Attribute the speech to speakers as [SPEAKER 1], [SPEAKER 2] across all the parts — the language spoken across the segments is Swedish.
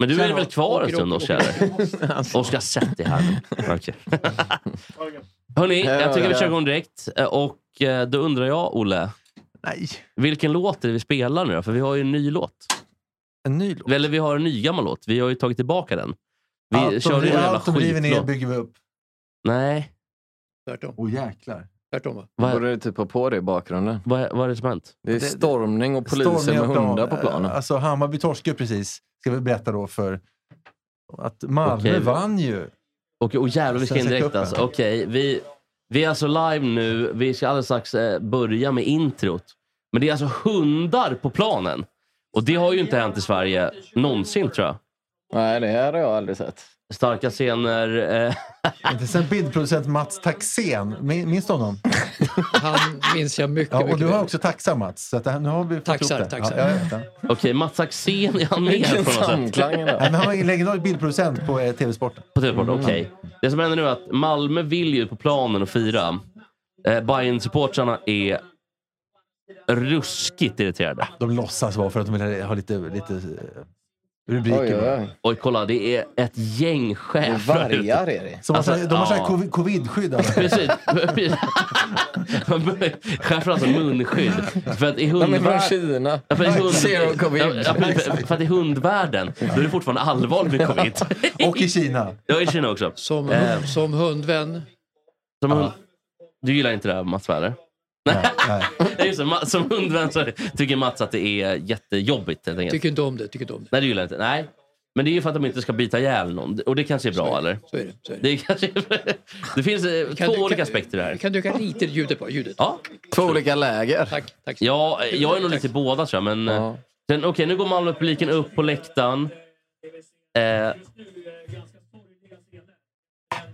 [SPEAKER 1] Men du är
[SPEAKER 2] Sen
[SPEAKER 1] väl
[SPEAKER 2] då?
[SPEAKER 1] kvar en
[SPEAKER 2] Åker,
[SPEAKER 1] stund,
[SPEAKER 2] åker, alltså.
[SPEAKER 1] Oscar? Oscar, sätt dig här nu. Okay. Hörni, jag tycker vi kör igång direkt. Eh, Och eh, då undrar jag, Olle,
[SPEAKER 2] Nej,
[SPEAKER 1] vilken låt är det vi spelar nu då? För vi har ju en ny låt.
[SPEAKER 2] en ny låt.
[SPEAKER 1] Eller vi har en ny gammal låt. Vi har ju tagit tillbaka den. Vi
[SPEAKER 3] Allt som
[SPEAKER 1] körde ju
[SPEAKER 3] river-
[SPEAKER 1] en jävla
[SPEAKER 3] allt som river ner
[SPEAKER 1] skitlåt.
[SPEAKER 3] bygger vi upp.
[SPEAKER 1] Nej,
[SPEAKER 2] Tvärtom.
[SPEAKER 3] Åh jäklar.
[SPEAKER 2] Tvärtom va?
[SPEAKER 1] vad,
[SPEAKER 4] Borde du typ ha på det i bakgrunden?
[SPEAKER 1] vad, vad är det som har hänt?
[SPEAKER 4] Det är
[SPEAKER 3] Det- det-
[SPEAKER 4] stormning och poliser
[SPEAKER 3] Stormiga
[SPEAKER 4] med
[SPEAKER 3] plan-
[SPEAKER 4] hundar på planen.
[SPEAKER 3] Alltså Hammarby torskade ju precis, ska vi berätta då för... Att Malmö
[SPEAKER 1] Okej.
[SPEAKER 3] vann ju.
[SPEAKER 1] Okej, och jävlar vi ska in
[SPEAKER 3] Svenska
[SPEAKER 1] direkt
[SPEAKER 3] cupen.
[SPEAKER 1] alltså. Okej, vi, vi är alltså live nu. Vi ska alldeles strax eh, börja med introt. Men det är alltså hundar på planen. Och det har ju inte hänt i Sverige någonsin tror jag.
[SPEAKER 4] Nej, det här har jag aldrig sett.
[SPEAKER 1] Starka scener. Eh,
[SPEAKER 3] Inte sen bildproducent Mats Taxén. Min- Minns du honom?
[SPEAKER 2] Han minns jag mycket,
[SPEAKER 3] Ja, och
[SPEAKER 2] mycket
[SPEAKER 3] du har
[SPEAKER 2] väl.
[SPEAKER 3] också taxar Mats. Så att det här, nu har vi fått
[SPEAKER 2] Taxar,
[SPEAKER 3] ihop det.
[SPEAKER 2] taxar.
[SPEAKER 3] Ja, jag vet det.
[SPEAKER 1] Okej, Mats Axén är han med
[SPEAKER 4] Vilken
[SPEAKER 1] på något sätt.
[SPEAKER 4] samklang är
[SPEAKER 3] Nej,
[SPEAKER 4] det?
[SPEAKER 3] men han var en legendarisk bildproducent på eh, TV-sporten.
[SPEAKER 1] På TV-sporten, okej.
[SPEAKER 4] Mm.
[SPEAKER 1] Det som händer nu är att Malmö vill ju på planen och fira. Eh, bayern supportrarna är ruskigt irriterade.
[SPEAKER 3] De låtsas vara för att de vill ha lite, lite eh, rubriker.
[SPEAKER 4] Oj, oj,
[SPEAKER 3] bara.
[SPEAKER 4] oj.
[SPEAKER 1] Oj, kolla. Det är ett gäng
[SPEAKER 4] Det är
[SPEAKER 1] chefer där ute.
[SPEAKER 4] vargar är det.
[SPEAKER 3] Som har
[SPEAKER 1] Alltså,
[SPEAKER 3] så här- de har så här
[SPEAKER 1] ja.
[SPEAKER 3] covid- covid-skydd. alltså. alla.
[SPEAKER 1] Precis. Typ. Chefen har alltså munskydd. För att i
[SPEAKER 4] De är från
[SPEAKER 1] hundvärlden...
[SPEAKER 4] Kina.
[SPEAKER 1] Ja, för, i hund...
[SPEAKER 4] Zero covid.
[SPEAKER 1] Ja, ja, precis. för, för att i hundvärlden, då är det fortfarande allvarligt med covid.
[SPEAKER 3] Och i Kina.
[SPEAKER 1] Jag är i Kina också.
[SPEAKER 2] Som,
[SPEAKER 1] Eh.
[SPEAKER 2] som hundvän.
[SPEAKER 1] Som hund... Du gillar inte det här Mats Werner?
[SPEAKER 3] Nej, nej.
[SPEAKER 1] Ja, just det. Ma- Som hundvän så tycker Mats att det är jättejobbigt helt enkelt.
[SPEAKER 2] Tycker inte om det, tycker inte om det.
[SPEAKER 1] Nej, du gillar inte. Nej. Men det är ju för att de inte ska bita ihjäl någon. Och det kanske är bra, eller?
[SPEAKER 2] Så är det. Så är det.
[SPEAKER 1] Det, är kanske... det finns eh, två
[SPEAKER 2] du-
[SPEAKER 1] olika aspekter där.
[SPEAKER 2] Kan du öka lite ljudet bara? Ljudet.
[SPEAKER 1] Ja.
[SPEAKER 4] Två olika läger.
[SPEAKER 2] Tack, tack.
[SPEAKER 1] Ja, eh, jag är nog lite båda tror jag. Men, eh,
[SPEAKER 4] Ja.
[SPEAKER 1] Sen, Okej, nu går Malmöpubliken upp på läktaren. Eh, Okej,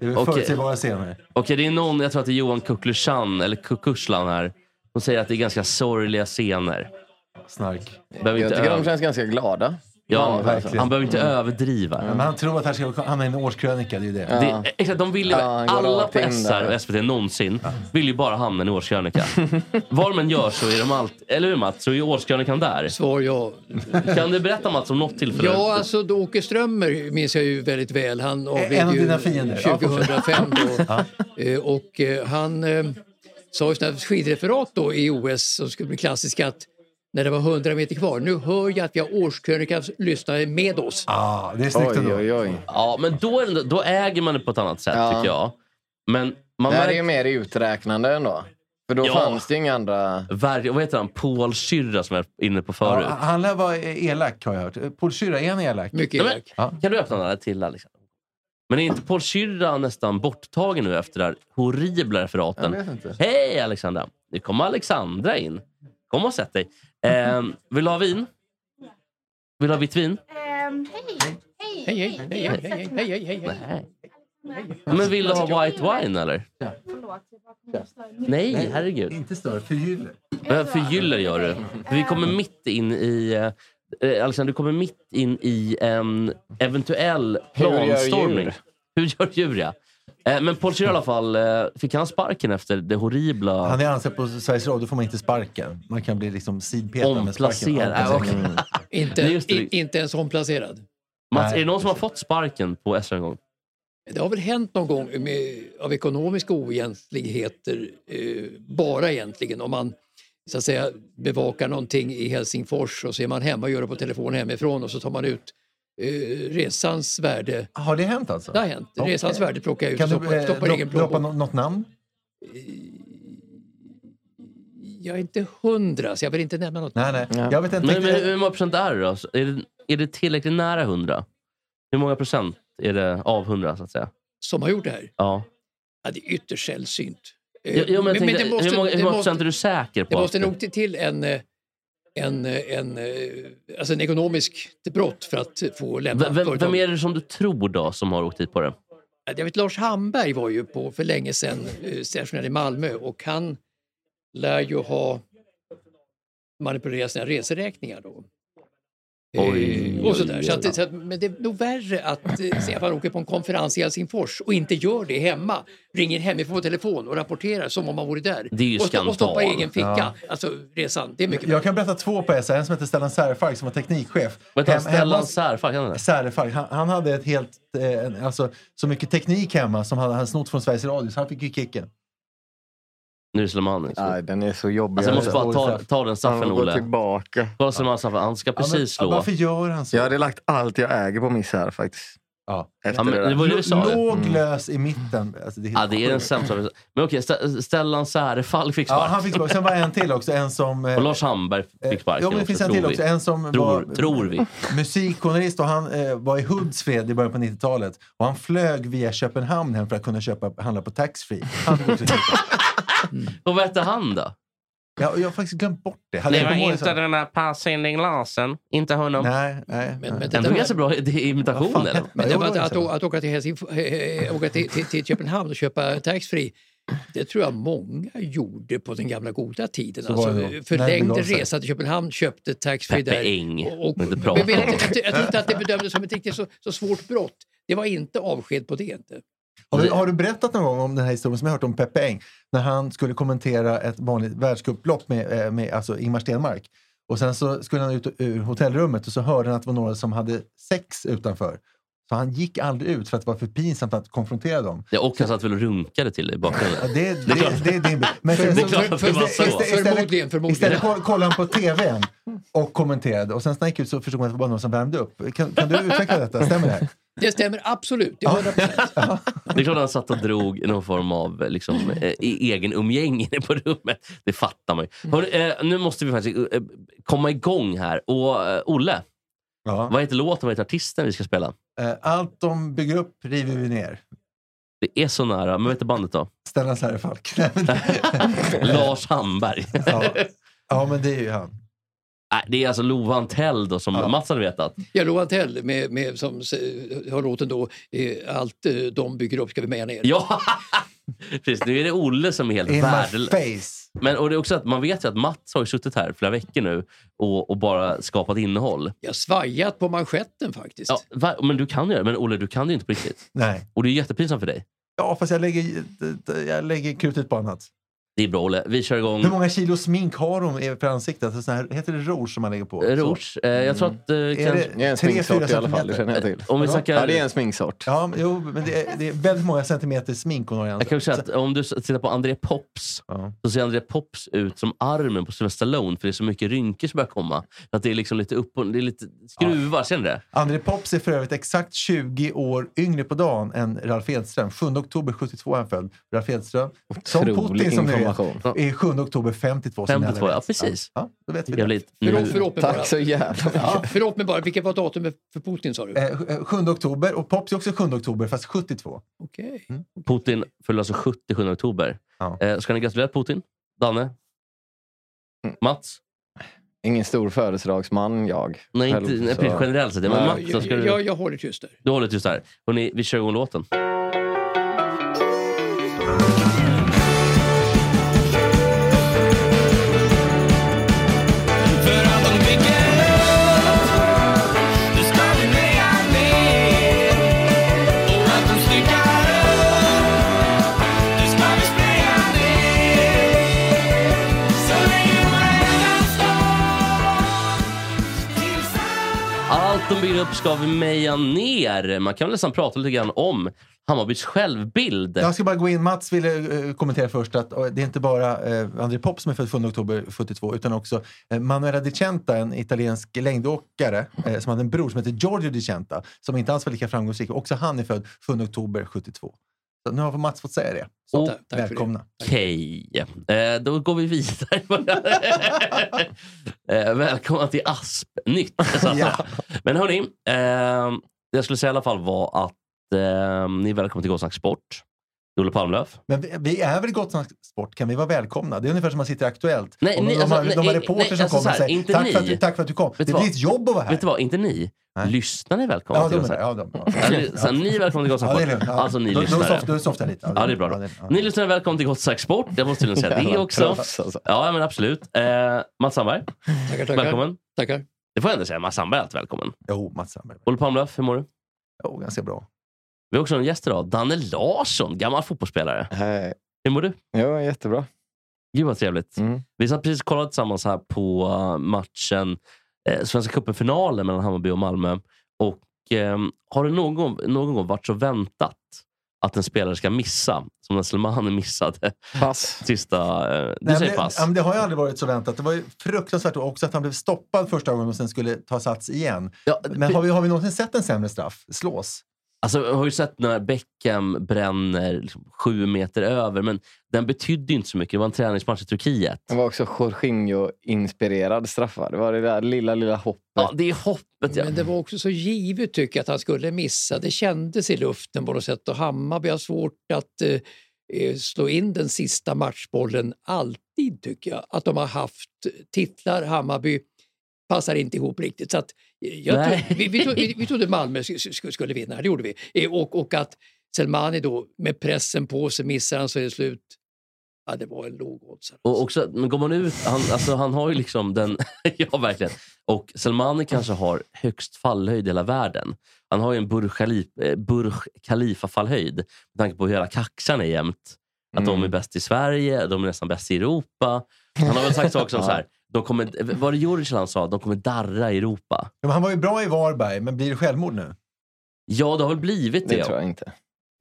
[SPEAKER 3] Det är
[SPEAKER 1] Okej.
[SPEAKER 3] förutsägbara scener.
[SPEAKER 1] det är någon, jag tror att det är Johan Kucklushan, eller Kukushlan här, som säger att det är ganska sorgliga scener.
[SPEAKER 3] Snark.
[SPEAKER 1] Behöver
[SPEAKER 4] Jag
[SPEAKER 1] inte
[SPEAKER 4] tycker de
[SPEAKER 1] över...
[SPEAKER 4] känns Mm. ganska glada.
[SPEAKER 1] ja,
[SPEAKER 4] Ja,
[SPEAKER 3] verkligen.
[SPEAKER 1] han behöver inte överdriva.
[SPEAKER 3] Men han tror att han ska hamna i en årskrönika. Det är ju det.
[SPEAKER 1] Det, eh, exakt, de vill ju,
[SPEAKER 4] Ja, han går
[SPEAKER 1] alla
[SPEAKER 4] rakt
[SPEAKER 1] på
[SPEAKER 4] in
[SPEAKER 1] SR
[SPEAKER 4] där.
[SPEAKER 1] och SVT någonsin vill ju bara hamna i en årskrönika. Vad de än gör så är de alltid... Eller hur Mats? Så är årskrönikan där.
[SPEAKER 2] Svar ja.
[SPEAKER 1] Kan du berätta Mats om något tillfälle?
[SPEAKER 2] Ja, alltså då Åke Strömmer minns jag ju väldigt väl. Han avled
[SPEAKER 3] En av
[SPEAKER 2] ju
[SPEAKER 3] dina fiender. Ja,
[SPEAKER 2] 2005 då. Eh, Och eh, han eh, sa ju sina skidreferat då i OS som skulle bli klassiska att när det var 100 meter kvar, nu hör jag att vi har årskrönikans lyssnare med oss.
[SPEAKER 3] Ah, det är snyggt
[SPEAKER 4] Oj,
[SPEAKER 3] ändå.
[SPEAKER 4] oj, oj.
[SPEAKER 1] Ja, men då, är det, då äger man det på ett annat sätt
[SPEAKER 4] Ja.
[SPEAKER 1] tycker jag. Men man
[SPEAKER 4] Det här är
[SPEAKER 1] märker...
[SPEAKER 4] ju mer uträknande ändå. För då
[SPEAKER 1] Ja.
[SPEAKER 4] fanns det ju inga andra...
[SPEAKER 1] Ver- vad heter han? Paul Syrra som jag var inne på
[SPEAKER 3] Ja,
[SPEAKER 1] förut.
[SPEAKER 3] han lär vara e- elak har jag hört. Paul Syrra, är han elak?
[SPEAKER 2] Mycket
[SPEAKER 1] Nej,
[SPEAKER 2] elak.
[SPEAKER 1] men, kan du öppna den här till Alexander? Men är inte Paul Syrra nästan borttagen nu efter det här horribla referaten?
[SPEAKER 4] inte.
[SPEAKER 1] Hej Alexandra! Nu kommer Alexandra in. Kom och sätt dig. Ehm, vill du ha vin? Vill du ha vitt vin?
[SPEAKER 5] Ehm, hej! Hej,
[SPEAKER 2] Hej, hej, hej, hej, hej, hej, hej, hej, hej.
[SPEAKER 1] Nej. Men vill du ha white wine eller?
[SPEAKER 5] Förlåt, jag bara kom och slå i micken.
[SPEAKER 1] Nej, herregud.
[SPEAKER 3] Inte större, förgyller.
[SPEAKER 1] Det här förgyller gör du. För Vi kommer mitt in i... eh, Eh, Alexander, du kommer mitt in i en eventuell
[SPEAKER 4] Hur gör
[SPEAKER 1] planstormning.
[SPEAKER 4] djur?
[SPEAKER 1] Hur gör djur? ja. Eh, men Paul Scheer i alla fall, eh, fick han sparken efter det horribla...
[SPEAKER 3] Han är anställd på Sveriges Radio, då får man inte sparken. Man kan bli liksom sidpetad med sparken.
[SPEAKER 1] Omplacerad.
[SPEAKER 3] Omplacerad.
[SPEAKER 2] Inte,
[SPEAKER 1] Nej, just det.
[SPEAKER 2] i, inte ens omplacerad.
[SPEAKER 1] Mats,
[SPEAKER 3] Nej,
[SPEAKER 1] är det någon som har fått sparken på SR en gång?
[SPEAKER 2] Det har väl hänt någon gång med, av ekonomiska oegentligheter, eh, bara egentligen, om man så att säga, bevakar någonting i Helsingfors och så är man hemma och gör det på telefon hemifrån och så tar man ut eh, resans värde.
[SPEAKER 3] Har det hänt alltså?
[SPEAKER 2] Det har hänt.
[SPEAKER 3] Okej.
[SPEAKER 2] Resans värde plockar jag ut
[SPEAKER 3] Kan
[SPEAKER 2] och
[SPEAKER 3] du
[SPEAKER 2] stoppar,
[SPEAKER 3] eh,
[SPEAKER 2] stoppar i
[SPEAKER 3] dro-
[SPEAKER 2] egen
[SPEAKER 3] droppa
[SPEAKER 2] plånbok.
[SPEAKER 3] nå- något namn?
[SPEAKER 2] Jag är inte hundra, så jag vill inte nämna något.
[SPEAKER 3] Nej, nej.
[SPEAKER 4] Ja.
[SPEAKER 3] Jag vet inte.
[SPEAKER 1] Men, men,
[SPEAKER 3] riktigt.
[SPEAKER 1] hur många procent är det då? Så Är det, är det tillräckligt nära 100? Hur många procent är det av 100 så att säga?
[SPEAKER 2] Som har gjort det här?
[SPEAKER 1] Ja.
[SPEAKER 2] Ja, det är ytterst sällsynt. Eh,
[SPEAKER 1] Jo, jo, men jag
[SPEAKER 2] men
[SPEAKER 1] tänkte,
[SPEAKER 2] det måste-
[SPEAKER 1] hur många, hur
[SPEAKER 2] det
[SPEAKER 1] många
[SPEAKER 2] måste-
[SPEAKER 1] procent är du säker på?
[SPEAKER 2] Det måste
[SPEAKER 1] att-
[SPEAKER 2] nog till- till en, eh, en, eh, en, eh, alltså en ekonomisk brott för att få lämna
[SPEAKER 1] V- vem,
[SPEAKER 2] företaget.
[SPEAKER 1] vem är det som du tror då som har åkt hit på det?
[SPEAKER 2] Jag vet, Lars Hamberg var ju på för länge sedan eh, stationerad i Malmö och han lär ju ha manipulerat sina reseräkningar då. Eh,
[SPEAKER 1] Oj,
[SPEAKER 2] och sådär.
[SPEAKER 1] oj,
[SPEAKER 2] Så att,
[SPEAKER 1] oj.
[SPEAKER 2] det- så att, men det är nog värre att eh, se att man åker på en konferens i Helsingfors och inte gör det hemma. Ringer hemifrån på telefon och rapporterar som om man vore där.
[SPEAKER 1] Det är ju
[SPEAKER 2] och, sto- och stoppar i
[SPEAKER 1] skandal.
[SPEAKER 2] egen ficka.
[SPEAKER 3] Ja.
[SPEAKER 2] Alltså resan, det är mycket
[SPEAKER 3] Jag kan berätta två på SR. En som heter Stellan Särfark som var teknikchef.
[SPEAKER 1] Vänta,
[SPEAKER 3] Hem-
[SPEAKER 1] Stellan
[SPEAKER 3] hemma-
[SPEAKER 1] Särfalk, kan han det?
[SPEAKER 3] Särfark, han, han hade ett helt, eh, en- alltså, så mycket teknik hemma som hade han snott från Sveriges Radio, så han fick ju kicken.
[SPEAKER 1] Nu är det Soleimani.
[SPEAKER 4] Nej, den är så jobbig.
[SPEAKER 1] Alltså, jag måste
[SPEAKER 3] jag
[SPEAKER 1] bara
[SPEAKER 3] går
[SPEAKER 1] ta,
[SPEAKER 3] straff.
[SPEAKER 1] ta den straffen,
[SPEAKER 4] Han går
[SPEAKER 1] Olle.
[SPEAKER 4] tillbaka.
[SPEAKER 1] Ta Soleimani straffen. Han ska
[SPEAKER 3] Ja, men,
[SPEAKER 1] precis slå.
[SPEAKER 3] Varför gör han så?
[SPEAKER 4] Jag hade lagt allt jag äger på miss här faktiskt.
[SPEAKER 3] Ja.
[SPEAKER 1] Ja,
[SPEAKER 4] Efter
[SPEAKER 1] men
[SPEAKER 4] det där.
[SPEAKER 1] det var ju det vi sa. ju.
[SPEAKER 3] Låg lös i mitten. Alltså, det är, helt
[SPEAKER 1] Ja, det är den
[SPEAKER 3] sjukt.
[SPEAKER 1] sämsta. vi- Men okej, St- Stellan Särfalk fick
[SPEAKER 3] Ja,
[SPEAKER 1] sparken.
[SPEAKER 3] han fick sparken. Sen var en till också, en som... eh,
[SPEAKER 1] Och Lars Hamberg fick sparken
[SPEAKER 3] Ja, men det
[SPEAKER 1] också,
[SPEAKER 3] finns en
[SPEAKER 1] tror
[SPEAKER 3] till
[SPEAKER 1] vi.
[SPEAKER 3] också. En som
[SPEAKER 1] Tror,
[SPEAKER 3] var
[SPEAKER 1] tror vi.
[SPEAKER 3] musikjournalist och han eh, var i Hultsfred i början på 90-talet. Och han flög via Köpenhamn hem för att kunna köpa, handla på taxfree. Han fick också kicken.
[SPEAKER 1] Och vad hette han då?
[SPEAKER 3] jag, jag har faktiskt glömt bort det. Han jag kommer ihåg så-
[SPEAKER 1] den där Per Sinding Larsen. Inte honom.
[SPEAKER 3] Nej, nej.
[SPEAKER 2] Men-
[SPEAKER 3] nej.
[SPEAKER 2] men
[SPEAKER 1] Den
[SPEAKER 2] det-
[SPEAKER 1] var ganska bra i- i
[SPEAKER 3] Vad
[SPEAKER 1] imitation.
[SPEAKER 3] fan
[SPEAKER 1] Eller?
[SPEAKER 3] hette
[SPEAKER 2] Men det
[SPEAKER 3] Jo,
[SPEAKER 2] var att,
[SPEAKER 3] det
[SPEAKER 2] att,
[SPEAKER 3] så.
[SPEAKER 2] å- att åka, till, Helsingf- eh, eh, åka till, till, till Köpenhamn och köpa taxfree, det tror jag många gjorde på den gamla goda tiden.
[SPEAKER 3] var
[SPEAKER 2] Alltså,
[SPEAKER 3] det nog. När
[SPEAKER 2] förlängd
[SPEAKER 3] det begav sig.
[SPEAKER 2] resa till Köpenhamn, köpte taxfree
[SPEAKER 1] Peppe
[SPEAKER 2] där.
[SPEAKER 1] Eng.
[SPEAKER 2] Och, och,
[SPEAKER 1] Inte prata
[SPEAKER 2] jag, vet,
[SPEAKER 1] om det.
[SPEAKER 2] jag, jag tror inte att det bedömdes som ett riktigt så, så svårt brott. Det var inte avsked på det. Inte.
[SPEAKER 3] Har du, har du berättat någon gång om den här historien som jag hört om Peppe Eng? När han skulle kommentera ett vanligt världscuplopp med, eh, med alltså Ingmar Stenmark. Och sen så skulle han ut ur hotellrummet och så hörde han att det var några som hade sex utanför. Så han gick aldrig ut för att det var för pinsamt att konfrontera dem.
[SPEAKER 1] Ja, och han satt väl och runkade till dig i
[SPEAKER 3] Ja,
[SPEAKER 1] bakgrunden.
[SPEAKER 3] Det, det, det, är din bild. Men sen
[SPEAKER 1] Det är
[SPEAKER 3] så-
[SPEAKER 1] klart att det var så.
[SPEAKER 3] Istället-
[SPEAKER 2] Förmodligen, förmodligen.
[SPEAKER 3] Istället koll- kollade han på tvn och kommenterade. Och sen när han gick ut så förstod man att det var någon som värmde upp. Kan, kan du utveckla detta? Stämmer det? här?
[SPEAKER 2] Det stämmer absolut. Det är 100%.
[SPEAKER 1] Det är klart att han satt och drog någon form av liksom, eh, i- egen umgänge inne på rummet. Det fattar man ju. Hörru, eh, nu måste vi faktiskt eh, komma igång här. Och eh, Olle,
[SPEAKER 3] Ja.
[SPEAKER 1] vad heter låten? Vad heter artisten vi ska spela?
[SPEAKER 3] Eh, Allt de bygger upp river vi ner.
[SPEAKER 1] Det är så nära. Men vad heter bandet då?
[SPEAKER 3] Stellan Särfalk. Nej, men-
[SPEAKER 1] Lars Hamberg.
[SPEAKER 3] ja. ja, men det är ju han.
[SPEAKER 1] Nej, det är alltså Love Antell då, som
[SPEAKER 3] Ja.
[SPEAKER 1] Mats hade vetat.
[SPEAKER 2] Jag lovar Antell med, med, som eh, har låten då eh, Allt eh, de bygger upp ska vi med ner.
[SPEAKER 1] Ja! Precis, nu är det Olle som är helt
[SPEAKER 3] In my
[SPEAKER 1] värdelös.
[SPEAKER 3] face.
[SPEAKER 1] Men och det är också att man vet ju att Mats har ju suttit här flera veckor nu och, och bara skapat innehåll.
[SPEAKER 2] Jag har svajat på manschetten faktiskt.
[SPEAKER 1] Ja, va, men du kan göra det. Men Olle, du kan det ju inte på riktigt.
[SPEAKER 3] Nej.
[SPEAKER 1] Och det är jättepinsamt för dig.
[SPEAKER 3] Ja, fast jag lägger, jag lägger krutet på annat.
[SPEAKER 1] Det är bra Olle. Vi kör igång.
[SPEAKER 3] Hur många kilo smink har de för ansiktet? Alltså, sån här, heter det rouge som man lägger på?
[SPEAKER 1] Eh,
[SPEAKER 3] Så.
[SPEAKER 1] Rouge. Eh, jag tror att... Eh,
[SPEAKER 3] Mm. Är
[SPEAKER 1] kanske,
[SPEAKER 4] Det är
[SPEAKER 3] det
[SPEAKER 4] en
[SPEAKER 3] tre,
[SPEAKER 4] sminksort i
[SPEAKER 3] fyra
[SPEAKER 4] alla fall, liksom. det
[SPEAKER 3] centimeter?
[SPEAKER 4] känner jag till.
[SPEAKER 1] om vi
[SPEAKER 3] vadå?
[SPEAKER 1] snackar...
[SPEAKER 4] Ja, det är en sminksort.
[SPEAKER 3] Ja, men- jo, men det är, det är väldigt många centimeter smink hon har i
[SPEAKER 1] Jag
[SPEAKER 3] ansiktet.
[SPEAKER 1] kan ju säga att om du s- tittar på André Pops
[SPEAKER 3] Ja.
[SPEAKER 1] så ser André Pops ut som armen på Sylvester Stallone för det är så mycket rynkor som börjar komma. Så Att det är liksom lite upp och det är lite skruvar. Ser ni det?
[SPEAKER 3] André Pops är för övrigt exakt 20 år yngre på dagen än Ralf Edström. 7 oktober 72 är han född. Ralf Edström, som
[SPEAKER 4] Otrolig
[SPEAKER 3] Putin som ni vet,
[SPEAKER 4] information.
[SPEAKER 3] är 7 oktober 52. som ni alla
[SPEAKER 1] 52, ja
[SPEAKER 3] vet.
[SPEAKER 1] precis.
[SPEAKER 3] Ja, då vet vi det.
[SPEAKER 1] Jävligt.
[SPEAKER 2] Förlåt,
[SPEAKER 1] Nu-
[SPEAKER 2] förlåt mig bara.
[SPEAKER 4] Tack så jävla mycket.
[SPEAKER 2] Ja, förlåt mig bara, vilket var datumet för Putin sa du?
[SPEAKER 3] Eh, sj- eh, 7 oktober, och Pops är också 7 oktober, fast 72.
[SPEAKER 2] Okej.
[SPEAKER 1] Putin fyller alltså 70 7 oktober.
[SPEAKER 3] Ja.
[SPEAKER 1] Eh, ska ni gratulera Putin? Danne?
[SPEAKER 3] Mm.
[SPEAKER 1] Mats?
[SPEAKER 4] Ingen stor födelsedagsman jag.
[SPEAKER 1] Nej,
[SPEAKER 4] Själv,
[SPEAKER 1] inte, nej,
[SPEAKER 4] så-
[SPEAKER 1] precis, generellt sett. Ja, Men
[SPEAKER 4] Nej,
[SPEAKER 1] Mats, då ska
[SPEAKER 2] jag,
[SPEAKER 1] du...
[SPEAKER 2] jag, jag håller tyst där.
[SPEAKER 1] Du håller tyst där. Hörrni, vi kör igång låten. Allt de bygger upp ska vi meja ner. Man kan väl nästan prata lite grann om Hammarbys självbild.
[SPEAKER 3] Jag ska bara gå in. Mats ville eh, kommentera först att eh, det är inte bara eh, André Pop som är född 7 oktober 72 utan också eh, Manuela Di Centa, en italiensk längdåkare eh, som hade en bror som hette Giorgio Di Centa som inte alls var lika framgångsrik. Också han är född 7 oktober 72. Så nu har Mats fått säga det. Så,
[SPEAKER 1] Och-
[SPEAKER 2] Tack för det.
[SPEAKER 3] välkomna.
[SPEAKER 1] Okej, eh, då går vi vidare. eh, välkomna till Aspnytt. Så att säga.
[SPEAKER 3] Ja.
[SPEAKER 1] Men hörni, eh, det jag skulle säga i alla fall var att eh, ni är välkomna till Gåsnack Sport. Olle Palmlöf.
[SPEAKER 3] Men vi, vi är väl Gotlands sport? Kan vi vara välkomna? Det är ungefär som man sitter i Aktuellt.
[SPEAKER 1] Nej,
[SPEAKER 3] Och
[SPEAKER 1] ni-
[SPEAKER 3] de,
[SPEAKER 1] alltså,
[SPEAKER 3] har, de har
[SPEAKER 1] nej,
[SPEAKER 3] reporter
[SPEAKER 1] nej,
[SPEAKER 3] som
[SPEAKER 1] alltså så
[SPEAKER 3] kommer och
[SPEAKER 1] här,
[SPEAKER 3] säger
[SPEAKER 1] inte
[SPEAKER 3] tack, för att
[SPEAKER 1] ni.
[SPEAKER 3] du, tack för att du kom.
[SPEAKER 1] du
[SPEAKER 3] det
[SPEAKER 1] vad?
[SPEAKER 3] blir ett jobb att vara här.
[SPEAKER 1] Vet du vad, inte ni.
[SPEAKER 3] Nej.
[SPEAKER 1] Lyssnarna är välkomna
[SPEAKER 3] Ja, de
[SPEAKER 1] till
[SPEAKER 3] är det.
[SPEAKER 1] Gåsnack.
[SPEAKER 3] Ja, de, ja.
[SPEAKER 1] Eller, så här, ni är välkomna till Gotland
[SPEAKER 3] Ja, det är
[SPEAKER 1] Sport.
[SPEAKER 3] lugnt. Ja.
[SPEAKER 1] Alltså ni
[SPEAKER 3] Då- då
[SPEAKER 1] lyssnare.
[SPEAKER 3] soft- Då softar jag lite.
[SPEAKER 1] Ja, det är bra. Då.
[SPEAKER 3] Ja, det- ja.
[SPEAKER 1] Ni lyssnare är välkomna till Gotland Sport. Jag måste tydligen säga det
[SPEAKER 4] Jävla
[SPEAKER 1] också.
[SPEAKER 4] proffs, alltså.
[SPEAKER 1] Ja, ja, men absolut. Eh, Mats Sandberg,
[SPEAKER 2] Tackar, tackar.
[SPEAKER 1] välkommen.
[SPEAKER 2] Tackar.
[SPEAKER 1] Det får jag ändå säga. Mats Sandberg är alltid välkommen.
[SPEAKER 3] Jo, Mats Sandberg.
[SPEAKER 1] Olle Palmlöf, hur mår du?
[SPEAKER 3] Jo, ganska bra.
[SPEAKER 1] Vi har också en gäst idag. Danne Larsson, gammal fotbollsspelare.
[SPEAKER 4] Hej.
[SPEAKER 1] Hur mår du?
[SPEAKER 4] Jo, jättebra.
[SPEAKER 1] Gud vad trevligt.
[SPEAKER 4] Mm.
[SPEAKER 1] Vi satt precis och kollade tillsammans här på eh, matchen, eh, Svenska cupen-finalen mellan Hammarby och Malmö. Och eh, Har det någon, någon gång varit så väntat att en spelare ska missa, som när Slimani missade
[SPEAKER 4] Pass.
[SPEAKER 1] sista... Eh, du
[SPEAKER 3] Nej,
[SPEAKER 1] säger
[SPEAKER 3] men,
[SPEAKER 1] pass.
[SPEAKER 3] ja, men det har ju aldrig varit så väntat. Det var ju fruktansvärt också att han blev stoppad första gången och sen skulle ta sats igen.
[SPEAKER 1] Ja,
[SPEAKER 3] Men har vi, har vi någonsin sett en sämre straff? Slås?
[SPEAKER 1] Alltså, jag har ju sett när Beckham bränner liksom, sju meter över, men den betydde ju inte så mycket. Det var en träningsmatch i Turkiet.
[SPEAKER 4] Det var också Jorginho-inspirerad straffar. Det var det där lilla, lilla hoppet.
[SPEAKER 1] Ja, det är hoppet. Ja.
[SPEAKER 2] Men det var också så givet tycker jag att han skulle missa. Det kändes i luften på något sätt och Hammarby har svårt att eh, eh, slå in den sista matchbollen alltid tycker jag. Att de har haft titlar, Hammarby passar inte ihop riktigt. Så att, eh, jag
[SPEAKER 1] Nej.
[SPEAKER 2] tro, vi, vi, tro- vi, vi trodde Malmö sk- sk- skulle vinna, det gjorde vi. Eh, Och, och att Selmani då med pressen på sig missar han så är det slut. Ja, det var en alltså. låg oddsare.
[SPEAKER 1] Och också, men går man ut, han, alltså, han har ju liksom den... ja, verkligen. Och Selmani kanske har högst fallhöjd i hela världen. Han har ju en Burj, Khalif, eh, Burj Khalifa-fallhöjd. Med tanke på hur hela kaxan är jämt. Att de är
[SPEAKER 4] Mm.
[SPEAKER 1] bäst i Sverige, de är nästan bäst i Europa. Han har väl sagt saker som så här, de kommer, var det Jurgen han sa? De kommer darra i Europa.
[SPEAKER 3] Ja, men han var ju bra i Varberg, men blir det självmord nu?
[SPEAKER 1] Ja, det har väl blivit det.
[SPEAKER 4] Det tror jag inte.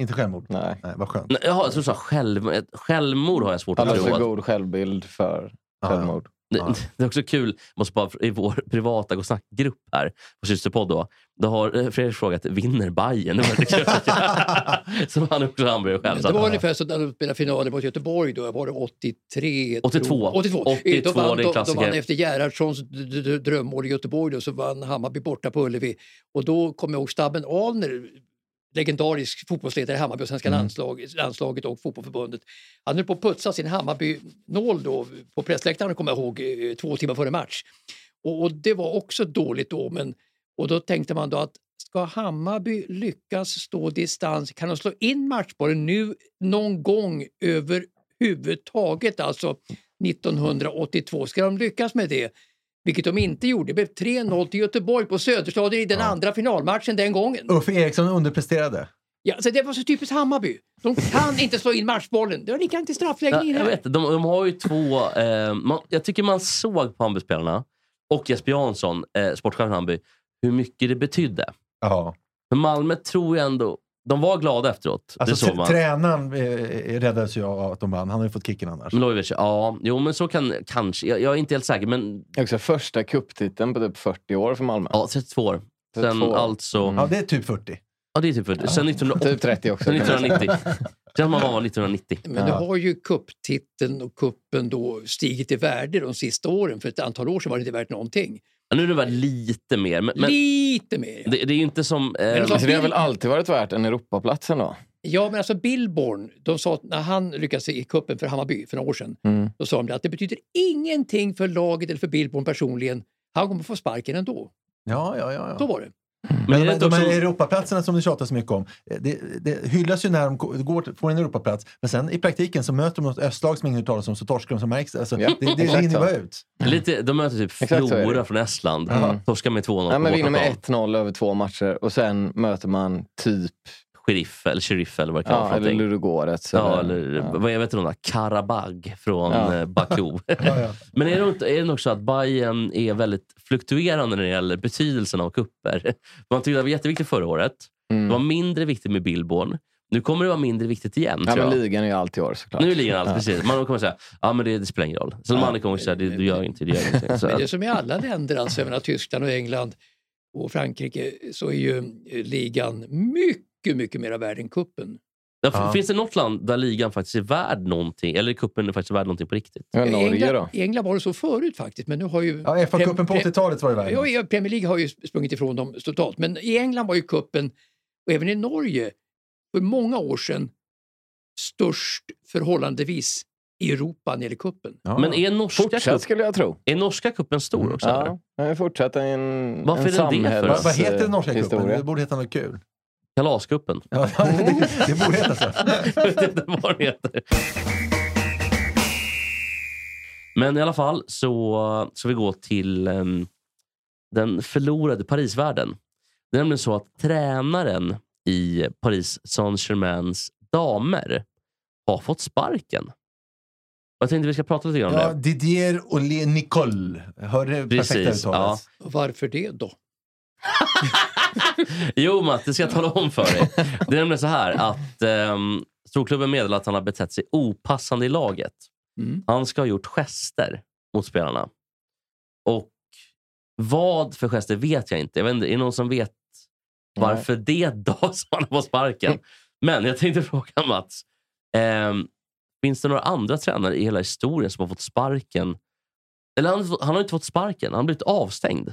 [SPEAKER 3] Inte självmord?
[SPEAKER 4] Nej.
[SPEAKER 3] Nej, vad skönt.
[SPEAKER 1] Nej, Jaha, så du sa själv, ett självmord har jag svårt att
[SPEAKER 4] Alldeles
[SPEAKER 1] tro.
[SPEAKER 4] för
[SPEAKER 1] Att,
[SPEAKER 4] god självbild för
[SPEAKER 3] Ja, ja.
[SPEAKER 4] självmord.
[SPEAKER 1] det, det är också kul, måste bara, i vår privata Gå snack-grupp här, på systerpodd då, då har eh, Fredrik frågat, vinner Bayern? Det var lite kul. Som han också hamburgare själv. Så
[SPEAKER 2] det var
[SPEAKER 1] att,
[SPEAKER 2] ungefär som när de spelade finalen mot Göteborg. Då var det 83?
[SPEAKER 1] 82.
[SPEAKER 2] 82.
[SPEAKER 1] 82,
[SPEAKER 2] de, Eh, vann,
[SPEAKER 1] det är
[SPEAKER 2] de, de
[SPEAKER 1] klassiker.
[SPEAKER 2] vann efter Gerhardssons d- d- drömmål i Göteborg. Då, så vann Hammarby borta på Ullevi. Och då kom jag ihåg Stabben Ahlner, legendarisk fotbollsledare i Hammarby och svenska
[SPEAKER 1] Mm.
[SPEAKER 2] landslag, landslaget och fotbollförbundet. Han höll på att putsa sin Hammarby-nål då på pressläktaren, kommer jag ihåg, eh, två timmar före match. Och, och det var också dåligt då, men och då tänkte man då att ska Hammarby lyckas stå distans, kan de slå in matchbollen nu någon gång överhuvudtaget, alltså 1982? Ska de lyckas med det? Vilket de inte gjorde. Det blev 3-0 till Göteborg på Söderstadion i den andra finalmatchen den gången.
[SPEAKER 3] Uffe Eriksson underpresterade.
[SPEAKER 2] Ja, så det var så typiskt Hammarby. De kan inte slå in matchbollen. Det var likadant i
[SPEAKER 1] ja,
[SPEAKER 2] straffläggningen.
[SPEAKER 1] jag
[SPEAKER 2] här.
[SPEAKER 1] vet, de, de har ju två... Eh, man, jag tycker man såg på Hammarbyspelarna och Jesper Jansson, eh, sportchefen i Hammarby, hur mycket det betydde.
[SPEAKER 3] Ja.
[SPEAKER 1] För Malmö tror jag ändå... De var glada efteråt. det
[SPEAKER 3] Alltså,
[SPEAKER 1] såg
[SPEAKER 3] tr-
[SPEAKER 1] man.
[SPEAKER 3] tränaren eh, räddades ju av att de vann. Han har ju fått kicken annars.
[SPEAKER 1] Milojevic, ja. Jo, men så kan kanske. Jag, jag är inte helt säker, men
[SPEAKER 4] Det är också första cuptiteln på typ 40 år för Malmö.
[SPEAKER 1] ja, 32 år. Sen
[SPEAKER 4] 32.
[SPEAKER 1] alltså...
[SPEAKER 4] Mm.
[SPEAKER 3] Ja, det är typ 40.
[SPEAKER 1] Ja, det är typ för, sen 1980.
[SPEAKER 4] Typ 30 också.
[SPEAKER 1] Sen 1990. Sen man var 1990.
[SPEAKER 2] Men nu har ju kupptiteln och kuppen då stigit i värde de sista åren. För ett antal år sedan var det inte värt någonting.
[SPEAKER 1] Ja, nu är det väl lite mer. Men, men
[SPEAKER 2] Lite mer. ja.
[SPEAKER 1] det, det är ju inte som... Eh,
[SPEAKER 2] Men de-
[SPEAKER 4] Alltså, det har väl alltid varit värt en Europaplats ändå?
[SPEAKER 2] Ja, men alltså Billborn, de sa att när han lyckades i cupen för Hammarby för några år sedan,
[SPEAKER 4] Mm.
[SPEAKER 2] då sa de att det betyder ingenting för laget eller för Billborn personligen. Han kommer få sparken ändå.
[SPEAKER 3] Ja, ja, ja.
[SPEAKER 2] Så
[SPEAKER 3] ja.
[SPEAKER 2] var det.
[SPEAKER 1] men är det
[SPEAKER 3] Men
[SPEAKER 1] inte
[SPEAKER 3] de
[SPEAKER 1] också...
[SPEAKER 3] här Europaplatserna som det tjatas så mycket om, eh, det, det hyllas ju när de ko- går, får en Europaplats, men sen i praktiken så möter de något östlag som ingen hört talas om, så torskar de som märks. Alltså,
[SPEAKER 4] Ja,
[SPEAKER 3] det det
[SPEAKER 4] exakt
[SPEAKER 3] rinner
[SPEAKER 4] så.
[SPEAKER 3] bara ut.
[SPEAKER 1] Lite, de möter typ
[SPEAKER 4] Exakt så är det.
[SPEAKER 1] Flora från Estland.
[SPEAKER 4] Mm.
[SPEAKER 1] Torskar med 2-0
[SPEAKER 4] Nej,
[SPEAKER 1] på
[SPEAKER 4] men vinner
[SPEAKER 1] bortaplan.
[SPEAKER 4] med 1-0 över två matcher och sen möter man typ
[SPEAKER 1] sheriff eller, sheriff, eller vad det kan vara
[SPEAKER 4] Ja,
[SPEAKER 1] för
[SPEAKER 4] eller
[SPEAKER 1] någonting.
[SPEAKER 4] Ludogorets.
[SPEAKER 1] Ja, eller
[SPEAKER 4] ja.
[SPEAKER 1] vad jag vet de där, Karabag från
[SPEAKER 4] Ja.
[SPEAKER 1] eh, Baku.
[SPEAKER 3] Ja, ja.
[SPEAKER 1] Men är det, inte- är det också att Bayern är väldigt fluktuerande när det gäller betydelsen av kupper? Man tyckte det var jätteviktigt förra året. Det var
[SPEAKER 4] Mm.
[SPEAKER 1] mindre viktigt med Billborn. Nu kommer det vara mindre viktigt igen.
[SPEAKER 4] Ja,
[SPEAKER 1] tror
[SPEAKER 4] men
[SPEAKER 1] jag.
[SPEAKER 4] ligan är ju allt i år såklart.
[SPEAKER 1] Nu är ligan allt,
[SPEAKER 4] Ja.
[SPEAKER 1] precis. Man kommer säga ja, men det, det spelar ingen roll. Sen
[SPEAKER 4] Ja.
[SPEAKER 1] man kommer säga det, du gör inte, du gör ingenting. Så
[SPEAKER 2] Men det är
[SPEAKER 1] att,
[SPEAKER 2] som i alla länder, alltså, jag menar, Tyskland och England och Frankrike, så är ju eh, ligan mycket, mycket mera värd än kuppen.
[SPEAKER 1] ja,
[SPEAKER 3] Ja.
[SPEAKER 1] Finns det något land där ligan faktiskt är värd någonting? Eller cupen är faktiskt värd någonting på riktigt?
[SPEAKER 4] Ja,
[SPEAKER 2] I
[SPEAKER 4] Norge
[SPEAKER 2] England,
[SPEAKER 4] då?
[SPEAKER 2] I England var det så förut faktiskt, men nu har ju...
[SPEAKER 3] Ja, FA-cupen på
[SPEAKER 2] Pre-
[SPEAKER 3] 80-talet var det
[SPEAKER 2] Ja,
[SPEAKER 3] värre.
[SPEAKER 2] ja, Premier League har ju sprungit ifrån dem totalt. Men i England var ju kuppen och även i Norge, för många år sedan, störst förhållandevis i Europa när det gäller kuppen.
[SPEAKER 3] Ja.
[SPEAKER 1] Men är norska,
[SPEAKER 4] Fortsatt
[SPEAKER 1] cup,
[SPEAKER 4] skulle jag tro.
[SPEAKER 1] är norska cupen stor också? eller?
[SPEAKER 4] Mm. Ja, den är fortsatt en,
[SPEAKER 1] Varför
[SPEAKER 4] en
[SPEAKER 1] är den det för?
[SPEAKER 3] Vad,
[SPEAKER 4] samhälls...
[SPEAKER 3] vad heter den norska
[SPEAKER 4] eh,
[SPEAKER 3] cupen?
[SPEAKER 4] historia.
[SPEAKER 3] Det borde heta något kul.
[SPEAKER 1] Kalascupen.
[SPEAKER 3] Ja, det, det borde heta så.
[SPEAKER 1] Jag vet inte vad den heter. Men i alla fall så ska vi gå till em, den förlorade Parisvärlden. Det är nämligen så att tränaren i Paris Saint-Germains damer har fått sparken. Jag tänkte vi ska prata lite grann om
[SPEAKER 3] Ja,
[SPEAKER 1] det.
[SPEAKER 3] Didier och Le Nicole. Hörde det perfekta
[SPEAKER 1] Precis,
[SPEAKER 3] uttalet?
[SPEAKER 1] ja.
[SPEAKER 2] Och Varför det då?
[SPEAKER 1] Jo, Matt, det ska jag tala om för dig. Det är nämligen så här att um, storklubben meddelar att han har betett sig opassande i laget.
[SPEAKER 2] Mm.
[SPEAKER 1] Han ska ha gjort gester mot spelarna. Och vad för gester vet jag inte. Jag vet inte är det någon som vet varför det då som han var sparken? Men jag tänkte fråga Mats. ehm, finns det några andra tränare i hela historien som har fått sparken? Eller han, han har inte fått sparken, han har blivit avstängd.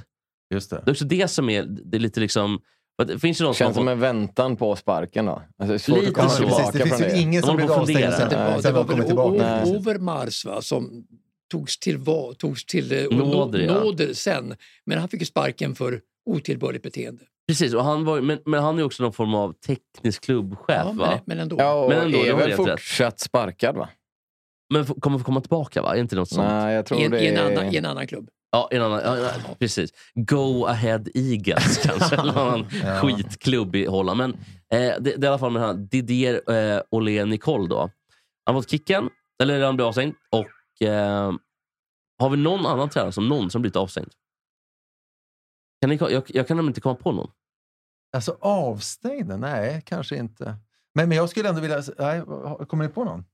[SPEAKER 3] Just det.
[SPEAKER 1] Det är också det som är, det är lite liksom... för att Det finns ju någon som
[SPEAKER 4] Känns
[SPEAKER 1] har
[SPEAKER 4] som
[SPEAKER 1] fått,
[SPEAKER 4] en väntan på sparken då. Alltså, det är svårt
[SPEAKER 1] Lite
[SPEAKER 4] att komma
[SPEAKER 1] så.
[SPEAKER 3] precis.
[SPEAKER 4] tillbaka
[SPEAKER 3] Det finns
[SPEAKER 4] från
[SPEAKER 3] ju
[SPEAKER 4] det.
[SPEAKER 3] ingen som
[SPEAKER 1] De
[SPEAKER 3] blivit
[SPEAKER 1] får
[SPEAKER 3] avstängd
[SPEAKER 1] fundera.
[SPEAKER 3] sen,
[SPEAKER 2] Det var,
[SPEAKER 3] sen
[SPEAKER 2] det var
[SPEAKER 3] de
[SPEAKER 2] väl
[SPEAKER 3] kommit
[SPEAKER 2] o-
[SPEAKER 3] tillbaka.
[SPEAKER 2] o-
[SPEAKER 4] Nej.
[SPEAKER 2] Overmars va, som togs till, va, togs till eh, och
[SPEAKER 1] Nåder, ja.
[SPEAKER 2] nåder sen, men han fick ju sparken för otillbörligt beteende.
[SPEAKER 1] precis, och han var, ju- men, men han är också någon form av teknisk klubbchef.
[SPEAKER 2] Ja,
[SPEAKER 1] Äh, va?
[SPEAKER 2] men, men ändå.
[SPEAKER 4] Ja, och
[SPEAKER 1] Men ändå, det
[SPEAKER 4] är
[SPEAKER 1] var
[SPEAKER 4] väl
[SPEAKER 1] helt rätt.
[SPEAKER 4] fortsatt sparkad va?
[SPEAKER 1] Men f- kommer få komma tillbaka, va? Är inte något sånt?
[SPEAKER 4] Nej, jag tror
[SPEAKER 2] I, en,
[SPEAKER 4] det
[SPEAKER 2] i, en
[SPEAKER 4] är...
[SPEAKER 2] annan, I en annan klubb.
[SPEAKER 1] Ja, en annan, ja, ja, precis. Go ahead Eagles kanske. Eller någon annan
[SPEAKER 3] Ja.
[SPEAKER 1] skitklubb i Holland. Men eh, det, det är i alla fall med den här Didier eh, Ole Nicole. Då. Han har fått kicken, eller han blev avstängd. Och, eh, har vi någon annan tränare som någonsin blivit avstängd? Kan ni, ko- jag, jag kan nämligen inte komma på någon.
[SPEAKER 3] Alltså avstängda? Nej, kanske inte. Men, men jag skulle ändå vilja... Nej, kommer ni på någon?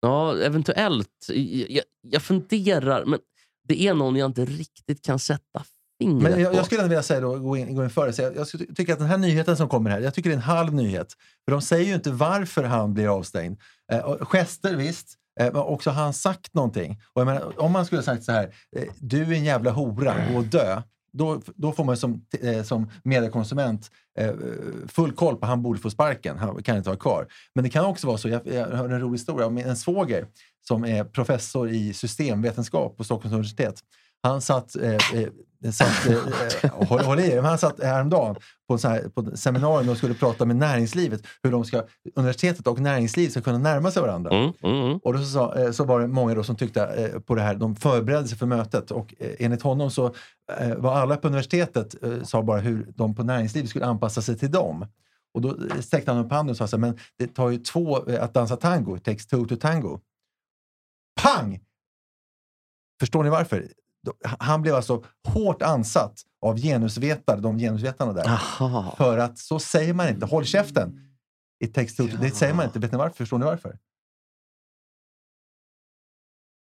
[SPEAKER 1] Ja, eventuellt. Jag, jag, jag funderar, men det är någon jag inte riktigt kan sätta fingret
[SPEAKER 3] Men jag,
[SPEAKER 1] på.
[SPEAKER 3] jag skulle ändå vilja säga då, gå in, gå in före. säga- Jag skulle ty- tycka att den här nyheten som kommer här, jag tycker det är en halv nyhet. För de säger ju inte varför han blir avstängd. Eh, och gester visst, eh, men också har han sagt någonting. Och jag menar, om man skulle ha sagt så här, eh, du är en jävla hora, gå och dö. Då, då får man som, t- eh, som mediekonsument eh, full koll på han borde få sparken. Han kan inte vara kvar. Men det kan också vara så, jag, jag hörde en rolig historia om en svåger som är professor i systemvetenskap på Stockholms universitet. Han satt, eh, eh, satt eh, eh, håll, håll i er, men han satt häromdagen på, en sån här, på ett seminarium och skulle prata med näringslivet, hur de ska, universitetet och näringslivet ska kunna närma sig varandra.
[SPEAKER 1] Mm, mm, mm.
[SPEAKER 3] Och då så, sa- eh, så var det många då som tyckte eh, på det här, de förberedde sig för mötet och eh, enligt honom så eh, var alla på universitetet eh, sa bara hur de på näringslivet skulle anpassa sig till dem. Och då eh, sträckte han upp handen och sa så här, men det tar ju två eh, att dansa tango, it takes two to tango. Pang! Förstår ni varför? Då- Han blev alltså hårt ansatt av genusvetare, de genusvetarna där.
[SPEAKER 4] Ah.
[SPEAKER 1] Aha.
[SPEAKER 3] För att så säger man inte, håll käften! It takes two to, Det säger man inte, vet ni varför? Förstår ni varför?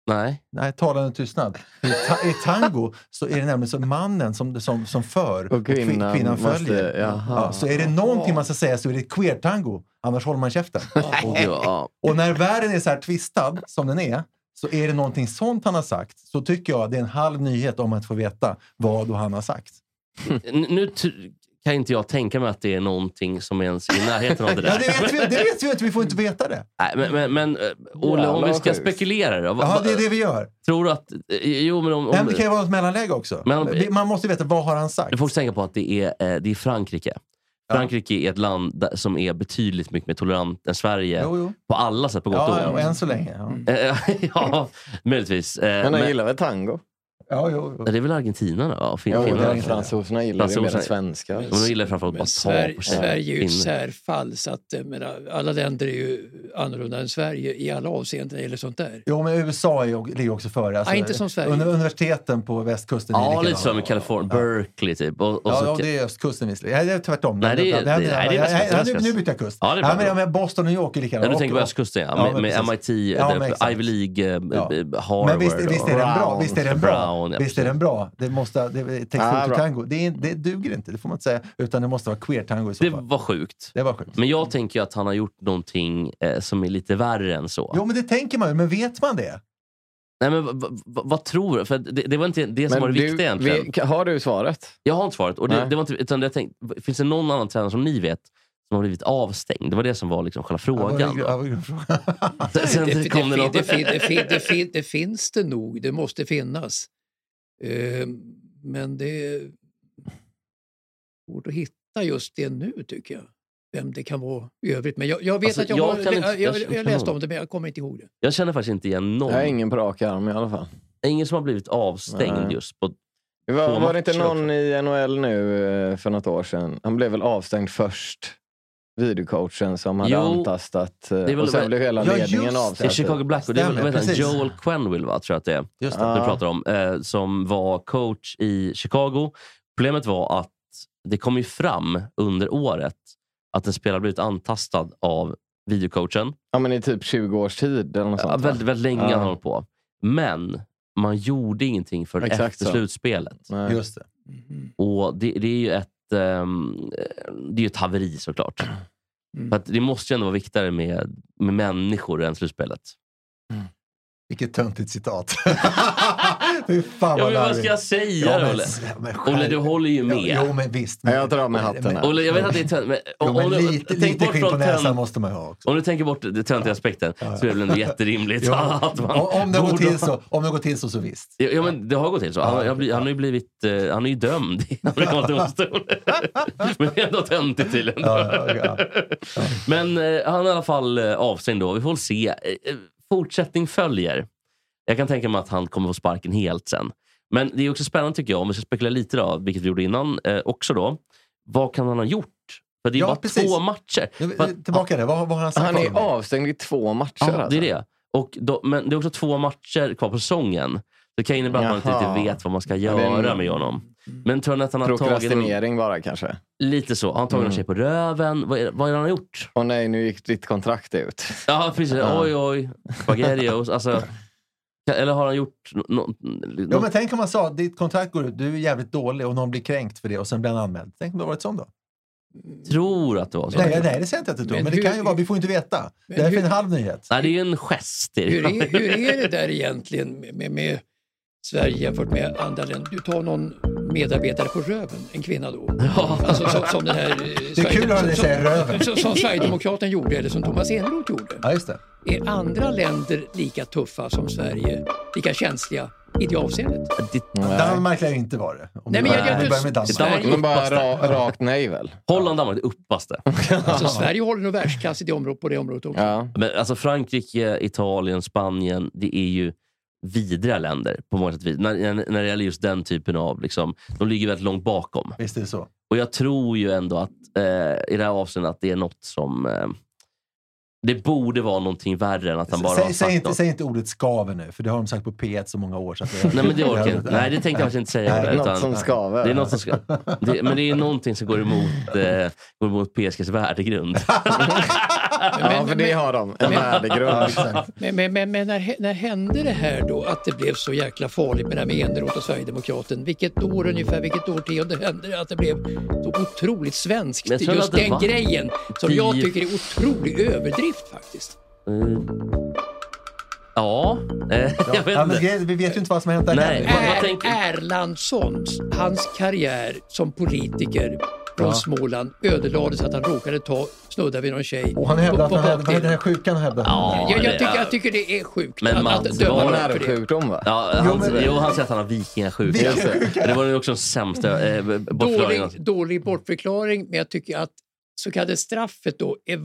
[SPEAKER 1] Nej.
[SPEAKER 3] Nej, talande tystnad. I, ta I tango så är det nämligen så mannen som, som, som för
[SPEAKER 4] Och
[SPEAKER 3] kvi-
[SPEAKER 4] kvinnan
[SPEAKER 3] kvinnan
[SPEAKER 4] måste-
[SPEAKER 3] följer.
[SPEAKER 4] jaha.
[SPEAKER 3] ja, så är det någonting man ska säga så är det queer-tango, annars håller man käften.
[SPEAKER 1] Och, ja.
[SPEAKER 3] Och när världen är så här twistad som den är, så är det någonting sånt han har sagt, så tycker jag det är en halv nyhet om att få veta vad och han har sagt.
[SPEAKER 1] N- Nu t- kan inte jag tänka mig att det är någonting som är ens i närheten av det där.
[SPEAKER 3] Ja, det vet vi, det vet vi inte, vi får inte veta det.
[SPEAKER 1] Nej, men, men, men eh, Olle, om
[SPEAKER 4] Jävlar,
[SPEAKER 1] vi
[SPEAKER 4] vad
[SPEAKER 1] ska
[SPEAKER 4] sjukt.
[SPEAKER 1] spekulera då. vad-
[SPEAKER 3] Ja, det är det vi gör.
[SPEAKER 1] Tror du att... eh, Jo, men om...
[SPEAKER 3] Nej, men
[SPEAKER 1] om
[SPEAKER 3] det kan ju vara ett mellanläge också.
[SPEAKER 1] Men-
[SPEAKER 3] Det- man måste veta, vad har han sagt?
[SPEAKER 1] du får också tänka på att det är, eh, det är Frankrike.
[SPEAKER 3] Ja.
[SPEAKER 1] Frankrike är ett land där, som är betydligt mycket mer tolerant än Sverige.
[SPEAKER 3] Jo, jo.
[SPEAKER 1] På alla sätt, på gott och
[SPEAKER 3] Ja, och
[SPEAKER 1] ont.
[SPEAKER 3] än så länge. Ja.
[SPEAKER 1] Eh, ja, möjligtvis. Eh,
[SPEAKER 4] Men han
[SPEAKER 1] men-
[SPEAKER 4] gillar väl tango?
[SPEAKER 3] Ja, jo, jo.
[SPEAKER 1] Det är väl Argentina då? Ja, fin,
[SPEAKER 4] Jo,
[SPEAKER 1] Finland.
[SPEAKER 4] men fransoserna gillar det mer
[SPEAKER 1] Fransoserna-
[SPEAKER 4] än svenskar.
[SPEAKER 1] De gillar framförallt
[SPEAKER 2] Men
[SPEAKER 1] bara ta
[SPEAKER 2] Sverige,
[SPEAKER 1] på
[SPEAKER 2] Sverige är ju ett
[SPEAKER 1] sig.
[SPEAKER 2] särfall så att jag menar, alla länder är ju annorlunda än Sverige i alla avseenden när det gäller sånt där.
[SPEAKER 3] jo, men USA är, ju- ligger också före. Alltså,
[SPEAKER 2] Ja, inte som Sverige.
[SPEAKER 3] Under universiteten på västkusten är
[SPEAKER 1] Ja,
[SPEAKER 3] likadana.
[SPEAKER 1] lite så med Kalifornien. Berkeley typ. Och, och
[SPEAKER 3] Ja,
[SPEAKER 1] så,
[SPEAKER 3] ja, det är östkusten visserligen. Nej, det är tvärtom.
[SPEAKER 1] Nej, det är-
[SPEAKER 3] här-
[SPEAKER 1] det- nej, det är
[SPEAKER 3] här-
[SPEAKER 1] västkusten,
[SPEAKER 3] här-
[SPEAKER 1] västkusten.
[SPEAKER 3] Nu, nu byter jag kust.
[SPEAKER 1] Ja, det är bra.
[SPEAKER 3] Nej, men, jag menar Boston och New York är likadana.
[SPEAKER 1] ja, du
[SPEAKER 3] Och-
[SPEAKER 1] tänker på östkusten ja.
[SPEAKER 3] Ja,
[SPEAKER 1] Med,
[SPEAKER 3] men
[SPEAKER 1] med
[SPEAKER 3] precis.
[SPEAKER 1] MIT,
[SPEAKER 3] Ja,
[SPEAKER 1] eh,
[SPEAKER 3] men exakt.
[SPEAKER 1] Ivy League, eh,
[SPEAKER 3] Ja.
[SPEAKER 1] b- b- Harvard.
[SPEAKER 3] Men visst, visst är den bra?
[SPEAKER 4] Brown.
[SPEAKER 3] Visst är den bra?
[SPEAKER 1] Brown, ja,
[SPEAKER 3] Visst är den bra? Det måste, det, är text
[SPEAKER 4] Ah,
[SPEAKER 3] ah,
[SPEAKER 4] bra.
[SPEAKER 3] tango. Det, är, det duger inte, det får man inte säga. Utan det måste vara queer-tango i så
[SPEAKER 1] Det
[SPEAKER 3] fall.
[SPEAKER 1] var sjukt.
[SPEAKER 3] Det var sjukt.
[SPEAKER 1] Men jag tänker ju att han har gjort någonting eh, som är lite värre än så.
[SPEAKER 3] Jo, men det tänker man ju. Men vet man det?
[SPEAKER 1] Nej, men v- v- v- vad tror du? För det, det var inte det som
[SPEAKER 4] Men
[SPEAKER 1] var det
[SPEAKER 4] du-
[SPEAKER 1] viktiga egentligen.
[SPEAKER 4] vi- Har du svaret?
[SPEAKER 1] Jag har inte svaret. Och det,
[SPEAKER 4] Nej.
[SPEAKER 1] det var inte, utan jag tänkte, finns det någon annan tränare som ni vet som har blivit avstängd? Det var det som var liksom själva frågan.
[SPEAKER 3] Ja, vad är grundfrågan?
[SPEAKER 1] Sen- Sen
[SPEAKER 2] Det, det,
[SPEAKER 1] kom det
[SPEAKER 2] fin-
[SPEAKER 1] något.
[SPEAKER 2] det, fin- det, fin- det, fin- det finns det nog, det måste finnas. Eh, Men det är svårt att hitta just det nu tycker jag. Vem det kan vara i övrigt. Men jag, jag vet
[SPEAKER 1] Alltså,
[SPEAKER 2] att jag,
[SPEAKER 1] jag
[SPEAKER 2] har,
[SPEAKER 1] kan
[SPEAKER 2] jag,
[SPEAKER 1] inte-
[SPEAKER 2] jag,
[SPEAKER 1] jag
[SPEAKER 2] jag,
[SPEAKER 1] kan
[SPEAKER 2] läste
[SPEAKER 1] nog-
[SPEAKER 2] om det men jag kommer inte ihåg det.
[SPEAKER 1] Jag känner faktiskt inte igen någon.
[SPEAKER 4] Jag har ingen på rak arm i alla fall.
[SPEAKER 1] Ingen som har blivit avstängd
[SPEAKER 4] Nej.
[SPEAKER 1] just. På,
[SPEAKER 4] Det var,
[SPEAKER 1] Två
[SPEAKER 4] var det inte
[SPEAKER 1] matcher
[SPEAKER 4] någon i NHL nu eh, för något år sedan? Han blev väl avstängd först, videocoachen som hade
[SPEAKER 1] Jo,
[SPEAKER 4] antastat. eh,
[SPEAKER 1] det är väl-
[SPEAKER 4] och sen blev hela
[SPEAKER 3] Ja,
[SPEAKER 4] ledningen
[SPEAKER 3] just det.
[SPEAKER 1] I
[SPEAKER 4] avstängd.
[SPEAKER 1] Chicago Black, och det är väl-
[SPEAKER 3] Stämmer,
[SPEAKER 1] vad heter han?
[SPEAKER 3] precis.
[SPEAKER 1] Joel Quenville va, tror jag att det är.
[SPEAKER 3] Just
[SPEAKER 4] Ja.
[SPEAKER 3] det.
[SPEAKER 1] vi pratar om, eh, som var coach i Chicago. Problemet var att det kom ju fram under året att en spelare blivit antastad av videocoachen.
[SPEAKER 4] Ja, men i typ 20 års tid eller något
[SPEAKER 1] Ja,
[SPEAKER 4] sånt. va?
[SPEAKER 1] väldigt, väldigt länge han
[SPEAKER 4] Ja.
[SPEAKER 1] hållit på. Men man gjorde ingenting för
[SPEAKER 4] Exakt
[SPEAKER 1] efter
[SPEAKER 4] så.
[SPEAKER 1] slutspelet.
[SPEAKER 4] Nej.
[SPEAKER 3] Just det.
[SPEAKER 1] Och det, det är ju ett, ehm, det är ju ett haveri såklart.
[SPEAKER 2] Mm.
[SPEAKER 1] För att det måste ju ändå vara viktigare med, med människor än slutspelet.
[SPEAKER 3] Vilket töntigt citat. Fy fan
[SPEAKER 1] Ja, men vad
[SPEAKER 3] vad
[SPEAKER 1] ska
[SPEAKER 3] larvigt.
[SPEAKER 1] jag säga
[SPEAKER 3] men-
[SPEAKER 1] Olle?
[SPEAKER 3] men skärp-
[SPEAKER 1] Olle, du håller ju med.
[SPEAKER 3] Jo, men visst.
[SPEAKER 4] Ja, jag drar med hatten här.
[SPEAKER 1] Olle, jag vet att det är tönt, men,
[SPEAKER 3] Jo,
[SPEAKER 1] om
[SPEAKER 3] men
[SPEAKER 1] du-
[SPEAKER 3] lite,
[SPEAKER 1] tänk
[SPEAKER 3] lite
[SPEAKER 1] bort
[SPEAKER 3] skinn på
[SPEAKER 1] från
[SPEAKER 3] näsan
[SPEAKER 1] tönt-
[SPEAKER 3] måste man ju ha också.
[SPEAKER 1] Om du tänker bort den töntiga aspekten så är det väl ändå jätterimligt
[SPEAKER 3] Jo,
[SPEAKER 1] att man...
[SPEAKER 3] om, om, det går
[SPEAKER 1] borde-
[SPEAKER 3] till så, om det går till så, så visst.
[SPEAKER 1] Ja, ja, men det har gått till så. Han, jag, blir- han har ju blivit... eh, han är ju dömd i amerikansk domstol. men det är ändå töntigt tydligen.
[SPEAKER 3] Ja, ja, ja.
[SPEAKER 1] Men eh, han är i alla fall eh, avstängd då. Vi får väl se. Eh, eh, fortsättning följer. Jag kan tänka mig att han kommer få sparken helt sen. Men det är också spännande tycker jag, om vi ska spekulera lite då, vilket vi gjorde innan eh, också då. Vad kan han ha gjort? För det är
[SPEAKER 3] Ja,
[SPEAKER 1] bara
[SPEAKER 3] precis.
[SPEAKER 1] två matcher.
[SPEAKER 3] Nu,
[SPEAKER 1] För-
[SPEAKER 3] Tillbaka där, vad, vad har han sagt?
[SPEAKER 4] Han
[SPEAKER 3] om
[SPEAKER 4] är
[SPEAKER 3] det?
[SPEAKER 4] avstängd i två matcher.
[SPEAKER 1] Ja, det
[SPEAKER 4] alltså.
[SPEAKER 1] är det. Och då, men det är också två matcher kvar på säsongen. Det kan innebära att man inte
[SPEAKER 4] Jaha.
[SPEAKER 1] riktigt vet vad man ska
[SPEAKER 4] Ja, det är en-
[SPEAKER 1] göra med honom. Men tror ni att han har tagit någon,
[SPEAKER 4] Prokrastinering bara kanske.
[SPEAKER 1] lite så? Han har tagit någon
[SPEAKER 4] Mm.
[SPEAKER 1] tjej på röven. Vad är, vad är det han har gjort?
[SPEAKER 4] Åh nej, nu gick ditt kontrakt ut.
[SPEAKER 1] Ja, precis.
[SPEAKER 4] Ja.
[SPEAKER 1] Oj, oj. Spaghettios. Alltså, eller har han gjort något? No,
[SPEAKER 3] Jo, men tänk om man sa ditt kontrakt går ut, du är jävligt dålig och någon blir kränkt för det och sen blir han anmäld. Tänk om det har varit sån då?
[SPEAKER 1] tror att det var så.
[SPEAKER 3] Nej, nej, det säger jag inte att du tror.
[SPEAKER 2] Men
[SPEAKER 3] Men, det kan
[SPEAKER 2] hur-
[SPEAKER 3] ju vara, vi får inte veta.
[SPEAKER 2] Men
[SPEAKER 3] Det här är
[SPEAKER 2] hur-
[SPEAKER 3] en halv nyhet.
[SPEAKER 1] Nej, det är ju en gest. Det är
[SPEAKER 2] Hur
[SPEAKER 1] ju.
[SPEAKER 2] är, hur är det där egentligen med, med, med Sverige jämfört med andra länder? Du tar någon medarbetare på röven, en kvinna då.
[SPEAKER 1] Ja.
[SPEAKER 2] Alltså, som, som den här, eh, Sverige-
[SPEAKER 3] kul att ni
[SPEAKER 2] som-
[SPEAKER 3] säger röven.
[SPEAKER 2] Som, som Sverigedemokraten gjorde eller som Thomas Eneroth gjorde.
[SPEAKER 3] Ja, just det.
[SPEAKER 2] Är andra länder lika tuffa som Sverige, lika känsliga i det avseendet?
[SPEAKER 3] Danmark lär ju inte vara det. Om
[SPEAKER 2] Nej,
[SPEAKER 3] vi
[SPEAKER 2] men
[SPEAKER 3] börjar-
[SPEAKER 2] jag-
[SPEAKER 3] om vi börjar med
[SPEAKER 1] Det är
[SPEAKER 3] Danmark.
[SPEAKER 1] Danmark.
[SPEAKER 4] Men bara ra, rakt nej väl?
[SPEAKER 1] Holland, Danmark, det uppaste.
[SPEAKER 2] Alltså, Sverige håller nog världsklass i det området, på det området också.
[SPEAKER 4] Ja.
[SPEAKER 1] Men alltså Frankrike, Italien, Spanien, det är ju vidriga länder på många sätt. och vis. När, när, när det gäller just den typen av... Liksom, de ligger väldigt långt bakom.
[SPEAKER 3] Visst är det så.
[SPEAKER 1] Och jag tror ju ändå att eh, i det här avseendet att det är något som... Eh, det borde vara någonting värre än att han bara har
[SPEAKER 3] Säg,
[SPEAKER 1] sagt
[SPEAKER 3] säg, inte,
[SPEAKER 1] något.
[SPEAKER 3] säg inte ordet skaver nu, för det har de sagt på P1 så många år. Så att
[SPEAKER 1] Nej, men det orkar jag inte. Nej, det tänkte jag faktiskt inte säga.
[SPEAKER 3] Nej,
[SPEAKER 1] utan-
[SPEAKER 4] Något som skaver.
[SPEAKER 1] Det är något som ska, det, men det är någonting som går emot, eh, går emot PSGs värdegrund.
[SPEAKER 4] ja, för det har de. En
[SPEAKER 3] Ja,
[SPEAKER 4] värdegrund.
[SPEAKER 3] exakt.
[SPEAKER 2] Men, men, men, men när, hä- när hände det här då att det blev så jäkla farligt med det här med Eneroth och Sverigedemokraten? Vilket år ungefär, vilket årtionde hände det att det blev så otroligt svenskt?
[SPEAKER 1] Jag tror
[SPEAKER 2] Just
[SPEAKER 1] att det Typ.
[SPEAKER 2] den
[SPEAKER 1] var
[SPEAKER 2] grejen som jag
[SPEAKER 1] tio-
[SPEAKER 2] tycker är otrolig överdrift faktiskt.
[SPEAKER 1] Eh, ja, eh, jag vet
[SPEAKER 3] ja, men
[SPEAKER 1] inte.
[SPEAKER 3] grejen- vi vet ju inte vad som har hänt där
[SPEAKER 1] Nej.
[SPEAKER 3] heller.
[SPEAKER 1] Vad- vad
[SPEAKER 2] Er,
[SPEAKER 1] tänker-
[SPEAKER 2] Erlandssons, hans karriär som politiker från Småland ödelades att han råkade ta snudda vid någon tjej.
[SPEAKER 3] Och han hävdade att
[SPEAKER 2] på-
[SPEAKER 3] han
[SPEAKER 2] på
[SPEAKER 3] hade, vad
[SPEAKER 2] bakdelen.
[SPEAKER 3] hade den här sjukan hävdat?
[SPEAKER 1] Ja,
[SPEAKER 2] jag, jag,
[SPEAKER 1] det-
[SPEAKER 2] tycker, jag tycker det är sjukt
[SPEAKER 1] Men
[SPEAKER 2] att,
[SPEAKER 1] Mats,
[SPEAKER 2] att
[SPEAKER 1] det
[SPEAKER 4] Det
[SPEAKER 2] döma
[SPEAKER 1] var
[SPEAKER 4] var
[SPEAKER 2] någon för det.
[SPEAKER 4] nervsjukdom va?
[SPEAKER 1] Ja,
[SPEAKER 3] Jo,
[SPEAKER 1] han,
[SPEAKER 3] men-
[SPEAKER 1] jo, han säger att han har vikingasjuka.
[SPEAKER 3] Vikingasjuka.
[SPEAKER 1] Just det. Det var ju också den sämsta eh, b- bortförklaringen.
[SPEAKER 2] Mm. Dålig, dålig bortförklaring, men jag tycker att så kallade straffet då är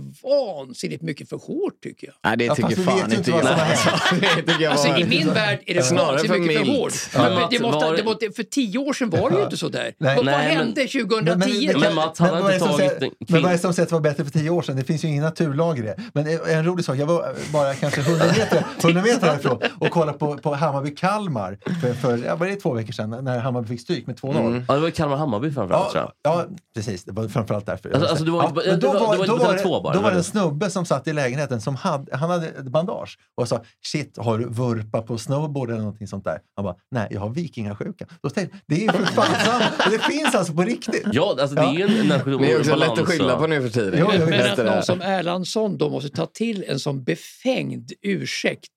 [SPEAKER 2] vansinnigt mycket för hårt tycker jag.
[SPEAKER 4] Nej, det
[SPEAKER 3] Ja, fast
[SPEAKER 4] tycker
[SPEAKER 3] vi
[SPEAKER 4] fan
[SPEAKER 3] vet ju
[SPEAKER 4] inte
[SPEAKER 3] inte
[SPEAKER 4] jag.
[SPEAKER 3] vad som har
[SPEAKER 4] Alltså, det tycker jag
[SPEAKER 2] Alltså,
[SPEAKER 4] var-
[SPEAKER 2] I min värld är det
[SPEAKER 4] Snarare
[SPEAKER 2] vansinnigt
[SPEAKER 4] för
[SPEAKER 2] mycket för
[SPEAKER 4] milt.
[SPEAKER 2] hårt.
[SPEAKER 1] Ja.
[SPEAKER 2] Men det
[SPEAKER 1] Mats,
[SPEAKER 2] måste,
[SPEAKER 1] var-
[SPEAKER 2] det måste, för tio år sedan var det ju inte så där. Vad, vad
[SPEAKER 1] Nej, men-
[SPEAKER 2] hände 2010?
[SPEAKER 3] Men- men-
[SPEAKER 1] Men Mats, han hade
[SPEAKER 3] vad är
[SPEAKER 1] inte
[SPEAKER 3] det som
[SPEAKER 1] tagit
[SPEAKER 3] säger-
[SPEAKER 1] en
[SPEAKER 3] men vad är
[SPEAKER 1] kvin-
[SPEAKER 3] det som säger att det var bättre för tio år sedan? Det finns ju ingen naturlag i det. Men en- en rolig sak, jag var bara kanske 100 meter, 100 meter härifrån och kollade på, på Hammarby-Kalmar för, för ja, var det två veckor sedan när Hammarby fick stryk med 2-0.
[SPEAKER 1] Ja, det var ju Kalmar-Hammarby framförallt tror
[SPEAKER 3] Ja, ja, precis. Det var framförallt därför.
[SPEAKER 1] Alltså- alltså, du var inte-
[SPEAKER 3] men
[SPEAKER 1] du var- du var inte
[SPEAKER 3] då
[SPEAKER 1] på
[SPEAKER 3] var,
[SPEAKER 1] Tele2 bara,
[SPEAKER 3] Då var
[SPEAKER 1] eller?
[SPEAKER 3] det en snubbe som satt i lägenheten som hade, han hade ett bandage och sa “Shit, har du vurpa på snowboard eller någonting sånt där?” Han bara “Nej, jag har vikingasjuka”. Då tänkte jag, det är ju för fan sant. Och Det finns alltså på riktigt.
[SPEAKER 1] jag. Ja, alltså, det är ju en
[SPEAKER 4] Men det är
[SPEAKER 1] nationell
[SPEAKER 4] också lätt att skylla
[SPEAKER 1] så-
[SPEAKER 4] på nu för tiden.
[SPEAKER 3] Jo, jo,
[SPEAKER 2] Men
[SPEAKER 3] Just
[SPEAKER 2] att
[SPEAKER 4] Efter det
[SPEAKER 2] någon
[SPEAKER 4] här.
[SPEAKER 2] som Erlandsson då måste ta till en sån befängd ursäkt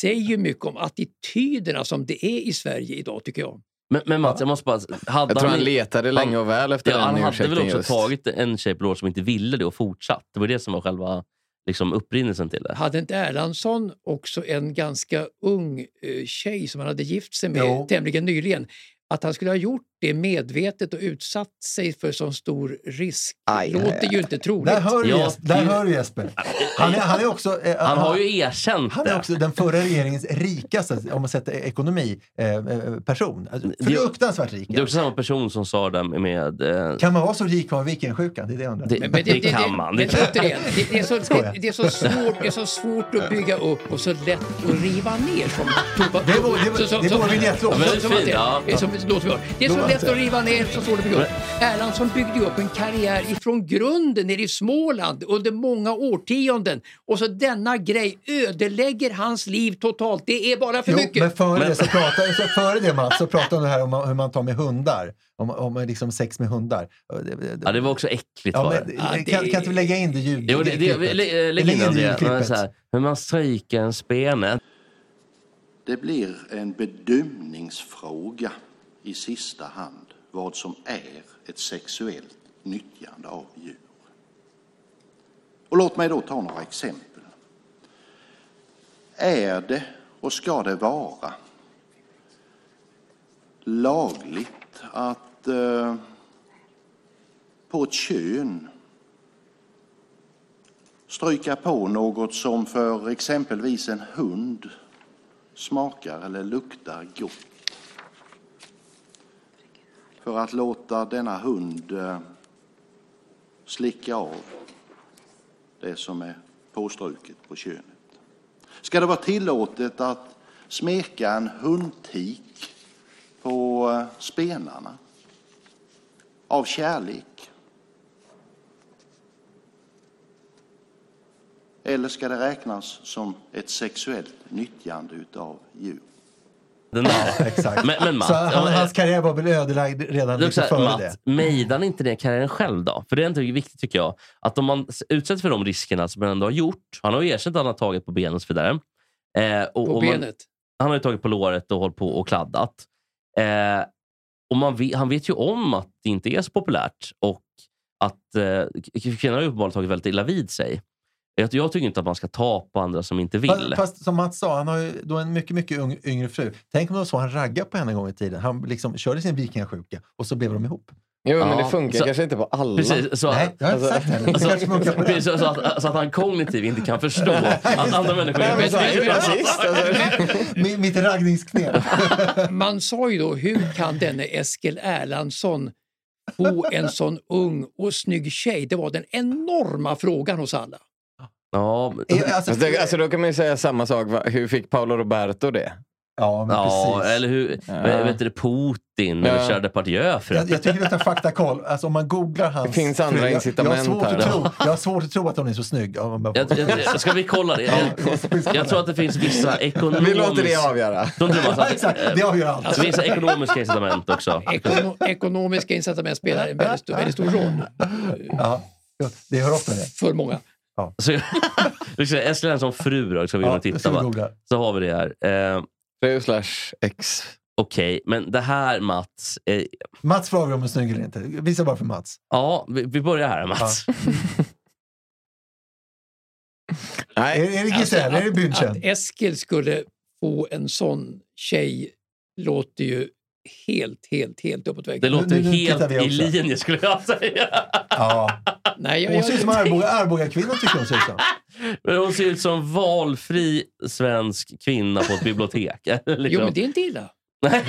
[SPEAKER 2] säger ju mycket om attityderna som det är i Sverige idag tycker jag.
[SPEAKER 1] Men, men Mats, jag måste bara... Hade
[SPEAKER 4] Jag tror han
[SPEAKER 1] han-
[SPEAKER 4] letade länge och väl efter
[SPEAKER 1] Ja,
[SPEAKER 4] den
[SPEAKER 1] han hade
[SPEAKER 4] ursäkten
[SPEAKER 1] väl också
[SPEAKER 4] just.
[SPEAKER 1] tagit en tjej på lår som inte ville det och fortsatt. Det var det som var själva liksom, upprinnelsen till det.
[SPEAKER 2] Hade inte Erlandsson också en ganska ung eh, tjej som han hade gift sig med
[SPEAKER 3] Jo.
[SPEAKER 2] tämligen nyligen? Att han skulle ha gjort det medvetet och utsatt sig för sån stor risk
[SPEAKER 4] Aj,
[SPEAKER 2] låter
[SPEAKER 4] aj, aj.
[SPEAKER 2] ju inte troligt.
[SPEAKER 3] Där hör du
[SPEAKER 1] Ja,
[SPEAKER 3] Jesper. Där
[SPEAKER 1] det-
[SPEAKER 3] hör du Jesper. Han är, han är också... eh,
[SPEAKER 1] Han har ju erkänt
[SPEAKER 3] han
[SPEAKER 1] det.
[SPEAKER 3] är också den förra regeringens rikaste, om man sätter ekonomi, eh, eh, person. Alltså,
[SPEAKER 1] Det-
[SPEAKER 3] fruktansvärt rik.
[SPEAKER 1] Det är också samma person som sa det med... Eh,
[SPEAKER 3] Kan man vara så rik och ha vikingasjuka? Det är det jag undrar.
[SPEAKER 1] det,
[SPEAKER 2] Men-
[SPEAKER 1] det,
[SPEAKER 2] men
[SPEAKER 1] kan man.
[SPEAKER 2] men
[SPEAKER 1] Det, kan-
[SPEAKER 2] återigen, det, det, är så, det,
[SPEAKER 3] Skoja.
[SPEAKER 2] det, är så svårt, det är så svårt att bygga upp och så lätt att riva ner. Som,
[SPEAKER 3] Det är vår- det är vår- det är vår vinjettlåt.
[SPEAKER 1] Ja, men-
[SPEAKER 2] som- som att det-
[SPEAKER 1] Ja.
[SPEAKER 2] det är som- låt vi höra. Det är så
[SPEAKER 3] Låt
[SPEAKER 2] lätt
[SPEAKER 3] det.
[SPEAKER 2] att riva ner, så svårt att bygga upp. Erlandsson byggde ju upp en karriär ifrån grunden nere i Småland under många årtionden. Och så denna grej ödelägger hans liv totalt. Det är bara för
[SPEAKER 3] Jo,
[SPEAKER 2] mycket.
[SPEAKER 3] men före det, så pratar, så före det Mats, så pratade du här om hur man tar med hundar. Om, om liksom sex med hundar. Det, det,
[SPEAKER 1] ja, det var också äckligt
[SPEAKER 3] Ja,
[SPEAKER 1] var
[SPEAKER 3] men,
[SPEAKER 1] det.
[SPEAKER 3] kan, kan inte vi lägga in det ljud?
[SPEAKER 1] Jo, det, det,
[SPEAKER 3] klippet?
[SPEAKER 1] lä- eh, lägg
[SPEAKER 3] Lägg
[SPEAKER 1] in
[SPEAKER 3] in
[SPEAKER 1] om
[SPEAKER 3] det i
[SPEAKER 1] det. Men
[SPEAKER 3] klippet.
[SPEAKER 1] så här, Hur man stryker en spene.
[SPEAKER 6] Det blir en bedömningsfråga i sista hand vad som är ett sexuellt nyttjande av djur. Och låt mig då ta några exempel. Är det och ska det vara lagligt att eh, på ett kön stryka på något som för exempelvis en hund smakar eller luktar gott. För att låta denna hund eh, slicka av det som är påstruket på könet. Ska det vara tillåtet att smeka en hundtik på eh, spenarna av kärlek? Eller ska det räknas som ett sexuellt nyttjande utav djur?
[SPEAKER 1] Den där.
[SPEAKER 3] Exakt.
[SPEAKER 1] Men, men Mats,
[SPEAKER 3] så han,
[SPEAKER 1] ja,
[SPEAKER 3] hans karriär var väl ödelagd redan
[SPEAKER 1] Det är
[SPEAKER 3] lite
[SPEAKER 1] också så
[SPEAKER 3] före
[SPEAKER 1] här,
[SPEAKER 3] det.
[SPEAKER 1] Matt, mejdar inte den karriären själv då? För det är ändå viktigt tycker jag. Att om man s- utsätts för de riskerna som han ändå har gjort. Han har ju erkänt att han har tagit på benet och så vidare. Eh, och,
[SPEAKER 2] på
[SPEAKER 1] och man-
[SPEAKER 2] benet.
[SPEAKER 1] han har ju tagit på låret och hållit på och kladdat. Eh, och man vet, han vet ju om att det inte är så populärt och att eh, k- kvinnor har ju uppenbarligen tagit väldigt illa vid sig. Jag, jag tycker inte att man ska ta på andra som inte vill.
[SPEAKER 3] Fast, fast som Mats sa, han har ju då en mycket, mycket ung, yngre fru. Tänk om det var så han raggade på henne en gång i tiden. Han liksom körde sin vikingasjuka och så blev de ihop.
[SPEAKER 4] Jo, men
[SPEAKER 1] Ja,
[SPEAKER 4] det funkar
[SPEAKER 1] så-
[SPEAKER 4] kanske inte på alla.
[SPEAKER 1] Precis, så,
[SPEAKER 3] Nej, jag har inte
[SPEAKER 4] alltså-
[SPEAKER 3] sagt det. heller. Det kanske funkar på
[SPEAKER 1] precis, så,
[SPEAKER 3] det.
[SPEAKER 1] så, att, så att han kognitivt inte kan förstå att andra människor
[SPEAKER 4] Nej, men så här, precis, alltså.
[SPEAKER 3] Mitt- Mitt raggningsknep.
[SPEAKER 2] Man sa ju då, hur kan denne Eskil Erlandsson få en sån ung och snygg tjej? Det var den enorma frågan hos alla.
[SPEAKER 1] Ja, men-
[SPEAKER 3] Är- alltså-
[SPEAKER 4] Alltså, det- alltså, då kan man ju säga samma sak. Va? Hur fick Paolo Roberto det?
[SPEAKER 3] Ja, men
[SPEAKER 1] ja,
[SPEAKER 3] precis.
[SPEAKER 1] eller hur?
[SPEAKER 4] Ja.
[SPEAKER 1] Vad Vet du, Putin eller
[SPEAKER 4] Ja.
[SPEAKER 1] Gerda Depardieu för
[SPEAKER 3] Jag, jag tycker du tar faktakoll. Alltså om man googlar hans...
[SPEAKER 4] Det finns andra
[SPEAKER 3] fru, jag-
[SPEAKER 4] incitament
[SPEAKER 3] jag har svårt
[SPEAKER 4] här.
[SPEAKER 3] Att tro, jag har svårt att tro att hon är så snygg. Ja, man bara-
[SPEAKER 1] jag, jag, jag, ska vi kolla det? Jag, jag tror att det finns vissa
[SPEAKER 4] Vi låter det
[SPEAKER 1] ekonomiska...
[SPEAKER 4] avgöra.
[SPEAKER 1] Tror inte du,
[SPEAKER 3] Ja,
[SPEAKER 1] Mats, att-
[SPEAKER 3] exakt, det avgör allt.
[SPEAKER 1] Det finns ekonomiska incitament också.
[SPEAKER 2] Ekono ekonomiska incitament spelar en väldigt stor, väldigt stor roll
[SPEAKER 3] Ja, det hör ofta det.
[SPEAKER 2] för många.
[SPEAKER 1] Så jag, jag ska säga, Eskil som fru då, ska vi gå in och
[SPEAKER 3] Ja,
[SPEAKER 1] titta.
[SPEAKER 3] ska vi
[SPEAKER 1] va?
[SPEAKER 3] googla.
[SPEAKER 1] Så har vi det här. Eh,
[SPEAKER 4] Fru slash ex.
[SPEAKER 1] Okej, men det här Mats. Eh,
[SPEAKER 3] Mats får avgöra om hon är snygg eller inte. Visa bara för Mats.
[SPEAKER 1] ja, vi, vi börjar här Mats.
[SPEAKER 3] Är,
[SPEAKER 4] Nej,
[SPEAKER 3] är det Giselle?
[SPEAKER 2] att,
[SPEAKER 3] är det
[SPEAKER 2] att
[SPEAKER 3] Bünchen?
[SPEAKER 2] Eskil skulle få en sån tjej låter ju helt, helt, helt uppåt
[SPEAKER 1] Det
[SPEAKER 2] väggen.
[SPEAKER 1] låter
[SPEAKER 3] nu- nu
[SPEAKER 1] helt
[SPEAKER 3] tittar vi
[SPEAKER 1] i
[SPEAKER 3] också.
[SPEAKER 1] linje skulle jag säga.
[SPEAKER 3] Ja.
[SPEAKER 2] Nej, jag,
[SPEAKER 3] Hon ser ut som
[SPEAKER 2] jag,
[SPEAKER 3] Arboga, Arboga-kvinnan tycker hon ser ut som.
[SPEAKER 1] Men hon ser ut som valfri svensk kvinna på ett bibliotek. liksom.
[SPEAKER 2] jo, men det är inte illa.
[SPEAKER 1] Nej,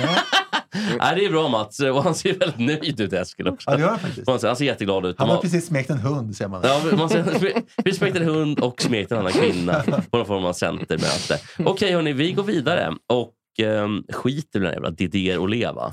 [SPEAKER 1] det är bra Mats. Och han ser väldigt nöjd ut Eskil också.
[SPEAKER 3] Ja, det gör han faktiskt.
[SPEAKER 1] Han ser, han ser jätteglad ut.
[SPEAKER 3] Han
[SPEAKER 1] De
[SPEAKER 3] har
[SPEAKER 1] har-
[SPEAKER 3] precis smekt en hund, ser man.
[SPEAKER 1] Ja, men man ser, vi smekte en hund och smekte en annan kvinna på någon form av centermöte. Okej hörni, vi går vidare och um, skiter i den här jävla Didier och leva.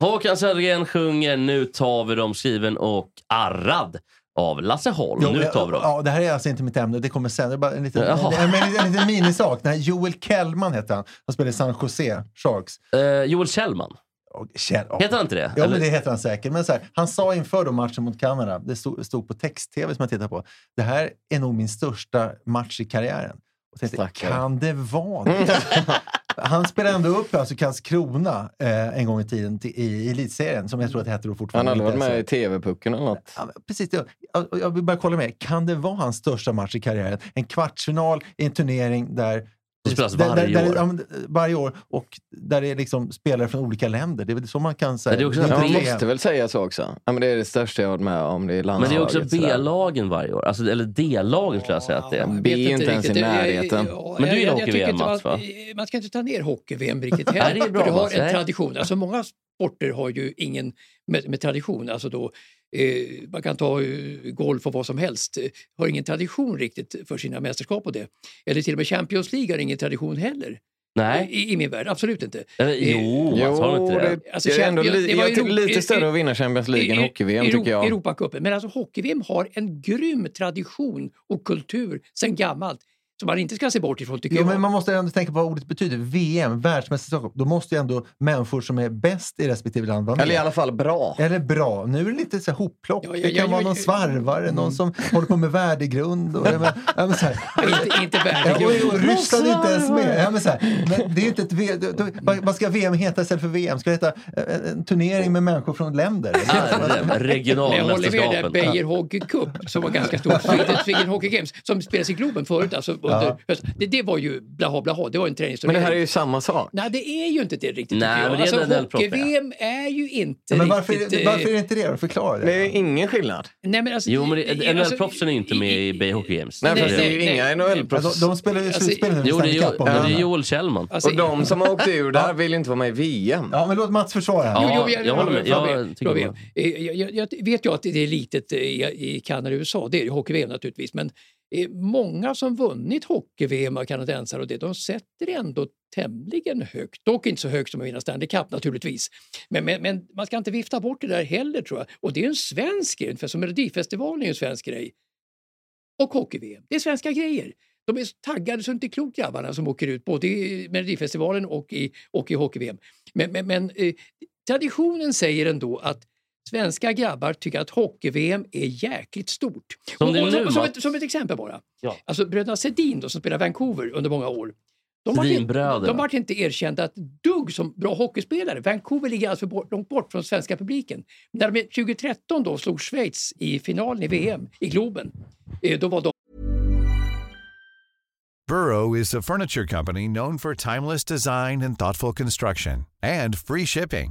[SPEAKER 1] Håkan Södergren sjunger Nu tar vi dem skriven och arrad av Lasse Holm.
[SPEAKER 3] Jo,
[SPEAKER 1] nu
[SPEAKER 3] jag-
[SPEAKER 1] tar vi dem.
[SPEAKER 3] Ja, det här är alltså inte mitt ämne. Det kommer sen. Det är bara en liten, en,
[SPEAKER 1] Jaha.
[SPEAKER 3] en, en, en liten minisak. Den här Joel Kellman heter han. Han spelar i San Jose Sharks.
[SPEAKER 1] Eh, Joel Kjellman,
[SPEAKER 3] Och, Kjell, ja.
[SPEAKER 1] heter han inte det?
[SPEAKER 3] Ja,
[SPEAKER 1] Eller-
[SPEAKER 3] men det heter han säkert. Men så här, han sa inför då matchen mot Kanada, det stod, stod på text-tv som jag tittade på, det här är nog min största match i karriären. Och tänkte,
[SPEAKER 4] Stackare.
[SPEAKER 3] kan det vara det?
[SPEAKER 1] Mm.
[SPEAKER 3] Han spelade ändå upp alltså Karlskrona eh, en gång i tiden till, i elitserien, som jag tror att det hette då
[SPEAKER 4] Han
[SPEAKER 3] fortfarande.
[SPEAKER 4] har aldrig varit
[SPEAKER 3] Inte
[SPEAKER 4] med i
[SPEAKER 3] ens-
[SPEAKER 4] TV-pucken eller något.
[SPEAKER 3] Ja, men precis, det. Jag, jag vill bara kolla med Kan det vara hans största match i karriären? En kvartsfinal i en turnering där...
[SPEAKER 1] Det spelas
[SPEAKER 3] där-
[SPEAKER 1] varje
[SPEAKER 3] där, där,
[SPEAKER 1] år.
[SPEAKER 3] Ja, men, varje år. Och där det är liksom spelare från olika länder. Det är väl så man kan säga.
[SPEAKER 1] det är också-
[SPEAKER 4] Ja,
[SPEAKER 3] inte
[SPEAKER 4] man
[SPEAKER 3] VM.
[SPEAKER 4] måste väl säga så också. Ja, men det är det största jag har varit med om. Det är
[SPEAKER 1] Men det är
[SPEAKER 4] landslaget.
[SPEAKER 1] också
[SPEAKER 4] sådär.
[SPEAKER 1] B-lagen varje år. Alltså, eller D-lagen skulle jag säga att det
[SPEAKER 2] Jag
[SPEAKER 1] är.
[SPEAKER 2] vet
[SPEAKER 4] B är ju inte ens i
[SPEAKER 2] riktigt. Jag- jag-
[SPEAKER 4] närheten.
[SPEAKER 2] ja,
[SPEAKER 1] Men du
[SPEAKER 2] jag-
[SPEAKER 1] gillar
[SPEAKER 2] jag- jag tycker
[SPEAKER 1] hockey-VM,
[SPEAKER 2] inte
[SPEAKER 1] Mats,
[SPEAKER 2] man-
[SPEAKER 1] va?
[SPEAKER 2] Man ska inte ta ner hockey-VM riktigt
[SPEAKER 1] Nej,
[SPEAKER 2] heller.
[SPEAKER 1] det är bra,
[SPEAKER 2] för det har
[SPEAKER 1] Mats.
[SPEAKER 2] en
[SPEAKER 1] Nej.
[SPEAKER 2] tradition. Alltså, många sporter har ju ingen med, med tradition. Alltså då, eh, man kan ta eh, golf och vad som helst. Eh, Har ingen tradition riktigt för sina mästerskap och det. Eller till och med Champions League har ingen tradition heller.
[SPEAKER 1] Nej.
[SPEAKER 2] I, I min värld, absolut inte.
[SPEAKER 1] Eller, jo, Mats, har de
[SPEAKER 4] Jo,
[SPEAKER 1] inte det?
[SPEAKER 4] det,
[SPEAKER 2] Alltså,
[SPEAKER 4] jag är ändå
[SPEAKER 2] Champions-
[SPEAKER 4] li,
[SPEAKER 2] det var
[SPEAKER 4] jag
[SPEAKER 2] ju
[SPEAKER 4] tycker
[SPEAKER 2] ro- i-
[SPEAKER 4] lite
[SPEAKER 2] i-
[SPEAKER 4] större att vinna Champions League än
[SPEAKER 2] I- i-
[SPEAKER 4] hockey-VM
[SPEAKER 2] Euro-
[SPEAKER 4] tycker jag.
[SPEAKER 2] Europacupen. Men alltså hockey-VM har en grym tradition och kultur sedan gammalt som man inte ska se bort ifrån tycker
[SPEAKER 3] Jo,
[SPEAKER 2] jag.
[SPEAKER 3] men man måste ändå tänka på vad ordet betyder. VM, världsmästerskap. Då måste ju ändå människor som är bäst i respektive land vara med.
[SPEAKER 4] Eller i alla fall bra.
[SPEAKER 3] Eller bra. Nu är det lite så här hopplock.
[SPEAKER 2] Ja, ja,
[SPEAKER 3] det kan
[SPEAKER 2] ja,
[SPEAKER 3] vara
[SPEAKER 2] ja,
[SPEAKER 3] någon
[SPEAKER 2] ja.
[SPEAKER 3] svarvare,
[SPEAKER 1] Mm.
[SPEAKER 3] någon som håller på med värdegrund. Och, ja, men, ja, men så här.
[SPEAKER 2] inte, inte
[SPEAKER 3] Ja,
[SPEAKER 2] världen.
[SPEAKER 3] och, och Ryssland är inte ens med. Ja, men så här. Men det är ju inte ett v- då- då- vad- Vad ska VM heta istället för VM? Ska det heta eh, en turnering med människor från länder?
[SPEAKER 1] Arren,
[SPEAKER 2] Men jag håller med dig,
[SPEAKER 1] regionalmästerskapen.
[SPEAKER 2] Beijer Hockey Cup som var ganska stor, Sweden Hockey Games som spelades i Globen förut. Alltså, under hösten. det, det var ju blaha blaha, det var en
[SPEAKER 4] Men
[SPEAKER 2] träningsturnering.
[SPEAKER 4] det här är ju samma sak.
[SPEAKER 2] Nej, det är ju inte det riktigt. tycker
[SPEAKER 1] Nej,
[SPEAKER 2] jag.
[SPEAKER 1] men det är den där proppen, ja.
[SPEAKER 2] Hockey-VM är ju inte
[SPEAKER 3] Ja, men varför,
[SPEAKER 2] riktigt... eh,
[SPEAKER 3] varför är det inte det då? Förklara det.
[SPEAKER 4] Det är ju ingen skillnad.
[SPEAKER 2] Nej, men alltså,
[SPEAKER 1] Jo, men det-
[SPEAKER 2] alltså,
[SPEAKER 1] NHL-proffsen är ju inte med i Bay Hockey Games. Alltså,
[SPEAKER 4] Nej,
[SPEAKER 2] Nej,
[SPEAKER 4] fast det är ju
[SPEAKER 2] nej,
[SPEAKER 4] inga
[SPEAKER 2] nej.
[SPEAKER 3] Ja, de,
[SPEAKER 4] NHL-proffs.
[SPEAKER 3] de spelar ju
[SPEAKER 2] Alltså,
[SPEAKER 3] slutspel nu i
[SPEAKER 1] Jo, det
[SPEAKER 3] Stanley
[SPEAKER 1] är,
[SPEAKER 3] Cup.
[SPEAKER 1] jo,
[SPEAKER 3] om
[SPEAKER 1] ja,
[SPEAKER 3] den
[SPEAKER 1] det är
[SPEAKER 3] här.
[SPEAKER 1] Joel Kjellman.
[SPEAKER 2] Alltså,
[SPEAKER 4] Och de som åkte ur där vill inte vara med i VM.
[SPEAKER 3] Ja, men låt Mats försvara. här.
[SPEAKER 1] Ja,
[SPEAKER 2] Jo, jo, jag,
[SPEAKER 1] jag håller med. Jag
[SPEAKER 2] Fabien,
[SPEAKER 1] tycker
[SPEAKER 2] Fabien,
[SPEAKER 1] om
[SPEAKER 2] eh, jag, jag, jag vet ju att det är litet eh, i, i Kanada och USA, det är ju hockey-VM naturligtvis, men eh, många som vunnit hockey-VM av kanadensare och det, de sätter ändå tämligen högt. Dock inte så högt som att vinna Stanley Cup naturligtvis. Men, men, men man ska inte vifta bort det där heller tror jag. Och det är ju en svensk grej, för som Melodifestivalen är ju en svensk grej. Och hockey-VM, det är svenska grejer. De är så taggade så inte klokt grabbarna som åker ut både i Melodifestivalen och i, och i hockey-VM. Men, men, men eh, traditionen säger ändå att svenska grabbar tycker att hockey-VM är jäkligt stort.
[SPEAKER 1] Som det är nu,
[SPEAKER 2] som, som,
[SPEAKER 1] Mats.
[SPEAKER 2] ett, som ett exempel bara.
[SPEAKER 1] Ja.
[SPEAKER 2] Alltså bröderna Sedin då, som spelar Vancouver under många år. De vart inte-
[SPEAKER 1] Sedinbröderna.
[SPEAKER 2] de vart inte erkända ett dugg som bra hockeyspelare. Vancouver ligger alltså bort, långt bort från svenska publiken. När de 2013 då slog Schweiz i finalen i VM, i Globen, eh, då var de
[SPEAKER 7] Burrow is a furniture company known for timeless design and thoughtful construction and free shipping,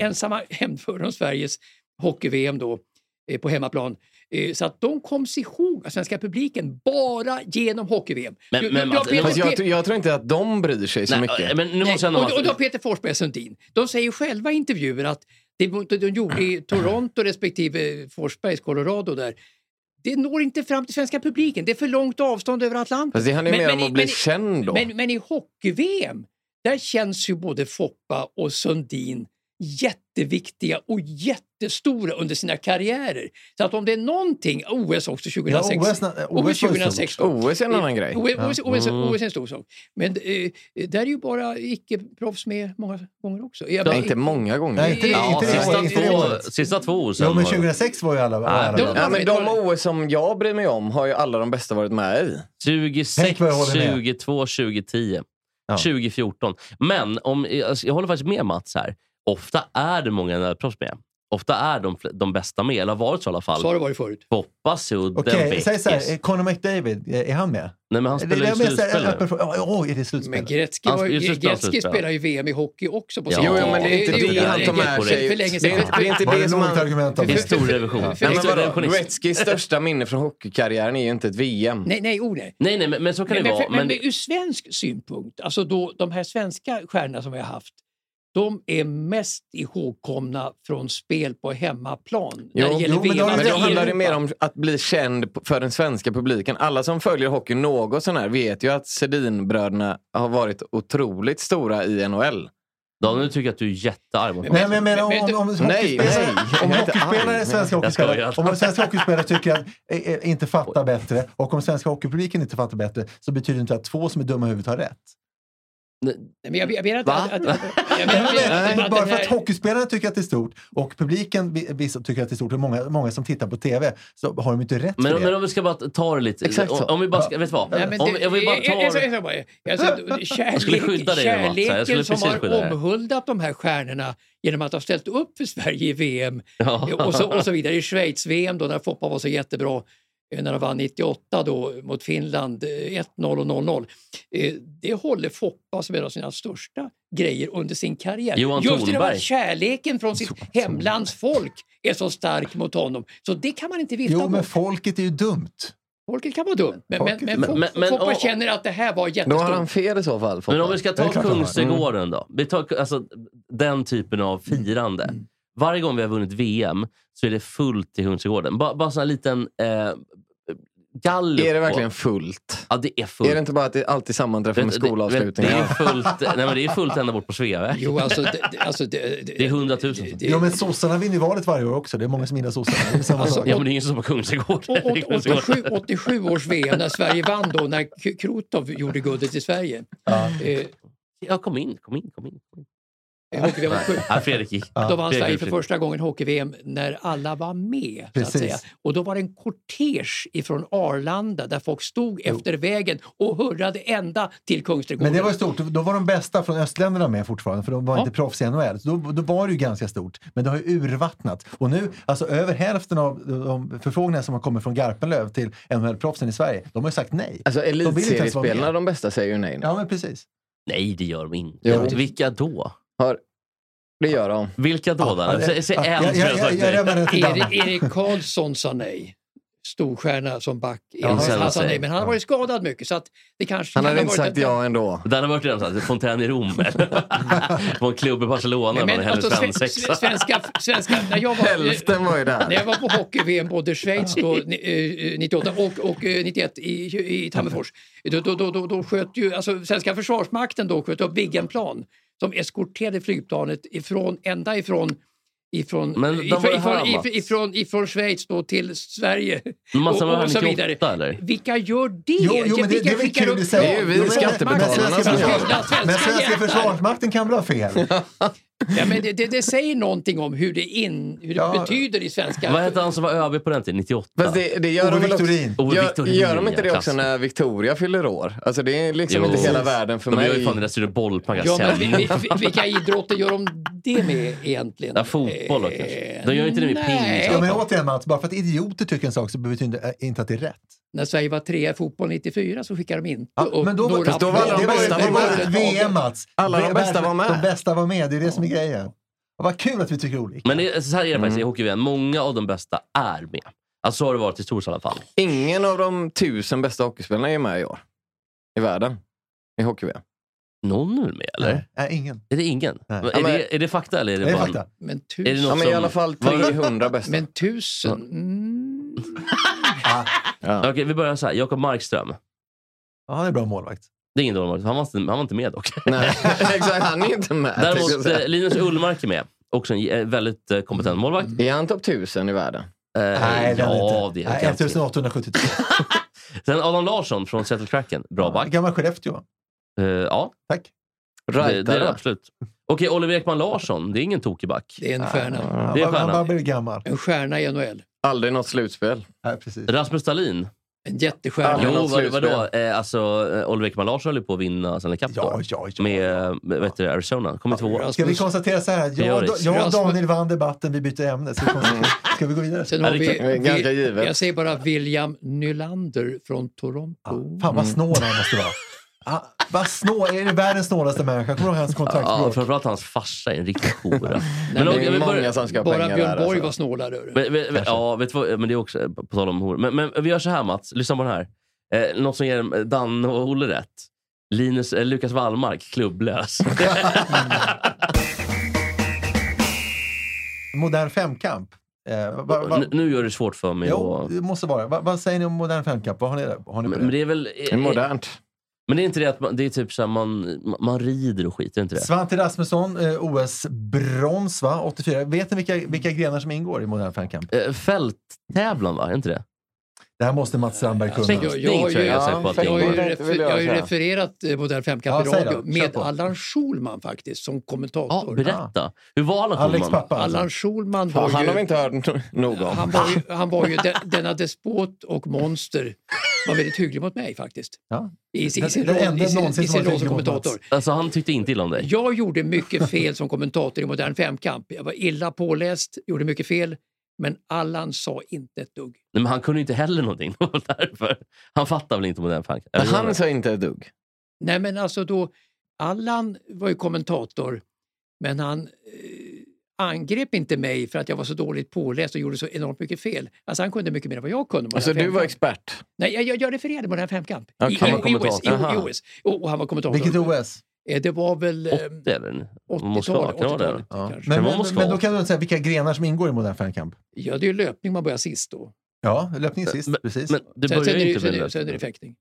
[SPEAKER 2] ensamma hemförde om Sveriges hockey-VM då. eh, på hemmaplan. Eh, Så att de kom sig ihåg, svenska publiken, bara genom hockey-VM.
[SPEAKER 4] Men-
[SPEAKER 2] Du-
[SPEAKER 4] men
[SPEAKER 2] du har
[SPEAKER 4] Mats,
[SPEAKER 2] Peter
[SPEAKER 4] fast jag
[SPEAKER 2] Pe-
[SPEAKER 4] tror- jag tror inte att de bryr sig så
[SPEAKER 1] eh,
[SPEAKER 4] mycket.
[SPEAKER 2] Nej, och, och då Peter Forsberg och Sundin. De säger själva i intervjuer att det de de gjorde i Toronto respektive Forsbergs Colorado där, det når inte fram till svenska publiken. Det är för långt avstånd över Atlanten.
[SPEAKER 4] Fast det handlar ju mer om
[SPEAKER 2] i-
[SPEAKER 4] att bli
[SPEAKER 2] i-
[SPEAKER 4] känd då.
[SPEAKER 2] Men, men i hockey-VM, där känns ju både Foppa och Sundin jätteviktiga och jättestora under sina karriärer. Så att om det är någonting, OS också 2006.
[SPEAKER 4] Ja, OS na- OS var ju stort. OS är en annan grej.
[SPEAKER 2] Eh, OS, OS,
[SPEAKER 4] Ja.
[SPEAKER 2] OS,
[SPEAKER 4] Mm.
[SPEAKER 2] är en stor sak. Men eh, där är ju bara icke-proffs med många gånger också. Jag-
[SPEAKER 4] Nej, inte många gånger.
[SPEAKER 3] Nej, inte det- Ja, inte det sista året, inte det två- året.
[SPEAKER 1] sista två år
[SPEAKER 3] Jo, men 2006 var ju alla... alla
[SPEAKER 4] Nej,
[SPEAKER 3] bra.
[SPEAKER 4] ja, men de OS som jag bryr mig om har ju alla de bästa varit med i.
[SPEAKER 1] 26, 22, 2010, 2014. Men om, alltså, jag håller faktiskt med Mats här. Ofta är det många nödproffs med. Ofta är de, fl- de bästa med, eller har varit så i alla fall.
[SPEAKER 2] Så har det varit förut.
[SPEAKER 1] Poppa, Sudden,
[SPEAKER 3] Okej,
[SPEAKER 1] Beckis.
[SPEAKER 3] säg så här. eh, Conor McDavid, eh, är han med?
[SPEAKER 1] Nej, men han spelar ju slutspel nu.
[SPEAKER 3] Åh, är det slutspel?
[SPEAKER 2] Men Gretzky,
[SPEAKER 3] Han
[SPEAKER 2] var, ju-
[SPEAKER 3] spelar ju slutspel,
[SPEAKER 2] Gretzky
[SPEAKER 3] slutspel.
[SPEAKER 2] spelar ju VM i hockey också. På
[SPEAKER 1] Ja.
[SPEAKER 2] sin
[SPEAKER 1] Jo,
[SPEAKER 2] tid.
[SPEAKER 1] jo, men det är inte det han tar med
[SPEAKER 2] för
[SPEAKER 4] sig.
[SPEAKER 2] För länge
[SPEAKER 4] Det är
[SPEAKER 2] sedan.
[SPEAKER 4] inte- det är inte Var det det som långt han- argument om det?
[SPEAKER 1] Historierevision.
[SPEAKER 4] Nej, men vadå?
[SPEAKER 1] Historierevisionist.
[SPEAKER 4] Gretzkys största minne från hockeykarriären är ju inte ett VM.
[SPEAKER 2] Nej, nej, oh, nej.
[SPEAKER 1] Nej, nej, men, men så kan
[SPEAKER 2] men,
[SPEAKER 1] det
[SPEAKER 2] men,
[SPEAKER 1] vara.
[SPEAKER 2] Men,
[SPEAKER 1] Men,
[SPEAKER 2] men ur svensk synpunkt, alltså då, de här svenska stjärnorna som vi har haft, de är mest ihågkomna från spel på hemmaplan. när det gäller
[SPEAKER 4] men då,
[SPEAKER 2] VM.
[SPEAKER 1] Alltså,
[SPEAKER 4] men då handlar det
[SPEAKER 2] Europa.
[SPEAKER 4] mer om att bli känd p- för den svenska publiken. Alla som följer hockey något sån här vet ju att Sedinbröderna har varit otroligt stora i NHL.
[SPEAKER 1] Dan, nu tycker jag att du är jättearg mot
[SPEAKER 3] Nej, men jag menar om, om, om
[SPEAKER 4] Nej, nej.
[SPEAKER 3] hockeyspelare, om
[SPEAKER 4] jag är inte
[SPEAKER 3] hockeyspelare
[SPEAKER 4] arg.
[SPEAKER 3] svenska
[SPEAKER 4] Jag skojar.
[SPEAKER 3] hockeyspelare, om svenska hockeyspelare tycker att eh, eh, inte fattar bättre och om svenska hockeypubliken inte fattar bättre så betyder det inte att två som är dumma i huvudet har rätt.
[SPEAKER 2] Nej, men jag, jag menar inte
[SPEAKER 3] Va?
[SPEAKER 2] att... att, att jag menar
[SPEAKER 3] Nej,
[SPEAKER 2] inte
[SPEAKER 3] men,
[SPEAKER 2] att
[SPEAKER 3] bara
[SPEAKER 2] den
[SPEAKER 3] för
[SPEAKER 2] här-
[SPEAKER 3] att hockeyspelarna tycker att det är stort och publiken vi- vissa tycker att det är stort och många, många som tittar på TV så har de inte rätt för
[SPEAKER 1] men,
[SPEAKER 3] det.
[SPEAKER 1] men om vi ska bara ta det lite.
[SPEAKER 3] Exakt så.
[SPEAKER 1] om, om vi bara ska, vet du vad?
[SPEAKER 2] Nej, men
[SPEAKER 1] om,
[SPEAKER 2] det-
[SPEAKER 1] jag vill bara
[SPEAKER 2] eh, eh, eh, eh,
[SPEAKER 1] ta...
[SPEAKER 2] eh, bara, Alltså, kärlek,
[SPEAKER 1] Jag skulle skydda dig, Mats. Jag skulle
[SPEAKER 2] kärleken som
[SPEAKER 1] precis skydda dig.
[SPEAKER 2] har omhuldat de här stjärnorna genom att ha ställt upp för Sverige i VM
[SPEAKER 1] Ja.
[SPEAKER 2] eh, och, så, och så vidare. I Schweiz-VM då när Foppa var så jättebra eh, när de vann 98 då mot Finland eh, 1-0 och 0-0. Eh, Det håller Foppa som en av sina största grejer under sin karriär.
[SPEAKER 1] Johan
[SPEAKER 2] Just det där
[SPEAKER 1] Thornberg.
[SPEAKER 2] att kärleken från sitt hemlands folk är så stark mot honom. Så det kan man inte vifta
[SPEAKER 3] Jo,
[SPEAKER 2] bort.
[SPEAKER 3] men folket är ju dumt.
[SPEAKER 2] Folket kan vara dumt, men, men, men,
[SPEAKER 1] Men- men-
[SPEAKER 2] Foppa
[SPEAKER 1] men-
[SPEAKER 2] känner att det här var
[SPEAKER 4] Då har han
[SPEAKER 2] jättestort.
[SPEAKER 4] fel i så fall. Foppa.
[SPEAKER 1] Men om vi ska
[SPEAKER 4] Det
[SPEAKER 1] ta
[SPEAKER 4] är klart
[SPEAKER 3] Mm.
[SPEAKER 4] han har.
[SPEAKER 1] Kungsträdgården då. Vi tar, alltså, den typen av
[SPEAKER 3] Mm.
[SPEAKER 1] firande. Varje gång vi har vunnit VM så är det fullt i Kungsträdgården. Bara, bara sån här liten eh, gallup.
[SPEAKER 4] Är det
[SPEAKER 1] på-
[SPEAKER 4] verkligen fullt?
[SPEAKER 1] Ja, det är fullt.
[SPEAKER 4] Är det inte bara att det alltid sammanträffar
[SPEAKER 1] Vet-
[SPEAKER 4] med
[SPEAKER 1] det- Det,
[SPEAKER 4] skolavslutningar?
[SPEAKER 1] det är fullt, nej, men det är fullt ända bort på Sveavägen.
[SPEAKER 2] Jo, alltså, det, det, alltså, det, det,
[SPEAKER 1] är hundratusen.
[SPEAKER 3] Jo, men sossarna vinner valet varje år också. Det är många som gillar sossarna. Det är samma
[SPEAKER 1] Alltså,
[SPEAKER 3] sak.
[SPEAKER 1] ja, men det är ingen som på Kungsträdgården.
[SPEAKER 2] Och- och- 87, 87 års VM när Sverige vann då, när K- Krutov gjorde guldet i Sverige. Eh,
[SPEAKER 1] Ja, kom in, kom in, kom in.
[SPEAKER 2] Eh, hockey-VM var sjukt.
[SPEAKER 1] Ja, Fredrik gick.
[SPEAKER 2] Då vann
[SPEAKER 1] Fredrik
[SPEAKER 2] Sverige
[SPEAKER 1] gick
[SPEAKER 2] för
[SPEAKER 1] fritt.
[SPEAKER 2] första gången hockey-VM när alla var med. Så
[SPEAKER 1] Precis.
[SPEAKER 2] att säga. Och då var det en kortege ifrån Arlanda där folk stod efter vägen och hurrade ända till Kungsträdgården.
[SPEAKER 3] Men det var ju stort. Då var de bästa från östländerna med fortfarande, för de var inte proffs i NHL. Så då, då var det ju ganska stort. Men det har ju urvattnat. Och nu, alltså över hälften av de förfrågningar som har kommit från Garpenlöv till NHL-proffsen i Sverige, de har ju sagt nej.
[SPEAKER 4] Alltså
[SPEAKER 3] De vill inte ens vara med.
[SPEAKER 4] elitseriespelarna, de bästa, säger ju nej nu.
[SPEAKER 3] Ja, men precis.
[SPEAKER 1] Nej, det gör de inte.
[SPEAKER 4] Jo.
[SPEAKER 1] Vilka då?
[SPEAKER 4] Har, det gör de.
[SPEAKER 1] Vilka då?
[SPEAKER 4] ja,
[SPEAKER 1] då? Säg, säg
[SPEAKER 4] ja,
[SPEAKER 1] en
[SPEAKER 4] ja,
[SPEAKER 1] som
[SPEAKER 4] ja,
[SPEAKER 1] jag har sagt
[SPEAKER 4] ja, ja,
[SPEAKER 1] nej.
[SPEAKER 4] men-
[SPEAKER 2] Erik, Erik Karlsson sa nej. Storstjärna som back.
[SPEAKER 1] Ja,
[SPEAKER 2] han,
[SPEAKER 1] sen
[SPEAKER 2] han sa
[SPEAKER 1] säger-
[SPEAKER 2] nej, men han har varit skadad mycket så att det kanske
[SPEAKER 1] Han
[SPEAKER 2] kan
[SPEAKER 1] hade
[SPEAKER 2] ha
[SPEAKER 1] inte
[SPEAKER 2] varit
[SPEAKER 1] sagt
[SPEAKER 2] en-
[SPEAKER 4] ja ändå.
[SPEAKER 1] Det hade varit redan såhär, fontän i Rom. på en klubb i Barcelona.
[SPEAKER 2] Men
[SPEAKER 1] Men, hellre
[SPEAKER 2] alltså, sve- sve-
[SPEAKER 1] svensexa.
[SPEAKER 2] svenska, svenska, när jag var,
[SPEAKER 4] Hälften var ju där.
[SPEAKER 2] När jag var på hockey-VM både i Schweiz då, ni- eh, 98 och, och eh, 91 i, i Tammerfors, då, då, då, då, då sköt ju alltså, svenska försvarsmakten då sköt upp Viggenplan som eskorterade flygplanet ifrån, ända ifrån ifrån,
[SPEAKER 1] Men de var
[SPEAKER 2] ifrån,
[SPEAKER 1] det här,
[SPEAKER 2] ifrån,
[SPEAKER 1] Mats.
[SPEAKER 2] ifrån, ifrån, ifrån Schweiz då till Sverige
[SPEAKER 1] Massa
[SPEAKER 2] och,
[SPEAKER 1] var
[SPEAKER 2] och så vidare.
[SPEAKER 1] 98 eller?
[SPEAKER 2] Vilka gör det?
[SPEAKER 3] Jo, jo, men det, det
[SPEAKER 2] Vilka
[SPEAKER 3] är väl
[SPEAKER 2] skickar
[SPEAKER 3] kul i
[SPEAKER 2] upp
[SPEAKER 3] sig.
[SPEAKER 2] plan?
[SPEAKER 3] Jo, men-
[SPEAKER 4] skattebetalarna
[SPEAKER 3] men svenska
[SPEAKER 4] som gör det.
[SPEAKER 3] försvars- Men svenska
[SPEAKER 2] jävlar.
[SPEAKER 3] försvarsmakten kan väl ha fel?
[SPEAKER 2] Ja, men det, det, det säger någonting om hur det, in, hur det betyder i svenska.
[SPEAKER 1] Vad hette han som var ÖB på den tiden? 98?
[SPEAKER 4] Fast det, det gör de väl också,
[SPEAKER 1] Ove
[SPEAKER 4] gör,
[SPEAKER 1] Victorin,
[SPEAKER 4] gör de inte det
[SPEAKER 1] ja,
[SPEAKER 4] också
[SPEAKER 1] klass.
[SPEAKER 4] när Victoria fyller år? Alltså det är liksom
[SPEAKER 1] Jo.
[SPEAKER 4] inte hela världen för
[SPEAKER 1] de
[SPEAKER 4] mig.
[SPEAKER 1] De gör ju fan den där Sture Bollplank.
[SPEAKER 2] Ja, men vi, vi, vi- vilka idrotter gör de det med egentligen? Eh,
[SPEAKER 1] Ja, fotboll då kanske. De gör inte det med pingis. i
[SPEAKER 3] Ja,
[SPEAKER 1] alla
[SPEAKER 3] men
[SPEAKER 1] fall.
[SPEAKER 3] återigen Mats, bara för att idioter tycker en sak så betyder det inte att det är rätt.
[SPEAKER 2] När Sverige var trea i fotboll 94 så skickade de inte upp
[SPEAKER 3] Men då var,
[SPEAKER 2] några
[SPEAKER 3] det var, det var,
[SPEAKER 2] applåder.
[SPEAKER 3] det var ett VM Mats.
[SPEAKER 4] Alla de bästa var med.
[SPEAKER 3] De bästa var med, det är det som är grejen. Vad kul att vi tycker olika.
[SPEAKER 1] Men det, så här är det
[SPEAKER 3] Mm.
[SPEAKER 1] faktiskt i hockey Många av de bästa är med. Alltså så har det varit historiskt i alla fall.
[SPEAKER 4] Ingen av de tusen bästa hockeyspelarna är med i år. I världen. I hockey-VM.
[SPEAKER 1] Någon är med eller?
[SPEAKER 3] Nej, nej, ingen.
[SPEAKER 1] Är det ingen? Är,
[SPEAKER 4] Ja, men-
[SPEAKER 1] det, är det fakta eller är det,
[SPEAKER 3] Det är
[SPEAKER 1] bara...
[SPEAKER 3] fakta.
[SPEAKER 2] Men tusen...
[SPEAKER 1] Är det något
[SPEAKER 4] Ja, men
[SPEAKER 1] som...
[SPEAKER 4] I alla fall
[SPEAKER 1] Vad-
[SPEAKER 4] 300 bästa.
[SPEAKER 2] Men tusen... Mm.
[SPEAKER 1] Okej,
[SPEAKER 4] Ja.
[SPEAKER 1] vi börjar så här. Jakob Markström.
[SPEAKER 3] Ja, han är en bra målvakt.
[SPEAKER 1] Det är ingen dålig målvakt. han, var inte- han var inte med dock.
[SPEAKER 4] Nej, exakt. Han är inte med. tänkte jag
[SPEAKER 1] Däremot
[SPEAKER 4] säga.
[SPEAKER 1] eh, Linus Ullmark är med. Också en eh, väldigt eh, kompetent målvakt.
[SPEAKER 4] Är han topp 1000 i världen?
[SPEAKER 1] Eh,
[SPEAKER 3] det är han
[SPEAKER 1] ja,
[SPEAKER 3] inte.
[SPEAKER 1] det
[SPEAKER 3] Mm. Nej,
[SPEAKER 1] är det.
[SPEAKER 3] 1872.
[SPEAKER 1] Sen Adam Larsson från Seattle Kraken. Bra back.
[SPEAKER 3] Gammal Skellefteå.
[SPEAKER 1] Eh, ja,
[SPEAKER 3] Tack.
[SPEAKER 1] det, det är det
[SPEAKER 4] Rightare.
[SPEAKER 1] absolut. Okej, Oliver Ekman Larsson. Det är ingen tokig back.
[SPEAKER 2] Det är en stjärna.
[SPEAKER 3] Han
[SPEAKER 1] Det är
[SPEAKER 3] bara- han
[SPEAKER 1] stjärnan.
[SPEAKER 3] bara blir gammal.
[SPEAKER 2] En stjärna i NHL.
[SPEAKER 4] Aldrig något slutspel.
[SPEAKER 3] Ja, precis.
[SPEAKER 1] Rasmus Dahlin.
[SPEAKER 4] Ja,
[SPEAKER 2] En
[SPEAKER 1] Jo,
[SPEAKER 2] jättestjärna.
[SPEAKER 4] men-
[SPEAKER 1] vad,
[SPEAKER 4] slutspel.
[SPEAKER 1] vadå? Eh, alltså, eh, Oliver Ekman Larsson höll ju på att vinna Stanley Cup
[SPEAKER 3] Ja,
[SPEAKER 1] då.
[SPEAKER 3] ja, ja.
[SPEAKER 1] Med eh, vad heter det, Arizona. Kommer tvåa.
[SPEAKER 2] Rasmus-
[SPEAKER 3] Ska vi konstatera så här? att Jag,
[SPEAKER 1] Björris.
[SPEAKER 3] jag och
[SPEAKER 2] Rasmus-
[SPEAKER 3] Daniel vann debatten, vi byter ämne. Ska vi,
[SPEAKER 1] Mm.
[SPEAKER 3] konstatera- ska vi gå vidare?
[SPEAKER 2] Sen har vi,
[SPEAKER 4] det är ganska givet.
[SPEAKER 2] vi, jag säger bara William Nylander från Toronto.
[SPEAKER 3] Fan
[SPEAKER 1] Mm.
[SPEAKER 3] vad snål han måste vara. Ah, vad snål, är det världens snålaste människa? Kommer du ihåg hans
[SPEAKER 1] Ja,
[SPEAKER 3] kontaktspråk?
[SPEAKER 1] framförallt hans farsa är en riktig hora. men
[SPEAKER 4] Det
[SPEAKER 1] okej,
[SPEAKER 4] är
[SPEAKER 1] vi börjar-
[SPEAKER 4] många som ska ha
[SPEAKER 2] Bara
[SPEAKER 4] pengar
[SPEAKER 2] Björn
[SPEAKER 4] där.
[SPEAKER 2] Borg
[SPEAKER 4] alltså.
[SPEAKER 2] var snålare. hörru.
[SPEAKER 1] Men, men, men, ja, vet du vad, men det är också eh, på tal om hor. Men, men vi gör så här Mats, lyssna på den här. Eh, något som ger eh, Dan och Olle rätt. Linus, eh, Lukas Wallmark, klubblös.
[SPEAKER 3] Modern femkamp. Eh, va, va,
[SPEAKER 1] nu, nu gör det svårt för mig
[SPEAKER 3] jo,
[SPEAKER 1] att...
[SPEAKER 3] det måste vara. Va, vad säger ni om modern femkamp? Vad har ni, har ni
[SPEAKER 1] Men,
[SPEAKER 3] på det?
[SPEAKER 1] men det är väl... eh,
[SPEAKER 4] Det är modernt.
[SPEAKER 1] Men det är inte det att man, det är typ så här, man, man rider och skit, är det inte det?
[SPEAKER 3] Svante Rasmusson, eh, OS-brons va? 84. Vet ni vilka, vilka grenar som ingår i modern femkamp?
[SPEAKER 1] Eh, Fälttävlan va? Är inte det?
[SPEAKER 3] Det här måste Mats Strandberg kunna.
[SPEAKER 1] Fäktning
[SPEAKER 2] jag-
[SPEAKER 1] tror
[SPEAKER 2] jag har
[SPEAKER 1] jag jag
[SPEAKER 2] ju-
[SPEAKER 1] är
[SPEAKER 4] ja,
[SPEAKER 1] säker på att det
[SPEAKER 2] Jag har ju,
[SPEAKER 4] fäktning.
[SPEAKER 1] ingår.
[SPEAKER 4] Det
[SPEAKER 2] refer-
[SPEAKER 4] vill jag
[SPEAKER 2] jag har ju
[SPEAKER 4] säga.
[SPEAKER 2] refererat eh, Modern Femkamp i
[SPEAKER 3] Ja, säg då. Kör
[SPEAKER 2] radio med
[SPEAKER 3] på.
[SPEAKER 2] Allan Schulman faktiskt som
[SPEAKER 1] Ja,
[SPEAKER 2] kommentator.
[SPEAKER 1] berätta. Hur var alla
[SPEAKER 3] Alex
[SPEAKER 1] Schulman?
[SPEAKER 3] pappa alltså.
[SPEAKER 2] Allan Schulman
[SPEAKER 4] Ja,
[SPEAKER 2] var
[SPEAKER 4] han har vi
[SPEAKER 2] ju,
[SPEAKER 4] inte hört no- nog om.
[SPEAKER 2] han var ju, han var ju de, denna despot och monster var väldigt hygglig mot mig faktiskt.
[SPEAKER 3] Ja.
[SPEAKER 2] I, sin- i,
[SPEAKER 3] Den-
[SPEAKER 2] sin
[SPEAKER 3] den
[SPEAKER 2] roll,
[SPEAKER 3] enda
[SPEAKER 2] i, sin,
[SPEAKER 3] någonsin
[SPEAKER 2] i
[SPEAKER 3] som
[SPEAKER 2] sin
[SPEAKER 3] varit
[SPEAKER 2] roll som
[SPEAKER 3] hygglig mot
[SPEAKER 2] kommentator.
[SPEAKER 3] Mats.
[SPEAKER 1] Alltså han tyckte inte illa om dig.
[SPEAKER 2] Jag gjorde mycket fel som kommentator i Modern Femkamp. Jag var illa påläst, gjorde mycket fel. Men Allan sa inte ett dugg.
[SPEAKER 1] Nej, men han kunde ju inte heller någonting. Det var därför. Han fattar väl inte modern funk?
[SPEAKER 4] Men han sa inte ett dugg.
[SPEAKER 2] Nej men alltså då, Allan var ju kommentator men han eh, angrep inte mig för att jag var så dåligt påläst och gjorde så enormt mycket fel. Alltså han kunde mycket mer än vad jag kunde. om
[SPEAKER 4] Alltså
[SPEAKER 2] den här
[SPEAKER 4] du var
[SPEAKER 2] femkamp.
[SPEAKER 4] expert.
[SPEAKER 2] Nej, jag, jag, jag refererade på den här femkamp.
[SPEAKER 4] Okej.
[SPEAKER 2] I,
[SPEAKER 4] Han var
[SPEAKER 2] i, i OS. I,
[SPEAKER 4] kommentator.
[SPEAKER 2] i OS. Och, och han var kommentator.
[SPEAKER 3] Vilket OS?
[SPEAKER 2] Eh, Det var väl eh,
[SPEAKER 1] 80 eller? Moskva,
[SPEAKER 2] 80-talet.
[SPEAKER 1] kan det vara det?
[SPEAKER 2] 80-talet
[SPEAKER 3] Ja.
[SPEAKER 2] kanske.
[SPEAKER 3] Men,
[SPEAKER 1] var
[SPEAKER 3] men,
[SPEAKER 1] Moskva.
[SPEAKER 3] men då kan du inte säga vilka grenar som ingår i modern femkamp?
[SPEAKER 2] Ja, det är ju löpning man börjar sist då.
[SPEAKER 3] Ja, löpning sist, precis.
[SPEAKER 1] Men det
[SPEAKER 2] Sen, sen,
[SPEAKER 1] börjar
[SPEAKER 2] är,
[SPEAKER 1] ju
[SPEAKER 2] det,
[SPEAKER 1] inte
[SPEAKER 2] sen,
[SPEAKER 1] med
[SPEAKER 2] är, det- sen är det
[SPEAKER 1] det.
[SPEAKER 2] fäktning.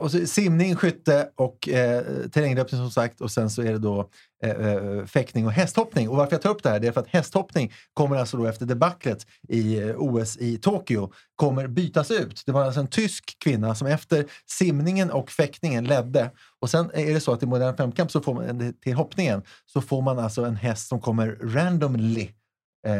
[SPEAKER 3] Och så simning, skytte och eh, terränglöpning som sagt. Och sen så är det då eh, eh, fäktning och hästhoppning. Och varför jag tar upp det här det är för att hästhoppning kommer alltså då efter debaclet i eh, OS i Tokyo kommer bytas ut. Det var alltså en tysk kvinna som efter simningen och fäktningen ledde. Och sen är det så att i modern femkamp så får man en- till hoppningen så får man alltså en häst som kommer randomly. Eh,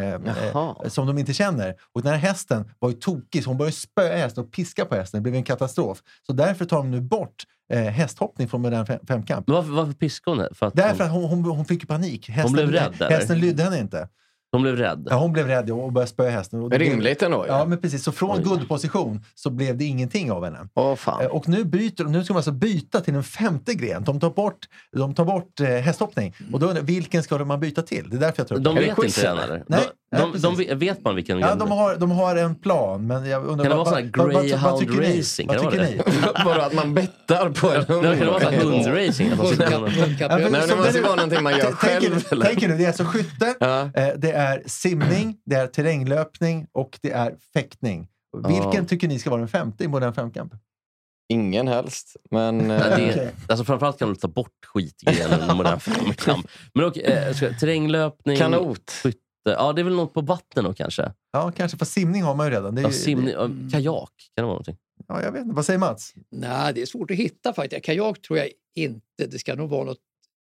[SPEAKER 4] Jaha.
[SPEAKER 3] eh, som de inte känner. Och den här hästen var ju tokig, så hon började spöa hästen och piska på hästen. Det blev en katastrof. Så därför tar de nu bort eh, hästhoppning från modern fem- femkamp.
[SPEAKER 1] Men varför, varför piskade hon henne? För att
[SPEAKER 3] Därför
[SPEAKER 1] hon,
[SPEAKER 3] att hon, hon, hon fick ju panik. Hästen,
[SPEAKER 1] blev rädd, eller?
[SPEAKER 3] Hästen lydde henne inte.
[SPEAKER 1] hon blev rädd.
[SPEAKER 3] Ja, hon blev rädd och började spöa hästen. Och det blev-
[SPEAKER 4] Rimligt ändå ju.
[SPEAKER 3] Ja, men precis. Så från
[SPEAKER 1] Oj.
[SPEAKER 3] guldposition så blev det ingenting av henne.
[SPEAKER 4] Åh
[SPEAKER 3] Eh,
[SPEAKER 4] fan.
[SPEAKER 3] Och nu, byter, nu ska de alltså byta till en femte gren. De tar bort, de tar bort eh, hästhoppning. Och då undrar jag, vilken ska man byta till? Det är därför jag tar upp
[SPEAKER 1] Mm. De
[SPEAKER 3] det.
[SPEAKER 4] Är det
[SPEAKER 1] vet
[SPEAKER 4] quiz,
[SPEAKER 1] inte än
[SPEAKER 4] eller?
[SPEAKER 1] eller?
[SPEAKER 3] Nej,
[SPEAKER 1] de,
[SPEAKER 3] nej,
[SPEAKER 1] de, de,
[SPEAKER 3] precis.
[SPEAKER 1] vet- vet man vilken
[SPEAKER 3] Ja,
[SPEAKER 1] gren
[SPEAKER 3] de
[SPEAKER 1] det är?
[SPEAKER 3] har, de har en plan, men jag undrar...
[SPEAKER 1] Kan det vara
[SPEAKER 3] vad-
[SPEAKER 1] sån här
[SPEAKER 3] vad- vad- vad-
[SPEAKER 1] greyhound
[SPEAKER 3] tycker ni?
[SPEAKER 1] racing? Kan
[SPEAKER 3] Vad
[SPEAKER 1] det
[SPEAKER 3] tycker
[SPEAKER 1] vara
[SPEAKER 3] ni?
[SPEAKER 4] Bara att man bettar på en
[SPEAKER 1] Nej, Kan det vara så här hundracing? Att de sitter och-
[SPEAKER 3] men-
[SPEAKER 2] Hundkapplöpning.
[SPEAKER 4] Nej, det
[SPEAKER 3] Som
[SPEAKER 4] måste
[SPEAKER 3] den-
[SPEAKER 4] ju vara någonting man gör
[SPEAKER 3] Tänk- tänk
[SPEAKER 4] själv.
[SPEAKER 3] er-
[SPEAKER 4] eller?
[SPEAKER 3] Tänk er nu, det är alltså skytte,
[SPEAKER 4] Ja.
[SPEAKER 3] eh, det är simning, det är terränglöpning och det är fäktning. Vilken
[SPEAKER 1] Ja.
[SPEAKER 3] tycker ni ska vara den femte i modern femkamp?
[SPEAKER 4] Ingen helst. Men eh,
[SPEAKER 1] Nej, det,
[SPEAKER 3] Okej.
[SPEAKER 1] alltså framförallt kan de ta bort skitgrenen om modern femkamp. Men okej, eh, ska- terränglöpning...
[SPEAKER 4] kanot.
[SPEAKER 1] Ja, det är väl något på vatten då kanske?
[SPEAKER 3] Ja, kanske. För simning har man ju redan. Det är,
[SPEAKER 1] Ja,
[SPEAKER 3] ju-
[SPEAKER 1] simning, ja, kajak, kan det vara någonting?
[SPEAKER 3] Ja, jag vet inte. Vad säger Mats?
[SPEAKER 2] Nej, det är svårt att hitta faktiskt. Kajak tror jag inte. Det ska nog vara något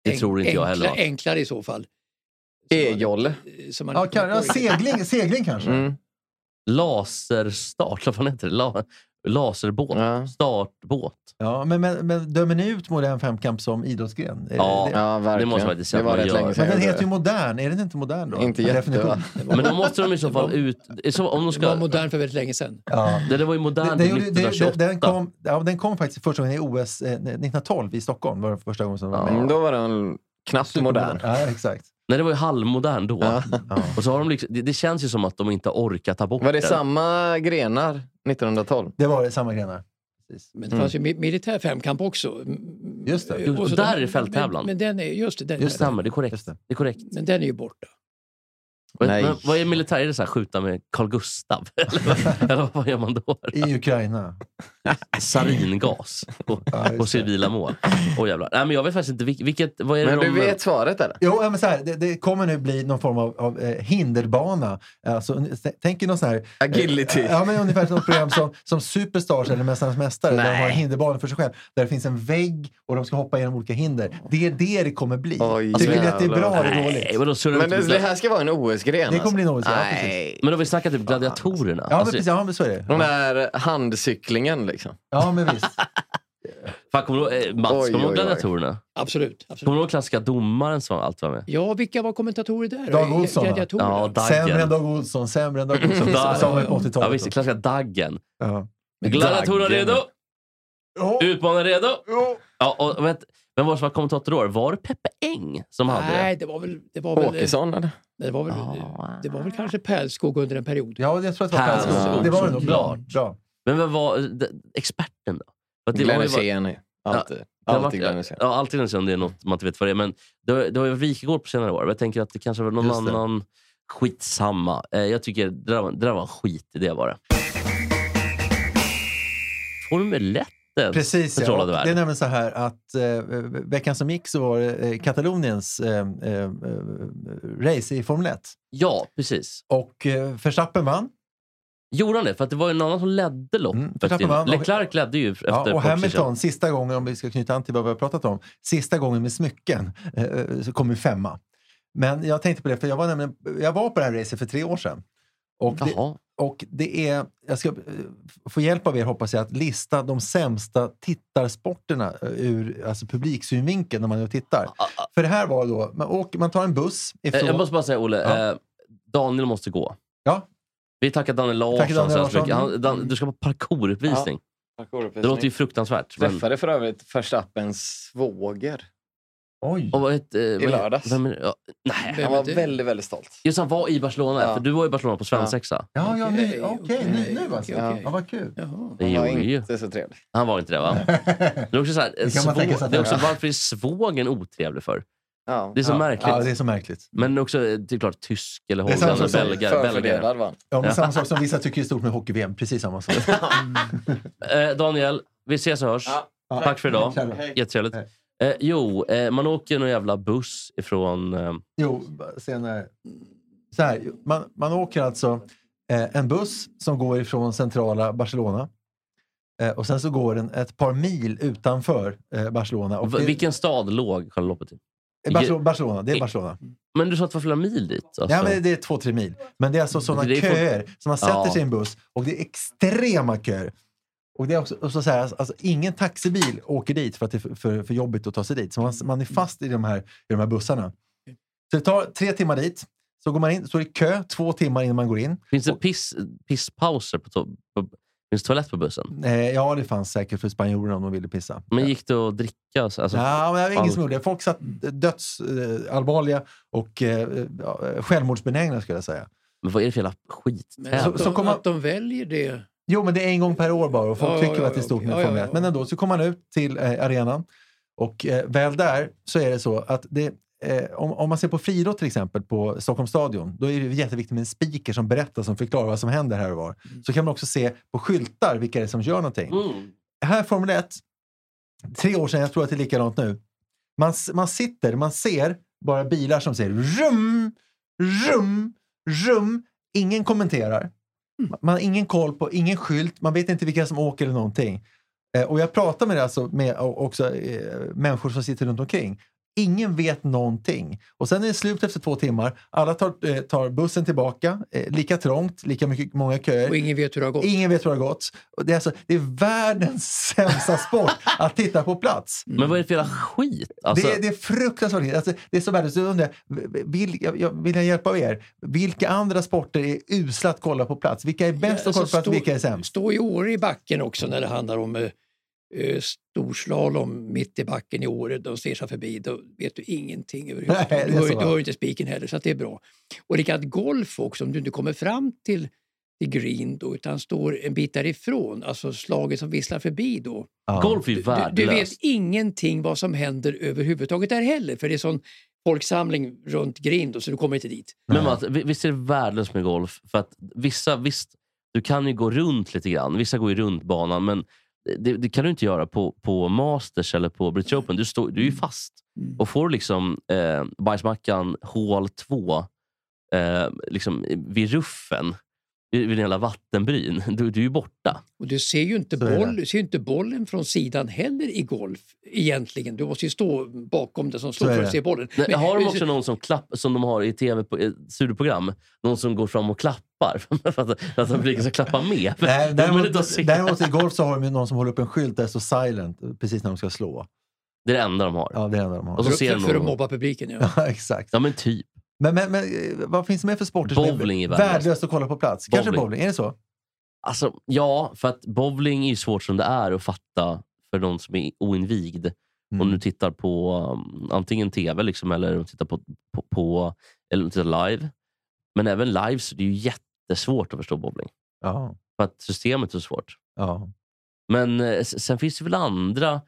[SPEAKER 1] Det
[SPEAKER 2] enk-
[SPEAKER 1] tror inte jag heller.
[SPEAKER 2] enkla- enklare i så fall.
[SPEAKER 4] E-jolle.
[SPEAKER 2] Som man
[SPEAKER 3] Ja,
[SPEAKER 2] inte
[SPEAKER 3] kan, ja,
[SPEAKER 2] kommer på.
[SPEAKER 3] segling, segling kanske?
[SPEAKER 4] Mm.
[SPEAKER 1] Laserstart, vad fan heter det? La, laserbåt?
[SPEAKER 4] Ja.
[SPEAKER 1] Startbåt?
[SPEAKER 3] Ja, men, men, men dömer ni ut modern femkamp som idrottsgren? Är
[SPEAKER 1] Ja.
[SPEAKER 3] det-
[SPEAKER 4] Ja, verkligen.
[SPEAKER 1] måste man inte säga
[SPEAKER 4] det var
[SPEAKER 1] att man
[SPEAKER 4] rätt
[SPEAKER 1] gör.
[SPEAKER 4] länge sedan
[SPEAKER 3] Men den
[SPEAKER 4] jag
[SPEAKER 3] heter ju
[SPEAKER 4] gjorde
[SPEAKER 3] modern. Är den inte modern då?
[SPEAKER 4] det. Inte
[SPEAKER 3] Per
[SPEAKER 4] jätte...
[SPEAKER 3] definition.
[SPEAKER 4] va?
[SPEAKER 1] Men då måste de i så fall ut... i Så, om de
[SPEAKER 2] Det var
[SPEAKER 1] ska,
[SPEAKER 2] modern för väldigt länge sedan.
[SPEAKER 3] Ja.
[SPEAKER 1] det, det var ju
[SPEAKER 3] Den,
[SPEAKER 1] modernt
[SPEAKER 3] den,
[SPEAKER 1] i
[SPEAKER 3] gjorde-
[SPEAKER 1] mitten
[SPEAKER 3] den,
[SPEAKER 1] av
[SPEAKER 3] den,
[SPEAKER 1] 28.
[SPEAKER 3] den, kom, ja, den kom faktiskt första gången i OS eh, 1912 i Stockholm. var det första gången som den var med.
[SPEAKER 4] Mm, Då var den knappt modern.
[SPEAKER 3] Ja, exakt.
[SPEAKER 1] Nej, det var ju halvmodern då. Och så har de liksom, det, det känns ju som att de inte har orkat ta bort
[SPEAKER 4] Var det
[SPEAKER 1] den.
[SPEAKER 4] samma grenar 1912?
[SPEAKER 3] Det var det, samma grenar.
[SPEAKER 2] Men
[SPEAKER 1] Mm.
[SPEAKER 2] det fanns ju mi- militär femkamp också.
[SPEAKER 3] Just det.
[SPEAKER 2] Och så
[SPEAKER 1] där
[SPEAKER 2] de-
[SPEAKER 1] är fälttävlan.
[SPEAKER 2] Men, men den är, just det, den
[SPEAKER 1] Just det,
[SPEAKER 2] är,
[SPEAKER 1] stämmer, det är korrekt. Det. är korrekt.
[SPEAKER 2] men den är ju borta.
[SPEAKER 1] Vad-
[SPEAKER 4] Nej.
[SPEAKER 1] Men, vad är militär? Är det så här, skjuta med Carl Gustav? Eller, vad- eller vad gör man då?
[SPEAKER 3] I Ukraina.
[SPEAKER 1] Saringas på,
[SPEAKER 3] Ja, just
[SPEAKER 1] på
[SPEAKER 3] det.
[SPEAKER 1] civila mål. Åh jävlar. Nej, men jag vet faktiskt inte vilk- vilket... Vad är det
[SPEAKER 4] Men du
[SPEAKER 1] de-
[SPEAKER 4] vet svaret eller?
[SPEAKER 3] Jo, ja, men så här, det, det kommer nu bli någon form av, av eh, hinderbana. Alltså, n- s- tänk er någon sån här... eh,
[SPEAKER 4] Agility.
[SPEAKER 3] Ja, men ungefär som något program som, som Superstars eller Mästarnas Mästare. Där de har en
[SPEAKER 4] Nej.
[SPEAKER 3] hinderbana för sig själv. Där det finns en vägg och de ska hoppa genom olika hinder. Det är det det kommer bli.
[SPEAKER 4] Oj,
[SPEAKER 3] Tycker ni att det är bra
[SPEAKER 4] jävlar.
[SPEAKER 3] eller
[SPEAKER 1] Alltså, Nej,
[SPEAKER 3] dåligt?
[SPEAKER 1] vadå, surrar
[SPEAKER 4] Men
[SPEAKER 1] du
[SPEAKER 4] det,
[SPEAKER 1] inte
[SPEAKER 4] det
[SPEAKER 1] med-
[SPEAKER 4] här ska vara en OS-gren alltså.
[SPEAKER 3] Det kommer bli en OS-gren, ja,
[SPEAKER 4] Nej.
[SPEAKER 1] Men då har vi snackat typ gladiatorerna.
[SPEAKER 3] Ja, men
[SPEAKER 1] Alltså,
[SPEAKER 3] precis. Ja, men så är det.
[SPEAKER 4] Den här handcyklingen liksom.
[SPEAKER 3] Ja, men visst.
[SPEAKER 1] fan, kommer du ihåg, eh, Mats,
[SPEAKER 4] Oj,
[SPEAKER 1] kommer du ihåg
[SPEAKER 4] oj, oj.
[SPEAKER 1] gladiatorerna?
[SPEAKER 2] Absolut. absolut.
[SPEAKER 1] Kommer du ihåg klassiska domaren som alltid var med?
[SPEAKER 2] Ja, vilka var kommentatorer där?
[SPEAKER 3] Dag Olsson, va?
[SPEAKER 2] Gladiatorerna.
[SPEAKER 1] Ja,
[SPEAKER 3] Sämre än
[SPEAKER 1] Daggen.
[SPEAKER 3] Dag Olsson, sämre än Dag Olsson.
[SPEAKER 1] Där.
[SPEAKER 3] Som var på
[SPEAKER 1] Ja,
[SPEAKER 3] 80-talet.
[SPEAKER 1] visst, klassiska Daggen.
[SPEAKER 3] Ja.
[SPEAKER 1] Gladiatorerna
[SPEAKER 4] Daggen.
[SPEAKER 1] redo?
[SPEAKER 3] Ja.
[SPEAKER 1] Utmanaren redo?
[SPEAKER 3] Ja.
[SPEAKER 1] Ja, och vet, vem var det som var kommentator då? Var det Peppe Eng som hade det? Ah.
[SPEAKER 2] Nej, det var väl... Det var väl
[SPEAKER 4] Åkesson eller?
[SPEAKER 2] Nej, Det var väl,
[SPEAKER 1] Ja.
[SPEAKER 2] det var väl kanske Pärlskog under en period.
[SPEAKER 3] Ja, jag tror att det var
[SPEAKER 1] Pärlskog.
[SPEAKER 3] Pärlskog. Det var det nog. Bra.
[SPEAKER 1] Såklart.
[SPEAKER 3] bra.
[SPEAKER 1] Men vem var de, experten då? För att det
[SPEAKER 4] Glenn
[SPEAKER 1] har ju varit-
[SPEAKER 4] Hysén. är- Alltid.
[SPEAKER 1] det har
[SPEAKER 4] Alltid
[SPEAKER 1] varit-
[SPEAKER 4] Glenn Hysén.
[SPEAKER 1] Ja, alltid Glenn Hysén. Det är något man inte vet vad det är. Men det har, det har ju varit Wikegård på senare år. Jag tänker att det kanske var någon
[SPEAKER 3] Just det.
[SPEAKER 1] annan... Skitsamma. Eh, jag tycker det där, var- det där var en skitidé bara. Formeletten
[SPEAKER 3] Precis, ja.
[SPEAKER 1] förtrollade
[SPEAKER 3] Och Det är
[SPEAKER 1] värld.
[SPEAKER 3] nämligen så här att eh, veckan som gick så var det eh, Kataloniens eh, eh, eh, race i Formel 1.
[SPEAKER 1] Ja, precis.
[SPEAKER 3] Och eh, Verstappen vann.
[SPEAKER 1] Gjorde han det? För att det var ju någon annan som ledde loppet.
[SPEAKER 3] Mm, Verstappen
[SPEAKER 1] innan.
[SPEAKER 3] vann.
[SPEAKER 1] Leclerc ledde ju efter
[SPEAKER 3] Ja, och
[SPEAKER 1] kort session.
[SPEAKER 3] Hamilton, sista gången, om vi ska knyta an till vad vi har pratat om, sista gången med smycken, eh, så kom ju femma. Men jag tänkte på det, för jag var, nämligen, jag var på det här racet för tre år sedan. Och det,
[SPEAKER 1] Jaha.
[SPEAKER 3] Och det är, jag ska eh, få hjälp av er hoppas jag, att lista de sämsta tittarsporterna eh, ur alltså publiksynvinkel när man är och tittar. För det här var då, man, åker, man tar en buss
[SPEAKER 1] Ah, Eh,
[SPEAKER 3] ifrån...
[SPEAKER 1] Jag måste bara säga, Olle.
[SPEAKER 3] Ja.
[SPEAKER 1] Eh, Daniel måste gå.
[SPEAKER 3] Ja.
[SPEAKER 1] Vi tackar Daniel Larsson,
[SPEAKER 3] Tackar Daniel
[SPEAKER 1] så hemskt
[SPEAKER 3] Larsson.
[SPEAKER 1] mycket. Han, Dan, du ska på parkouruppvisning. Det låter ju fruktansvärt. Men,
[SPEAKER 4] Träffade för övrigt Verstappens svåger.
[SPEAKER 3] Oj!
[SPEAKER 1] och vad heter, eh, vad-
[SPEAKER 4] lördags.
[SPEAKER 1] Vem är, det? ja, nej.
[SPEAKER 4] Han var väldigt, väldigt stolt.
[SPEAKER 1] Just han var i Barcelona,
[SPEAKER 4] Ja.
[SPEAKER 1] för du var i Barcelona på svensexa.
[SPEAKER 3] Ja, ja, nu, okej,
[SPEAKER 2] okej,
[SPEAKER 3] nu, nu alltså.
[SPEAKER 2] okej, okej.
[SPEAKER 3] Ja, vad kul.
[SPEAKER 2] Jaha.
[SPEAKER 1] Det
[SPEAKER 4] Han var
[SPEAKER 1] gjorde ju.
[SPEAKER 4] inte så trevlig.
[SPEAKER 1] Han var inte det va? Det är också, så här, eh,
[SPEAKER 3] Det kan man tänka sig
[SPEAKER 1] svår,
[SPEAKER 3] att
[SPEAKER 1] det är också
[SPEAKER 3] han är.
[SPEAKER 1] varför är svågen otrevlig för?
[SPEAKER 4] Ja.
[SPEAKER 1] Det är så märkligt.
[SPEAKER 3] Ja, det är så märkligt.
[SPEAKER 1] Men också eh, det är klart tysk eller
[SPEAKER 3] Det är samma
[SPEAKER 1] holländare,
[SPEAKER 3] som-
[SPEAKER 1] belgare. belgare.
[SPEAKER 4] Förfördelad var han.
[SPEAKER 3] Ja, men samma sak som vissa tycker är stort med hockey-VM. Precis samma sak.
[SPEAKER 1] Eh, Daniel, vi ses och hörs.
[SPEAKER 4] Ja.
[SPEAKER 3] Ja.
[SPEAKER 1] Tack för idag.
[SPEAKER 3] Tja då.
[SPEAKER 1] Jättetrevligt. Eh, jo, eh, man åker någon jävla buss ifrån... Eh,
[SPEAKER 3] Jo, senare. Så här, man, man åker alltså eh, en buss som går ifrån centrala Barcelona. Eh, och sen så går den ett par mil utanför eh, Barcelona. Och
[SPEAKER 1] v-
[SPEAKER 3] det,
[SPEAKER 1] vilken stad låg själva loppet i?
[SPEAKER 3] eh, Barcelona, Barcelona, det är Barcelona.
[SPEAKER 1] Men du sa att det var flera mil dit? Alltså. Mm.
[SPEAKER 3] Ja, men det är två, tre mil. Men det är alltså sådana
[SPEAKER 1] Det är för-
[SPEAKER 3] köer. Så man sätter
[SPEAKER 1] Ja.
[SPEAKER 3] sig i en buss och det är extrema köer. Och det är också och så så här, alltså, ingen taxibil åker dit för att det är för, för, för jobbigt att ta sig dit. Så man, man är
[SPEAKER 1] Mm.
[SPEAKER 3] fast i de, här, i de här bussarna. Så det tar tre timmar dit. Så går man in, så är det kö två timmar innan man går in.
[SPEAKER 1] Finns det piss, pisspauser? På to- på, finns det toalett på bussen?
[SPEAKER 3] Eh, ja, det fanns säkert för spanjorerna om de ville pissa.
[SPEAKER 1] Men gick det att dricka? och så- Alltså,
[SPEAKER 3] ja, men det var ingen
[SPEAKER 1] All-
[SPEAKER 3] som gjorde det. Folk satt dödsallvarliga och eh, ja, självmordsbenägna skulle jag säga.
[SPEAKER 1] Men vad är det för jävla
[SPEAKER 2] Men att,
[SPEAKER 1] skittävling?
[SPEAKER 3] Så-
[SPEAKER 2] de,
[SPEAKER 3] så kommer-
[SPEAKER 2] att de väljer det.
[SPEAKER 3] Jo, men det är en gång per år bara och folk
[SPEAKER 2] Ja, ja,
[SPEAKER 3] tycker
[SPEAKER 2] ja,
[SPEAKER 3] att det är stort
[SPEAKER 2] okej.
[SPEAKER 3] med
[SPEAKER 2] Ja, ja,
[SPEAKER 3] Formel 1.
[SPEAKER 2] ja.
[SPEAKER 3] Men ändå så kommer man ut till eh, arenan och eh, väl där så är det så att det, eh, om, om man ser på friidrott till exempel på Stockholms stadion, då är det jätteviktigt med en speaker som berättar, som förklarar vad som händer här och var.
[SPEAKER 2] Mm.
[SPEAKER 3] Så kan man också se på skyltar vilka det är som gör någonting.
[SPEAKER 1] Mm.
[SPEAKER 3] Här Formel 1, tre år sedan, jag tror att det är likadant nu. Man, s- man sitter, man ser bara bilar som säger rum, rum, rum. Ingen kommenterar. Ma- Man har ingen koll på, ingen skylt, man vet inte vilka som åker eller någonting. Eh, och jag pratar med, det alltså, med o- också eh, människor som sitter runt omkring. Ingen vet någonting. Och sen är det slut efter två timmar. Alla tar, eh, tar bussen tillbaka, eh, lika trångt, lika mycket, många köer.
[SPEAKER 2] Och ingen vet hur det har gått.
[SPEAKER 3] Eh, Ingen vet hur det har gått. Och det, är alltså, det är världens sämsta sport att titta på plats.
[SPEAKER 1] Men vad är det för jävla skit? Alltså,
[SPEAKER 3] det, är, det är fruktansvärt. Alltså, det är så värdelöst. Jag undrar, Vill jag, jag, vill jag hjälpa er? Vilka andra sporter är usla
[SPEAKER 1] Alltså,
[SPEAKER 3] att kolla på plats? Vilka är bäst att kolla på plats?
[SPEAKER 2] Alltså, stå,
[SPEAKER 3] Vilka är sämst?
[SPEAKER 2] stå i år i backen också när det handlar om eh, eh, storslalom mitt i backen i året och ser sig förbi, då vet du ingenting överhuvudtaget.
[SPEAKER 3] Nej, det
[SPEAKER 2] du,
[SPEAKER 3] är
[SPEAKER 2] hör,
[SPEAKER 3] så,
[SPEAKER 2] ju-
[SPEAKER 3] va?
[SPEAKER 2] du hör ju inte spiken heller, så att det är bra. Och likadant golf också, om du inte kommer fram till, till green då, utan står en bit därifrån, alltså slaget som visslar förbi då.
[SPEAKER 1] Golf är ju
[SPEAKER 2] Du, du vet
[SPEAKER 1] värdelöst.
[SPEAKER 2] ingenting vad som händer överhuvudtaget där heller, för det är sån folksamling runt green då, så du kommer inte dit.
[SPEAKER 1] Men Mats, vi- visst är det värdelöst med golf? För att vissa, visst, du kan ju gå runt lite grann. Vissa går ju runt banan, men det, det kan du inte göra på, på Masters eller på British Open. Du, står,
[SPEAKER 2] Mm.
[SPEAKER 1] du är ju fast. Och får du liksom eh, bajsmackan hål två eh, liksom vid ruffen, vid vid den jävla vattenbryn, du, du är ju borta.
[SPEAKER 2] Och du ser ju inte,
[SPEAKER 3] Så är det.
[SPEAKER 2] boll, du ser ju inte bollen från sidan heller i golf egentligen. Du måste ju stå bakom den som står
[SPEAKER 3] är
[SPEAKER 2] för
[SPEAKER 3] det.
[SPEAKER 2] att se bollen.
[SPEAKER 1] Men,
[SPEAKER 2] Men-
[SPEAKER 1] har de också någon som klapp, som de har i tv på, eh, studioprogram, någon som går fram och klappar? för att, för att publiken ska klappa med?
[SPEAKER 3] Nej,
[SPEAKER 1] De vill inte att
[SPEAKER 3] däremot,
[SPEAKER 1] se.
[SPEAKER 3] däremot i golf så har de ju någon som håller upp en skylt där det står silent precis när de ska slå.
[SPEAKER 1] Det är det enda de har.
[SPEAKER 3] Ja, det är det enda de
[SPEAKER 1] Och
[SPEAKER 3] har.
[SPEAKER 1] så
[SPEAKER 2] för,
[SPEAKER 1] ser
[SPEAKER 2] för,
[SPEAKER 1] de
[SPEAKER 2] för att
[SPEAKER 1] någon.
[SPEAKER 2] mobba publiken. Ja.
[SPEAKER 1] Alltså-
[SPEAKER 3] Ja, exakt.
[SPEAKER 1] Ja, men typ.
[SPEAKER 3] Men, men, men eh, vad finns det mer för sporter
[SPEAKER 1] Bowling är
[SPEAKER 3] som är
[SPEAKER 1] värdelöst.
[SPEAKER 3] värdelöst att kolla på plats? Kanske
[SPEAKER 1] Bowling.
[SPEAKER 3] bowling, är det så?
[SPEAKER 1] Alltså, ja, för att bowling är ju svårt som det är att fatta för någon som är oinvigd.
[SPEAKER 3] Mm.
[SPEAKER 1] Om du tittar på um, antingen tv liksom, eller om du tittar på, på, på eller om du tittar live. Men även live så är det är ju jättesvårt att förstå bowling.
[SPEAKER 3] Ja.
[SPEAKER 1] För att systemet är så svårt.
[SPEAKER 3] ja.
[SPEAKER 1] Men eh, s- sen finns det väl andra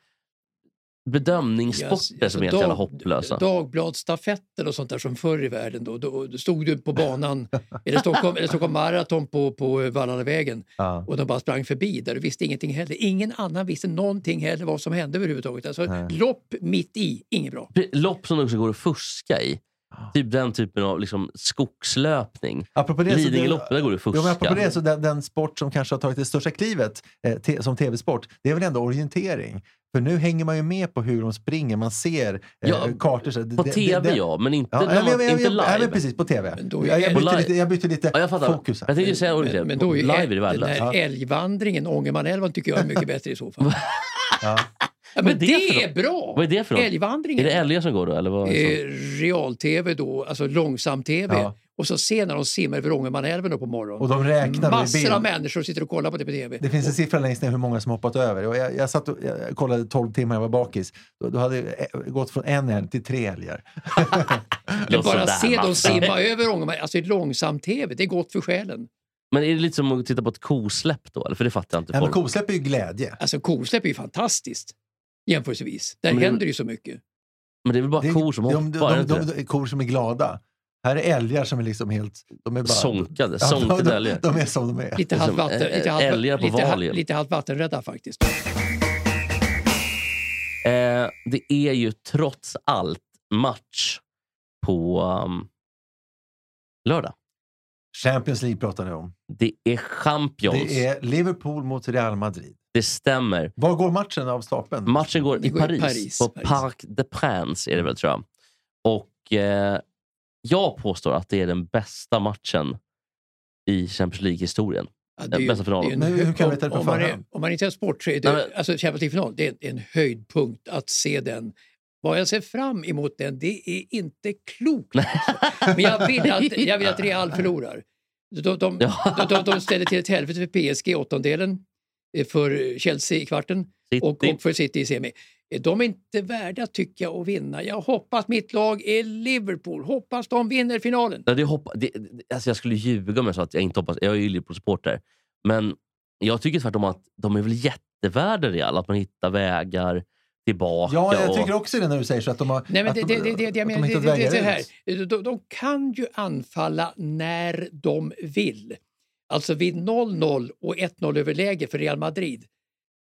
[SPEAKER 1] bedömningssporter
[SPEAKER 2] Ja,
[SPEAKER 1] som är helt
[SPEAKER 2] dag-
[SPEAKER 1] jävla hopplösa.
[SPEAKER 2] Dagbladsstafetter och sånt där som förr i världen. Då, då, då stod du på banan, eller Stockholm, eller Stockholm Marathon på, på Valhallavägen
[SPEAKER 3] ja.
[SPEAKER 2] och de bara sprang förbi där. Du visste ingenting heller. Ingen annan visste någonting heller vad som hände överhuvudtaget. Alltså,
[SPEAKER 3] Nej.
[SPEAKER 2] lopp mitt i, inget bra.
[SPEAKER 1] Pre- Lopp som det också går att fuska i. Typ den typen av liksom, skogslöpning.
[SPEAKER 3] Apropå Ah. det, så
[SPEAKER 1] Lidingöloppet, där går det att
[SPEAKER 3] Jo,
[SPEAKER 1] fuska.
[SPEAKER 3] men apropå det, så den, den sport som kanske har tagit det största klivet eh, te, som tv-sport, det är väl ändå orientering? För nu hänger man ju med på hur de springer, man ser eh,
[SPEAKER 1] Ja,
[SPEAKER 3] kartor. Så det,
[SPEAKER 1] På
[SPEAKER 3] det-
[SPEAKER 1] tv
[SPEAKER 3] det-
[SPEAKER 1] ja, men inte,
[SPEAKER 3] Ja,
[SPEAKER 1] när
[SPEAKER 3] ja,
[SPEAKER 1] man,
[SPEAKER 3] men- ja,
[SPEAKER 1] inte
[SPEAKER 3] men-
[SPEAKER 1] live.
[SPEAKER 3] Ja, men precis, på tv.
[SPEAKER 2] Men då är-
[SPEAKER 3] jag, jag, bytte
[SPEAKER 1] På
[SPEAKER 3] lite, jag bytte lite
[SPEAKER 1] Ja, jag fattar.
[SPEAKER 3] fokus här.
[SPEAKER 1] Jag tänkte ju säga orientering.
[SPEAKER 2] Men då är ju
[SPEAKER 1] live är det
[SPEAKER 2] den
[SPEAKER 1] värdelöst.
[SPEAKER 2] här älgvandringen, Ångermanälven, tycker jag är mycket bättre i så fall.
[SPEAKER 3] Ja.
[SPEAKER 2] Ja,
[SPEAKER 1] Vad är
[SPEAKER 2] men
[SPEAKER 1] det
[SPEAKER 2] det,
[SPEAKER 1] för
[SPEAKER 2] är bra!
[SPEAKER 1] Vad är det för något? Är
[SPEAKER 2] Älgvandringen.
[SPEAKER 1] det älgar som går då? Eller vad är det som-
[SPEAKER 2] Eh, Real-tv då, alltså långsam-tv.
[SPEAKER 3] Ja.
[SPEAKER 2] Och så ser när de simmar över Ångermanälven då på morgonen.
[SPEAKER 3] Och de räknar då i bild.
[SPEAKER 2] Massor av människor sitter och kollar på det på tv.
[SPEAKER 3] Det finns en siffra längst ner hur många som hoppat över. Och jag, jag satt och jag kollade 12 timmar jag var bakis. Då, då hade jag eh, gått från en älg till tre älgar.
[SPEAKER 2] Men
[SPEAKER 1] Låt sådär,
[SPEAKER 2] bara se dem
[SPEAKER 1] Mats.
[SPEAKER 2] simma över Ångermanälven, alltså i långsam-tv, det är gott för själen.
[SPEAKER 1] Men är det lite som att titta på ett kosläpp då? Eller? För det fattar jag inte.
[SPEAKER 3] Nej, men
[SPEAKER 1] Folk.
[SPEAKER 3] kosläpp är ju glädje.
[SPEAKER 2] Alltså kosläpp är ju fantastiskt jämförelsevis. Där
[SPEAKER 1] Men det-
[SPEAKER 2] händer det ju så mycket.
[SPEAKER 1] men det är väl bara
[SPEAKER 3] Det är-
[SPEAKER 1] kor som
[SPEAKER 3] de,
[SPEAKER 1] hoppar?
[SPEAKER 3] de,
[SPEAKER 1] är det
[SPEAKER 3] de,
[SPEAKER 1] inte
[SPEAKER 3] de,
[SPEAKER 1] det?
[SPEAKER 3] de, Kor som är glada. Här är älgar som är liksom helt... De är bara,
[SPEAKER 1] Sonkade.
[SPEAKER 3] Ja, de,
[SPEAKER 1] Sonkade
[SPEAKER 3] de,
[SPEAKER 1] älgar.
[SPEAKER 3] de är som de är.
[SPEAKER 2] Lite
[SPEAKER 1] är
[SPEAKER 2] halvt
[SPEAKER 1] som
[SPEAKER 2] vatten,
[SPEAKER 1] ä-
[SPEAKER 2] lite halvt,
[SPEAKER 1] älgar på
[SPEAKER 2] lite, halvt-
[SPEAKER 1] Valium.
[SPEAKER 2] lite halvt vattenrädda faktiskt.
[SPEAKER 1] Eh, det är ju trots allt match på um, lördag.
[SPEAKER 3] Champions League pratar ni om.
[SPEAKER 1] Det är Champions.
[SPEAKER 3] Det
[SPEAKER 1] Det,
[SPEAKER 3] är Liverpool mot Real Madrid.
[SPEAKER 1] stämmer.
[SPEAKER 3] Var går matchen av stapeln?
[SPEAKER 1] Matchen går
[SPEAKER 2] Det
[SPEAKER 1] i
[SPEAKER 2] går i
[SPEAKER 1] Paris.
[SPEAKER 2] Paris,
[SPEAKER 1] på
[SPEAKER 2] Paris.
[SPEAKER 1] Parc des Princes är det väl, tror jag. Och eh, jag påstår att det är den bästa matchen i Champions League-historien.
[SPEAKER 2] Ja, det är ju-
[SPEAKER 1] Bästa finalen.
[SPEAKER 2] det är ju en
[SPEAKER 3] Men hur- hur kan
[SPEAKER 2] höjd-
[SPEAKER 3] vi veta det på
[SPEAKER 2] om, om, man är,
[SPEAKER 3] förhand?
[SPEAKER 2] om man inte är sport så är
[SPEAKER 1] Nej,
[SPEAKER 2] det, alltså Champions League-final, det är en höjdpunkt att se den. Vad jag ser fram emot den, det är inte klokt. alltså. Men jag vill att, jag vill att Real förlorar. De, de,
[SPEAKER 1] Ja.
[SPEAKER 2] de, de, de ställer till ett helvete för PSG i åttondelen, eh, för Chelsea i kvarten
[SPEAKER 1] City.
[SPEAKER 2] och, och för City i semi. Eh, De är inte värda, tycker jag, att vinna. Jag hoppas mitt lag är Liverpool. Hoppas de vinner finalen.
[SPEAKER 1] Ja, det hoppa, det, det- alltså jag skulle ljuga om jag sa att jag inte hoppas. Jag är ju Liverpool-supporter. Men jag tycker tvärtom att de är väl jättevärda Real. Att man hittar vägar tillbaka.
[SPEAKER 3] Ja, jag
[SPEAKER 1] och,
[SPEAKER 3] tycker också det när du säger så. Att de har,
[SPEAKER 2] Nej, men
[SPEAKER 3] att
[SPEAKER 2] det,
[SPEAKER 3] de,
[SPEAKER 2] det, det, det,
[SPEAKER 3] att
[SPEAKER 2] det, jag
[SPEAKER 3] de
[SPEAKER 2] menar, det,
[SPEAKER 3] hittat
[SPEAKER 2] det, det är
[SPEAKER 3] vägar
[SPEAKER 2] så här.
[SPEAKER 3] ut.
[SPEAKER 2] De, de kan ju anfalla när de vill. Alltså vid 0-0 och 1-0 överläge för Real Madrid,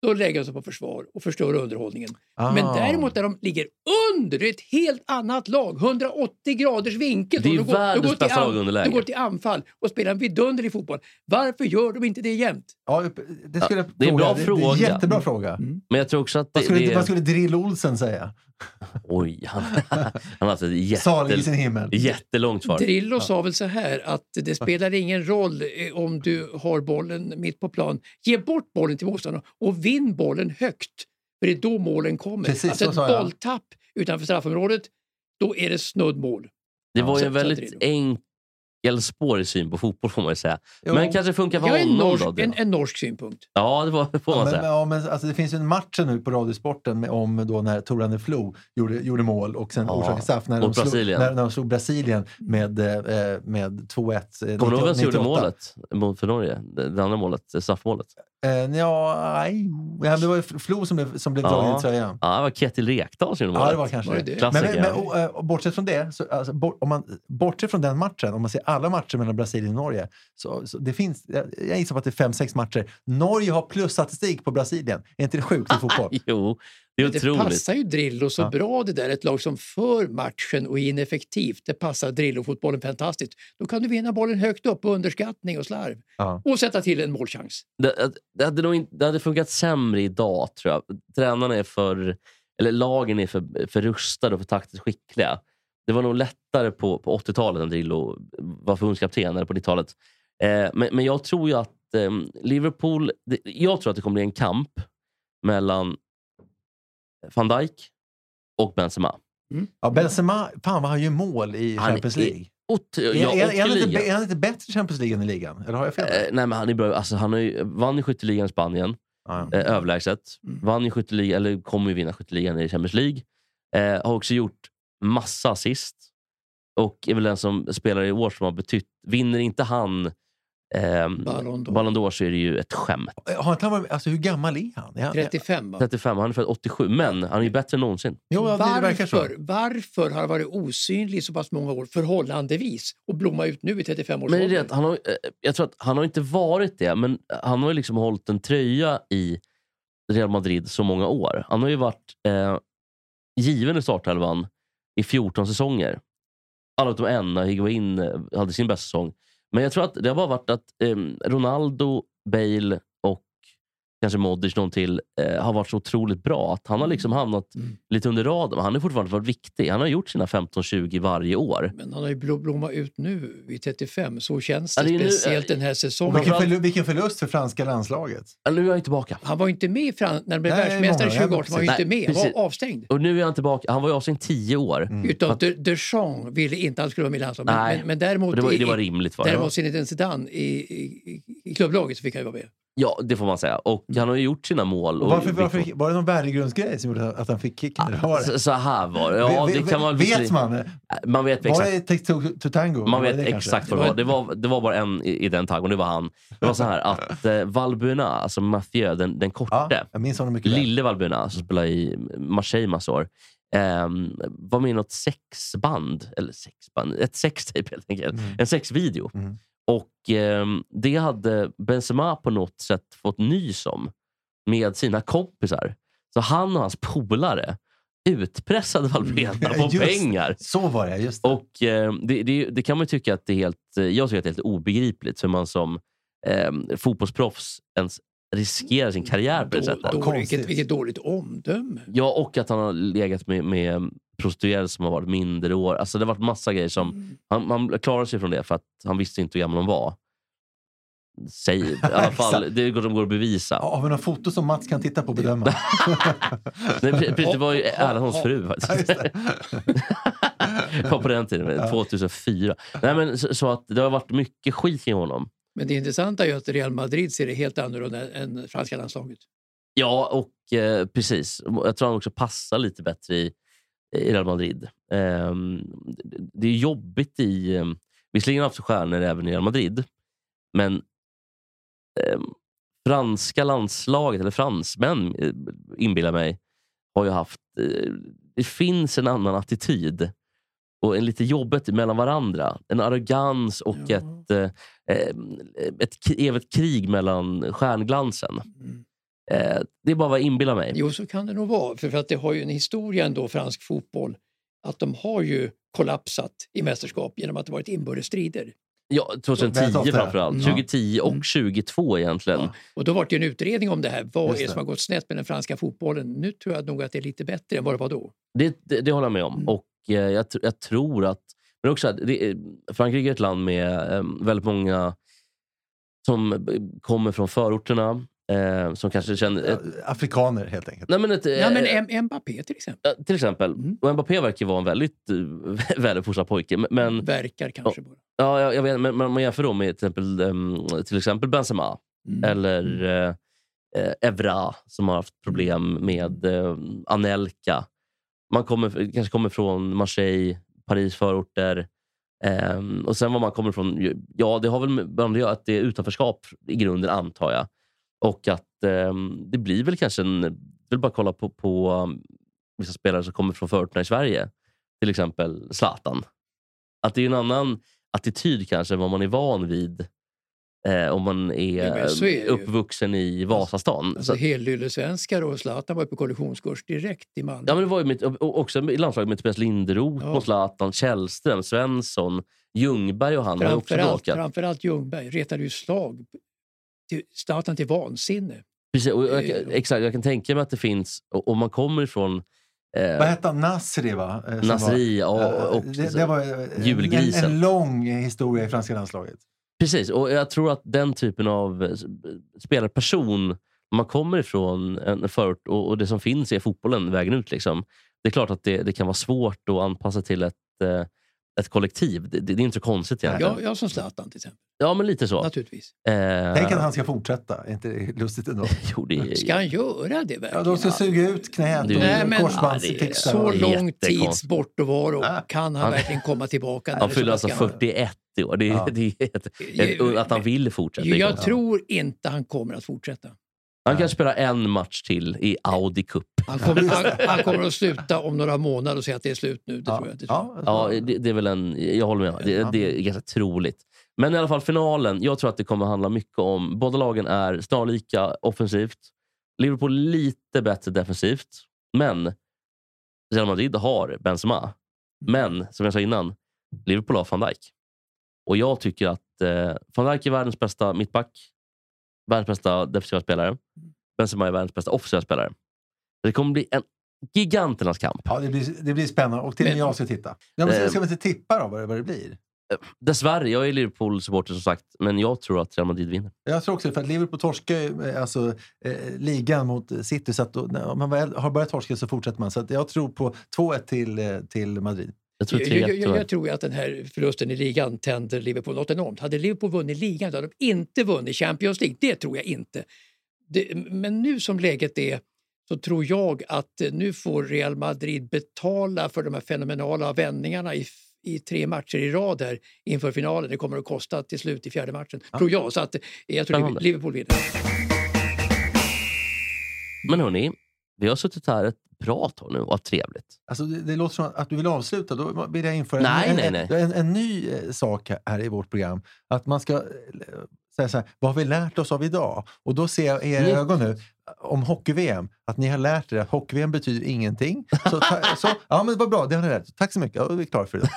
[SPEAKER 2] då lägger de sig på försvar och förstör underhållningen.
[SPEAKER 3] Ah.
[SPEAKER 2] Men däremot när de ligger under ett helt annat lag, 180 graders vinkel,
[SPEAKER 1] Det är
[SPEAKER 2] och
[SPEAKER 1] ju
[SPEAKER 2] går- går
[SPEAKER 1] världens
[SPEAKER 2] till
[SPEAKER 1] bästa
[SPEAKER 2] an-
[SPEAKER 1] lagunderläge.
[SPEAKER 2] De går till anfall och spelar en vidunder i fotboll. Varför gör de inte det jämt?
[SPEAKER 3] Ja, det, skulle jag
[SPEAKER 1] det är en bra
[SPEAKER 3] fråga. Det, det är en
[SPEAKER 1] fråga.
[SPEAKER 3] jättebra fråga.
[SPEAKER 1] Men jag tror också att det,
[SPEAKER 3] Vad, skulle,
[SPEAKER 1] det är...
[SPEAKER 3] vad skulle Drill Olsen säga?
[SPEAKER 1] Oj, han, han har haft ett
[SPEAKER 3] Salig i
[SPEAKER 1] jätte,
[SPEAKER 3] sin himmel.
[SPEAKER 1] jättelångt svar.
[SPEAKER 2] Drillo sa väl så här att det spelar ingen roll eh, om du har bollen mitt på plan. Ge bort bollen till motståndaren och vinn bollen högt. För det är då målen kommer.
[SPEAKER 3] Precis,
[SPEAKER 2] alltså
[SPEAKER 3] så
[SPEAKER 2] ett
[SPEAKER 3] sa jag.
[SPEAKER 2] bolltapp utanför straffområdet, då är det snuddmål.
[SPEAKER 1] Det var ju
[SPEAKER 2] Ja,
[SPEAKER 1] en
[SPEAKER 2] så- så
[SPEAKER 1] väldigt
[SPEAKER 2] Drillo.
[SPEAKER 1] enkel Elfsborg syn på fotboll får man ju säga.
[SPEAKER 3] Jo.
[SPEAKER 1] Men kanske funkar för
[SPEAKER 3] Jag är
[SPEAKER 1] honom
[SPEAKER 3] norsk-
[SPEAKER 1] då. det
[SPEAKER 3] en-
[SPEAKER 1] då.
[SPEAKER 2] En norsk synpunkt.
[SPEAKER 1] Ja, det var, får
[SPEAKER 3] Ja,
[SPEAKER 1] man
[SPEAKER 3] men,
[SPEAKER 1] säga.
[SPEAKER 3] ja, men, alltså, det finns ju en match nu på Radiosporten med, om då när Torane Flo gjorde, gjorde mål och sen
[SPEAKER 1] Ja,
[SPEAKER 3] orsakade straff när de,
[SPEAKER 1] mot
[SPEAKER 3] slog,
[SPEAKER 1] Brasilien.
[SPEAKER 3] när, när de slog Brasilien med, eh, med 2-1. eh,
[SPEAKER 1] Kommer du ihåg vem som gjorde
[SPEAKER 3] 98?
[SPEAKER 1] målet mot- för Norge? Det, det andra målet, eh, straffmålet.
[SPEAKER 3] Eh, ja, nej. Ja, men det var ju Flo som blev, som blev dragen i tröjan.
[SPEAKER 1] ja, det var Ketil Rekdal som gjorde
[SPEAKER 3] Ja,
[SPEAKER 1] målet.
[SPEAKER 3] det var kanske det. Men,
[SPEAKER 1] Klassiker.
[SPEAKER 3] men, men och, eh, och bortsett från det, så, alltså, bort, om man, bortsett från den matchen, om man ser alla matcher mellan Brasilien och Norge, så, så det finns, jag, jag gissar på att det är fem, sex matcher. Norge har plusstatistik på Brasilien. Är inte det sjukt i fotboll?
[SPEAKER 1] jo, det är
[SPEAKER 2] Det passar ju Drillo så bra det där. Ett lag som för matchen och är ineffektivt. Det passar Drillo-fotbollen fantastiskt. Då kan du vinna bollen högt upp på underskattning och slarv.
[SPEAKER 3] Ja.
[SPEAKER 2] Och sätta till en målchans.
[SPEAKER 1] Det, det, hade nog inte, det hade funkat sämre idag, tror jag. Tränarna är för... Eller lagen är för, för rustade och för taktiskt skickliga. Det var nog lättare på, på 80-talet när Drillo var förbundskapten, eller på 90-talet. Eh, men, men jag tror ju att eh, Liverpool... Det, jag tror att det kommer bli en kamp mellan van Dijk och Benzema.
[SPEAKER 3] Ja, Benzema, fan vad han gör mål i
[SPEAKER 1] Han
[SPEAKER 3] Champions
[SPEAKER 1] är-
[SPEAKER 3] League.
[SPEAKER 1] Ot-
[SPEAKER 3] Är,
[SPEAKER 1] ja,
[SPEAKER 3] är, är,
[SPEAKER 1] och
[SPEAKER 3] han
[SPEAKER 1] i
[SPEAKER 3] inte,
[SPEAKER 1] ligan.
[SPEAKER 3] bä- är han inte bättre i Champions League än i ligan? Eller har jag fel?
[SPEAKER 1] Eh, nej, men han är bra. Alltså, han har ju, vann ju skytteligan i Spanien, eh, överlägset.
[SPEAKER 2] Mm.
[SPEAKER 1] Vann ju skytteligan, eller kommer ju vinna skytteligan i Champions League. Eh, har också gjort massa assist. Och är väl den som spelar i år som har betytt... Vinner inte han eh,
[SPEAKER 2] Ballon d'Or.
[SPEAKER 1] Ballon d'Or så är det ju ett skämt.
[SPEAKER 3] Har inte han varit, alltså, hur gammal är han? Är han
[SPEAKER 2] 35 va?
[SPEAKER 1] 35, han är född 87, men han är ju bättre än någonsin.
[SPEAKER 2] varför, varför har han varit osynlig i så pass många år förhållandevis och blomma ut nu i 35 års
[SPEAKER 1] Men det är
[SPEAKER 2] ålder?
[SPEAKER 1] det att han har, eh, jag tror att han har inte varit det, men han har ju liksom hållit en tröja i Real Madrid så många år. Han har ju varit eh, given i startelvan i 14 säsonger. Alla utom en, när Higuain eh, hade sin bästa säsong. Men jag tror att det har bara varit att eh, Ronaldo, Bale och kanske Modric någon till eh, har varit så otroligt bra. Att han har liksom hamnat lite under radarn. men Han har fortfarande varit viktig. Han har gjort sina 15-20 varje år.
[SPEAKER 2] Men han har ju blo- blommat ut nu vid 35. Så känns
[SPEAKER 1] Ja, det
[SPEAKER 2] det,
[SPEAKER 1] är ju nu-
[SPEAKER 2] speciellt den här
[SPEAKER 3] Och
[SPEAKER 2] säsongen.
[SPEAKER 3] vilken, förlu- vilken förlust för franska landslaget.
[SPEAKER 1] Ja, Nu är jag tillbaka.
[SPEAKER 2] Han var ju inte med i Fran- när de blev
[SPEAKER 3] Nej,
[SPEAKER 2] världsmästare
[SPEAKER 3] många,
[SPEAKER 2] 20
[SPEAKER 3] ja,
[SPEAKER 2] år. Han var ju inte
[SPEAKER 1] precis.
[SPEAKER 2] med.
[SPEAKER 1] Nej,
[SPEAKER 2] Han var
[SPEAKER 1] precis.
[SPEAKER 2] avstängd.
[SPEAKER 1] Och nu är han tillbaka. Han var ju avstängd 10 år.
[SPEAKER 3] Mm.
[SPEAKER 2] Utan de, Deschamps ville inte att han skulle vara med i landslaget.
[SPEAKER 1] Mm. Nej.
[SPEAKER 2] Men, men, men däremot,
[SPEAKER 1] Och det var-
[SPEAKER 2] i-
[SPEAKER 1] det var
[SPEAKER 2] i-
[SPEAKER 1] rimligt, va?
[SPEAKER 2] Däremot sin inte Zidane i, i, i klubblaget så fick han ju vara med.
[SPEAKER 1] Ja, det får man säga. Och han har ju gjort sina mål.
[SPEAKER 3] Mm. Och
[SPEAKER 1] Och
[SPEAKER 3] varför, varför, var det någon värdegrundsgrej som gjorde att han fick kicken? Eller vad var det?
[SPEAKER 1] Så, så här var det. Ja,
[SPEAKER 3] Ve- ve-
[SPEAKER 1] det kan man
[SPEAKER 3] vet man?
[SPEAKER 1] Man vet
[SPEAKER 3] Var
[SPEAKER 1] exakt.
[SPEAKER 3] det Take Two to Tango?
[SPEAKER 1] Man
[SPEAKER 3] Var det
[SPEAKER 1] vet
[SPEAKER 3] det kanske?
[SPEAKER 1] exakt vad det var. Det var, det var bara en i, i den taggen, det var han. Det var så här att eh, Valbuena, alltså Mathieu, den, den korte,
[SPEAKER 3] Jag minns honom mycket väl.
[SPEAKER 1] lille Valbuena som spelade i Marseille massa år, ehm, var med i något sexband. Eller sexband, ett sextape helt enkelt. En sexvideo. Och ehm, det hade Benzema på något sätt fått nys om med sina kompisar. Så han och hans polare utpressade Valbuena på
[SPEAKER 3] Just-
[SPEAKER 1] pengar.
[SPEAKER 3] Så var det, just det.
[SPEAKER 1] Och eh, det, det, det kan man ju tycka att det är helt, eh, jag tycker att det är helt obegripligt hur man som eh, fotbollsproffs ens riskerar sin karriär på det sättet.
[SPEAKER 2] Då,
[SPEAKER 3] Konstigt.
[SPEAKER 2] vilket, vilket dåligt omdöme.
[SPEAKER 1] Ja, och att han har legat med, med prostituerade som har varit mindre år. Alltså Det har varit massa grejer som...
[SPEAKER 3] Mm.
[SPEAKER 1] Han, han klarade sig från det för att han visste inte hur gammal hon var. Säg, I alla fall,
[SPEAKER 3] Exakt.
[SPEAKER 1] det är något som går att bevisa.
[SPEAKER 3] Ja, har vi några foto som Mats kan titta på och bedöma?
[SPEAKER 1] Nej, pre- precis, det var ju Erlandssons fru faktiskt. Var på den tiden, 2004. Nej, men, så, så att det har varit mycket skit kring honom.
[SPEAKER 2] Men det intressanta är ju att Real Madrid ser det helt annorlunda än franska landslaget.
[SPEAKER 1] Ja, och eh, precis. Jag tror han också passar lite bättre i, i Real Madrid. Ehm, det- det är jobbigt i... Um, visserligen har han haft stjärnor även i Real Madrid, men ehm, franska landslaget, eller fransmän eh, inbillar mig, har ju haft... eh, det finns en annan attityd och en lite jobbet mellan varandra. En arrogans och ett, eh, eh, ett, k- evigt krig mellan stjärnglansen. Eh, det är bara vad jag inbillar mig.
[SPEAKER 2] Mm. Jo, så kan det nog vara. För, för att det har ju en historia ändå, fransk fotboll, att de har ju kollapsat i mästerskap genom att det varit inbördes strider.
[SPEAKER 1] Ja, 2010
[SPEAKER 3] Väldigt ofta.
[SPEAKER 1] framförallt.
[SPEAKER 2] Ja. Mm.
[SPEAKER 1] 2010 och 2022 egentligen.
[SPEAKER 2] Och då var det ju en utredning om det här. Vad
[SPEAKER 3] Just
[SPEAKER 2] är det
[SPEAKER 3] det.
[SPEAKER 2] som har gått snett med den franska fotbollen? Nu tror jag nog att det är lite bättre än vad det var då.
[SPEAKER 1] Det, det, det håller jag med om.
[SPEAKER 2] Mm.
[SPEAKER 1] Och eh, jag, tr- jag tror att... Men också att det, Frankrike är ett land med eh, väldigt många som eh, kommer från förorterna. Eh, som kanske känner... Ett,
[SPEAKER 3] Afrikaner helt enkelt.
[SPEAKER 1] nej, men ett, eh,
[SPEAKER 2] Ja, men Mm. M- Mbappé till exempel.
[SPEAKER 1] eh, till exempel. Och Mbappé verkar ju vara en väldigt eh, väluppfostrad pojke. Men-
[SPEAKER 2] Mm.
[SPEAKER 1] Men,
[SPEAKER 2] Verkar kanske bara.
[SPEAKER 1] ja, jag, jag vet, men men om man jämför då med till exempel, ehm, till exempel Benzema. Eller eh, eh, Evra som har haft problem
[SPEAKER 2] Mm.
[SPEAKER 1] med eh, Anelka. Man kommer, kanske kommer från Marseille, Paris förorter. Ehm, och sen var man kommer ifrån, ja det har väl med- om det gör att det är utanförskap i grunden antar jag. Och att ehm, det blir väl kanske en, jag vill bara kolla på, på um, vissa spelare som kommer från förorterna i Sverige. Till exempel Zlatan. Att det är en annan attityd kanske än vad man är van vid eh, om man
[SPEAKER 2] Ja,
[SPEAKER 1] är,
[SPEAKER 2] men så är det ju.
[SPEAKER 1] uppvuxen i Vasastan.
[SPEAKER 2] Alltså,
[SPEAKER 1] Så-
[SPEAKER 2] Hellyllesvenskar och Zlatan var ju på kollektionskurs direkt i Malmö.
[SPEAKER 1] Ja, men det var ju mitt, och- och också i landslaget med Tobias Linderoth,
[SPEAKER 2] Ja.
[SPEAKER 1] och Zlatan, Källström, Svensson, Ljungberg och han har ju också
[SPEAKER 2] Framförallt,
[SPEAKER 1] bråkat.
[SPEAKER 2] framförallt Ljungberg retade ju slag till, Zlatan till vansinne.
[SPEAKER 1] Precis, och jag,
[SPEAKER 2] Eh,
[SPEAKER 1] exakt, jag kan tänka mig att det finns, och- om man kommer ifrån
[SPEAKER 3] Vad
[SPEAKER 1] eh,
[SPEAKER 3] hette han? Nasri, va? Eh, som
[SPEAKER 1] Nasri och,
[SPEAKER 3] var-
[SPEAKER 1] och,
[SPEAKER 3] Eh, det, det var eh,
[SPEAKER 1] julgrisen.
[SPEAKER 3] En, en lång historia i franska landslaget.
[SPEAKER 1] Precis, och jag tror att den typen av eh, spelarperson, om man kommer ifrån en förort och, och det som finns är fotbollen vägen ut. Liksom. Det är klart att det, det kan vara svårt att anpassa till ett, eh, ett kollektiv. Det, det är inte så konstigt egentligen.
[SPEAKER 2] Ja, ja, som Zlatan till exempel.
[SPEAKER 1] Ja, men lite så.
[SPEAKER 2] Naturligtvis.
[SPEAKER 1] Eh,
[SPEAKER 3] Tänk att han ska fortsätta. Är inte det lustigt ändå?
[SPEAKER 1] jo, det,
[SPEAKER 2] Ska han göra det verkligen?
[SPEAKER 3] Ja, de ska suga ut knät
[SPEAKER 1] Du-
[SPEAKER 3] och
[SPEAKER 2] Nej, men-
[SPEAKER 3] korsbandsfixar.
[SPEAKER 2] Så
[SPEAKER 3] och-
[SPEAKER 1] det är
[SPEAKER 2] lång tids
[SPEAKER 1] jättekonstigt.
[SPEAKER 2] bortovaro,
[SPEAKER 3] Ah.
[SPEAKER 2] kan han
[SPEAKER 1] Han-
[SPEAKER 2] verkligen komma tillbaka? när
[SPEAKER 1] Han
[SPEAKER 2] det
[SPEAKER 1] fyller
[SPEAKER 2] så
[SPEAKER 1] alltså
[SPEAKER 2] ska?
[SPEAKER 1] 41 i år. Det, är-
[SPEAKER 3] Ja.
[SPEAKER 1] det är ett, ett, och att han vill fortsätta. är
[SPEAKER 2] Jag
[SPEAKER 1] konstigt.
[SPEAKER 2] tror inte han kommer att fortsätta.
[SPEAKER 1] han kanske spelar en match till i Audi Cup.
[SPEAKER 2] Han kommer, han, han kommer att sluta om några månader och säga att det är slut nu. Det
[SPEAKER 3] Ja.
[SPEAKER 2] tror jag inte.
[SPEAKER 3] Ja,
[SPEAKER 1] Ja, det, det är väl en, jag håller med. Det, det är ganska troligt. Men i alla fall finalen. Jag tror att det kommer handla mycket om... Båda lagen är snarlika offensivt. Liverpool lite bättre defensivt. Men Real Madrid har Benzema. Men, som jag sa innan, Liverpool har van Dijk. Och jag tycker att eh, van Dijk är världens bästa mittback. Världens bästa defensiva spelare. Benzema är världens bästa offensiva spelare. Det kommer bli en giganternas kamp.
[SPEAKER 3] Ja, det, blir, det blir spännande. Och till och med
[SPEAKER 2] Men-
[SPEAKER 3] jag ska titta. Ja, men
[SPEAKER 1] Eh.
[SPEAKER 3] ska, ska vi inte tippa då vad det, vad det blir?
[SPEAKER 1] Dessvärre, jag är Liverpool-supporter som sagt, men jag tror att Real Madrid vinner.
[SPEAKER 3] Jag tror också för att Liverpool torskar ju, eh, alltså, eh, ligan mot eh, City. Så att då, när man väl har börjat torska så fortsätter man. Så att jag tror på 2-1 till, eh, till Madrid.
[SPEAKER 1] Jag tror
[SPEAKER 2] Jag, jag,
[SPEAKER 1] 3-1
[SPEAKER 2] jag,
[SPEAKER 1] tyvärr.
[SPEAKER 2] jag tror ju att den här förlusten i ligan tänder Liverpool något enormt. Hade Liverpool vunnit ligan då hade de inte vunnit Champions League. Det tror jag inte. Det, men nu som läget är så tror jag att eh, nu får Real Madrid betala för de här fenomenala vändningarna i, i tre matcher i rad här inför finalen. Det kommer att kosta till slut i fjärde matchen, tror jag. Så att, eh, jag tror
[SPEAKER 1] Spännande.
[SPEAKER 2] Liverpool vinner.
[SPEAKER 1] Men hörni, vi har suttit här ett bra tag nu och haft trevligt.
[SPEAKER 3] Alltså, det, det låter som att, att du vill avsluta. Då vill jag införa
[SPEAKER 1] Nej,
[SPEAKER 3] en,
[SPEAKER 1] nej,
[SPEAKER 3] en,
[SPEAKER 1] nej.
[SPEAKER 3] En, en, ny eh, sak här- här i vårt program. Att man ska eh, säga så här, vad har vi lärt oss av idag? Och då ser jag i era
[SPEAKER 1] Mm.
[SPEAKER 3] ögon nu om hockey-VM, att ni har lärt er att hockey-VM betyder ingenting. Så, ta, så, ja, men vad bra, det har ni lärt er. Tack så mycket. Ja, vi är klara för idag.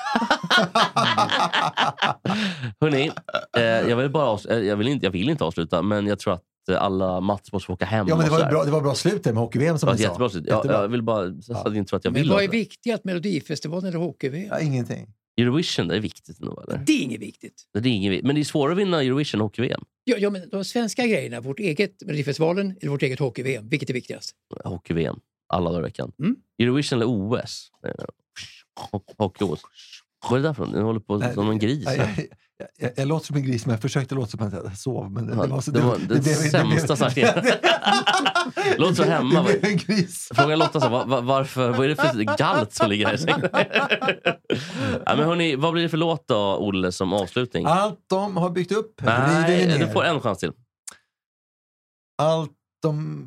[SPEAKER 1] Hörni, eh, jag, vill bara avs- eh, jag, vill inte, jag vill inte avsluta, men jag tror att eh, alla Mats måste få åka hem.
[SPEAKER 3] Ja, men det
[SPEAKER 1] och
[SPEAKER 3] var,
[SPEAKER 1] sådär.
[SPEAKER 3] ju bra, det var bra slut där med hockey-VM som
[SPEAKER 1] Ja,
[SPEAKER 3] ni sa.
[SPEAKER 1] jättebra. avslut. Jag,
[SPEAKER 3] Jättebra.
[SPEAKER 1] jag vill bara, så att ni inte tror att jag
[SPEAKER 2] Men
[SPEAKER 1] vill
[SPEAKER 2] vad är
[SPEAKER 1] avsluta.
[SPEAKER 2] viktigast, Melodifestivalen eller hockey-VM?
[SPEAKER 3] Ja, ingenting.
[SPEAKER 1] Eurovision, det är viktigt nog eller?
[SPEAKER 2] Det är inget viktigt.
[SPEAKER 1] Det är inget, vi- men det är svårare att vinna Eurovision än hockey-VM.
[SPEAKER 2] Ja, ja, men de svenska grejerna, vårt eget Melodifestivalen eller vårt eget hockey-VM, vilket är viktigast?
[SPEAKER 1] Hockey-VM, alla dagar i veckan.
[SPEAKER 2] Mm.
[SPEAKER 1] Eurovision eller OS? Eh, ho- Hockey-OS. Vad är det där för något? Den håller på som en gris.
[SPEAKER 3] Jag, jag, jag, jag, jag låter som en gris, men jag försökte låta som att jag sov. Men det,
[SPEAKER 1] Ja,
[SPEAKER 3] det var så
[SPEAKER 1] det var den sämsta saken. Låter som hemma,
[SPEAKER 3] Det
[SPEAKER 1] va?
[SPEAKER 3] blev en gris.
[SPEAKER 1] Fråga Lotta så, va- va- varför, vad är det för galt som ligger här i sängen? ja, men hörni, vad blir det för låt då, Olle, som avslutning?
[SPEAKER 3] Allt de har byggt upp river
[SPEAKER 1] Nej,
[SPEAKER 3] vi
[SPEAKER 1] du
[SPEAKER 3] ner.
[SPEAKER 1] får en chans till.
[SPEAKER 3] Allt de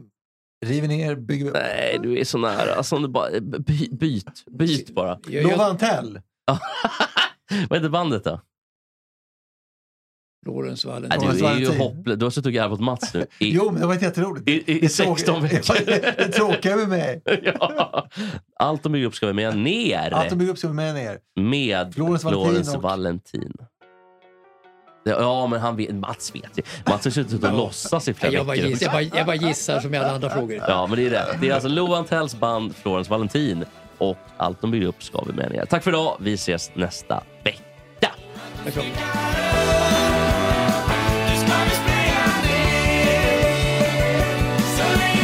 [SPEAKER 3] river ner bygger vi upp.
[SPEAKER 1] Nej, du är så nära. Alltså, om du bara, by, byt, byt bara.
[SPEAKER 2] Jag, jag,
[SPEAKER 3] Lova Antell.
[SPEAKER 1] Vad heter bandet då?
[SPEAKER 2] Lawrence Valentin.
[SPEAKER 1] Nej, du är ju
[SPEAKER 3] Valentin.
[SPEAKER 1] hopplös. Du har suttit och garvat åt Mats nu. I,
[SPEAKER 3] Jo, men det var jätteroligt.
[SPEAKER 1] i, i,
[SPEAKER 3] Det
[SPEAKER 1] i
[SPEAKER 3] tråk-
[SPEAKER 1] 16 veckor.
[SPEAKER 3] det tråkiga med mig.
[SPEAKER 1] ja. Allt de bygger upp ska vi med ner.
[SPEAKER 3] Allt de bygger upp ska vi med ner.
[SPEAKER 1] Med
[SPEAKER 3] Florence Valentin
[SPEAKER 1] Florence
[SPEAKER 3] och-
[SPEAKER 1] Valentin. Ja, Ja, men han vet, Mats vet ju. Mats har suttit och låtsas i flera
[SPEAKER 2] jag, bara
[SPEAKER 1] veckor.
[SPEAKER 2] gissar, jag, bara, jag bara gissar som i alla andra frågor.
[SPEAKER 1] Ja, men det är rätt. Det är alltså Lovan Tells band Florence Valentin och allt de bygger upp ska vi med er. Tack för idag. Vi ses nästa vecka.
[SPEAKER 8] Du ska vi springa ner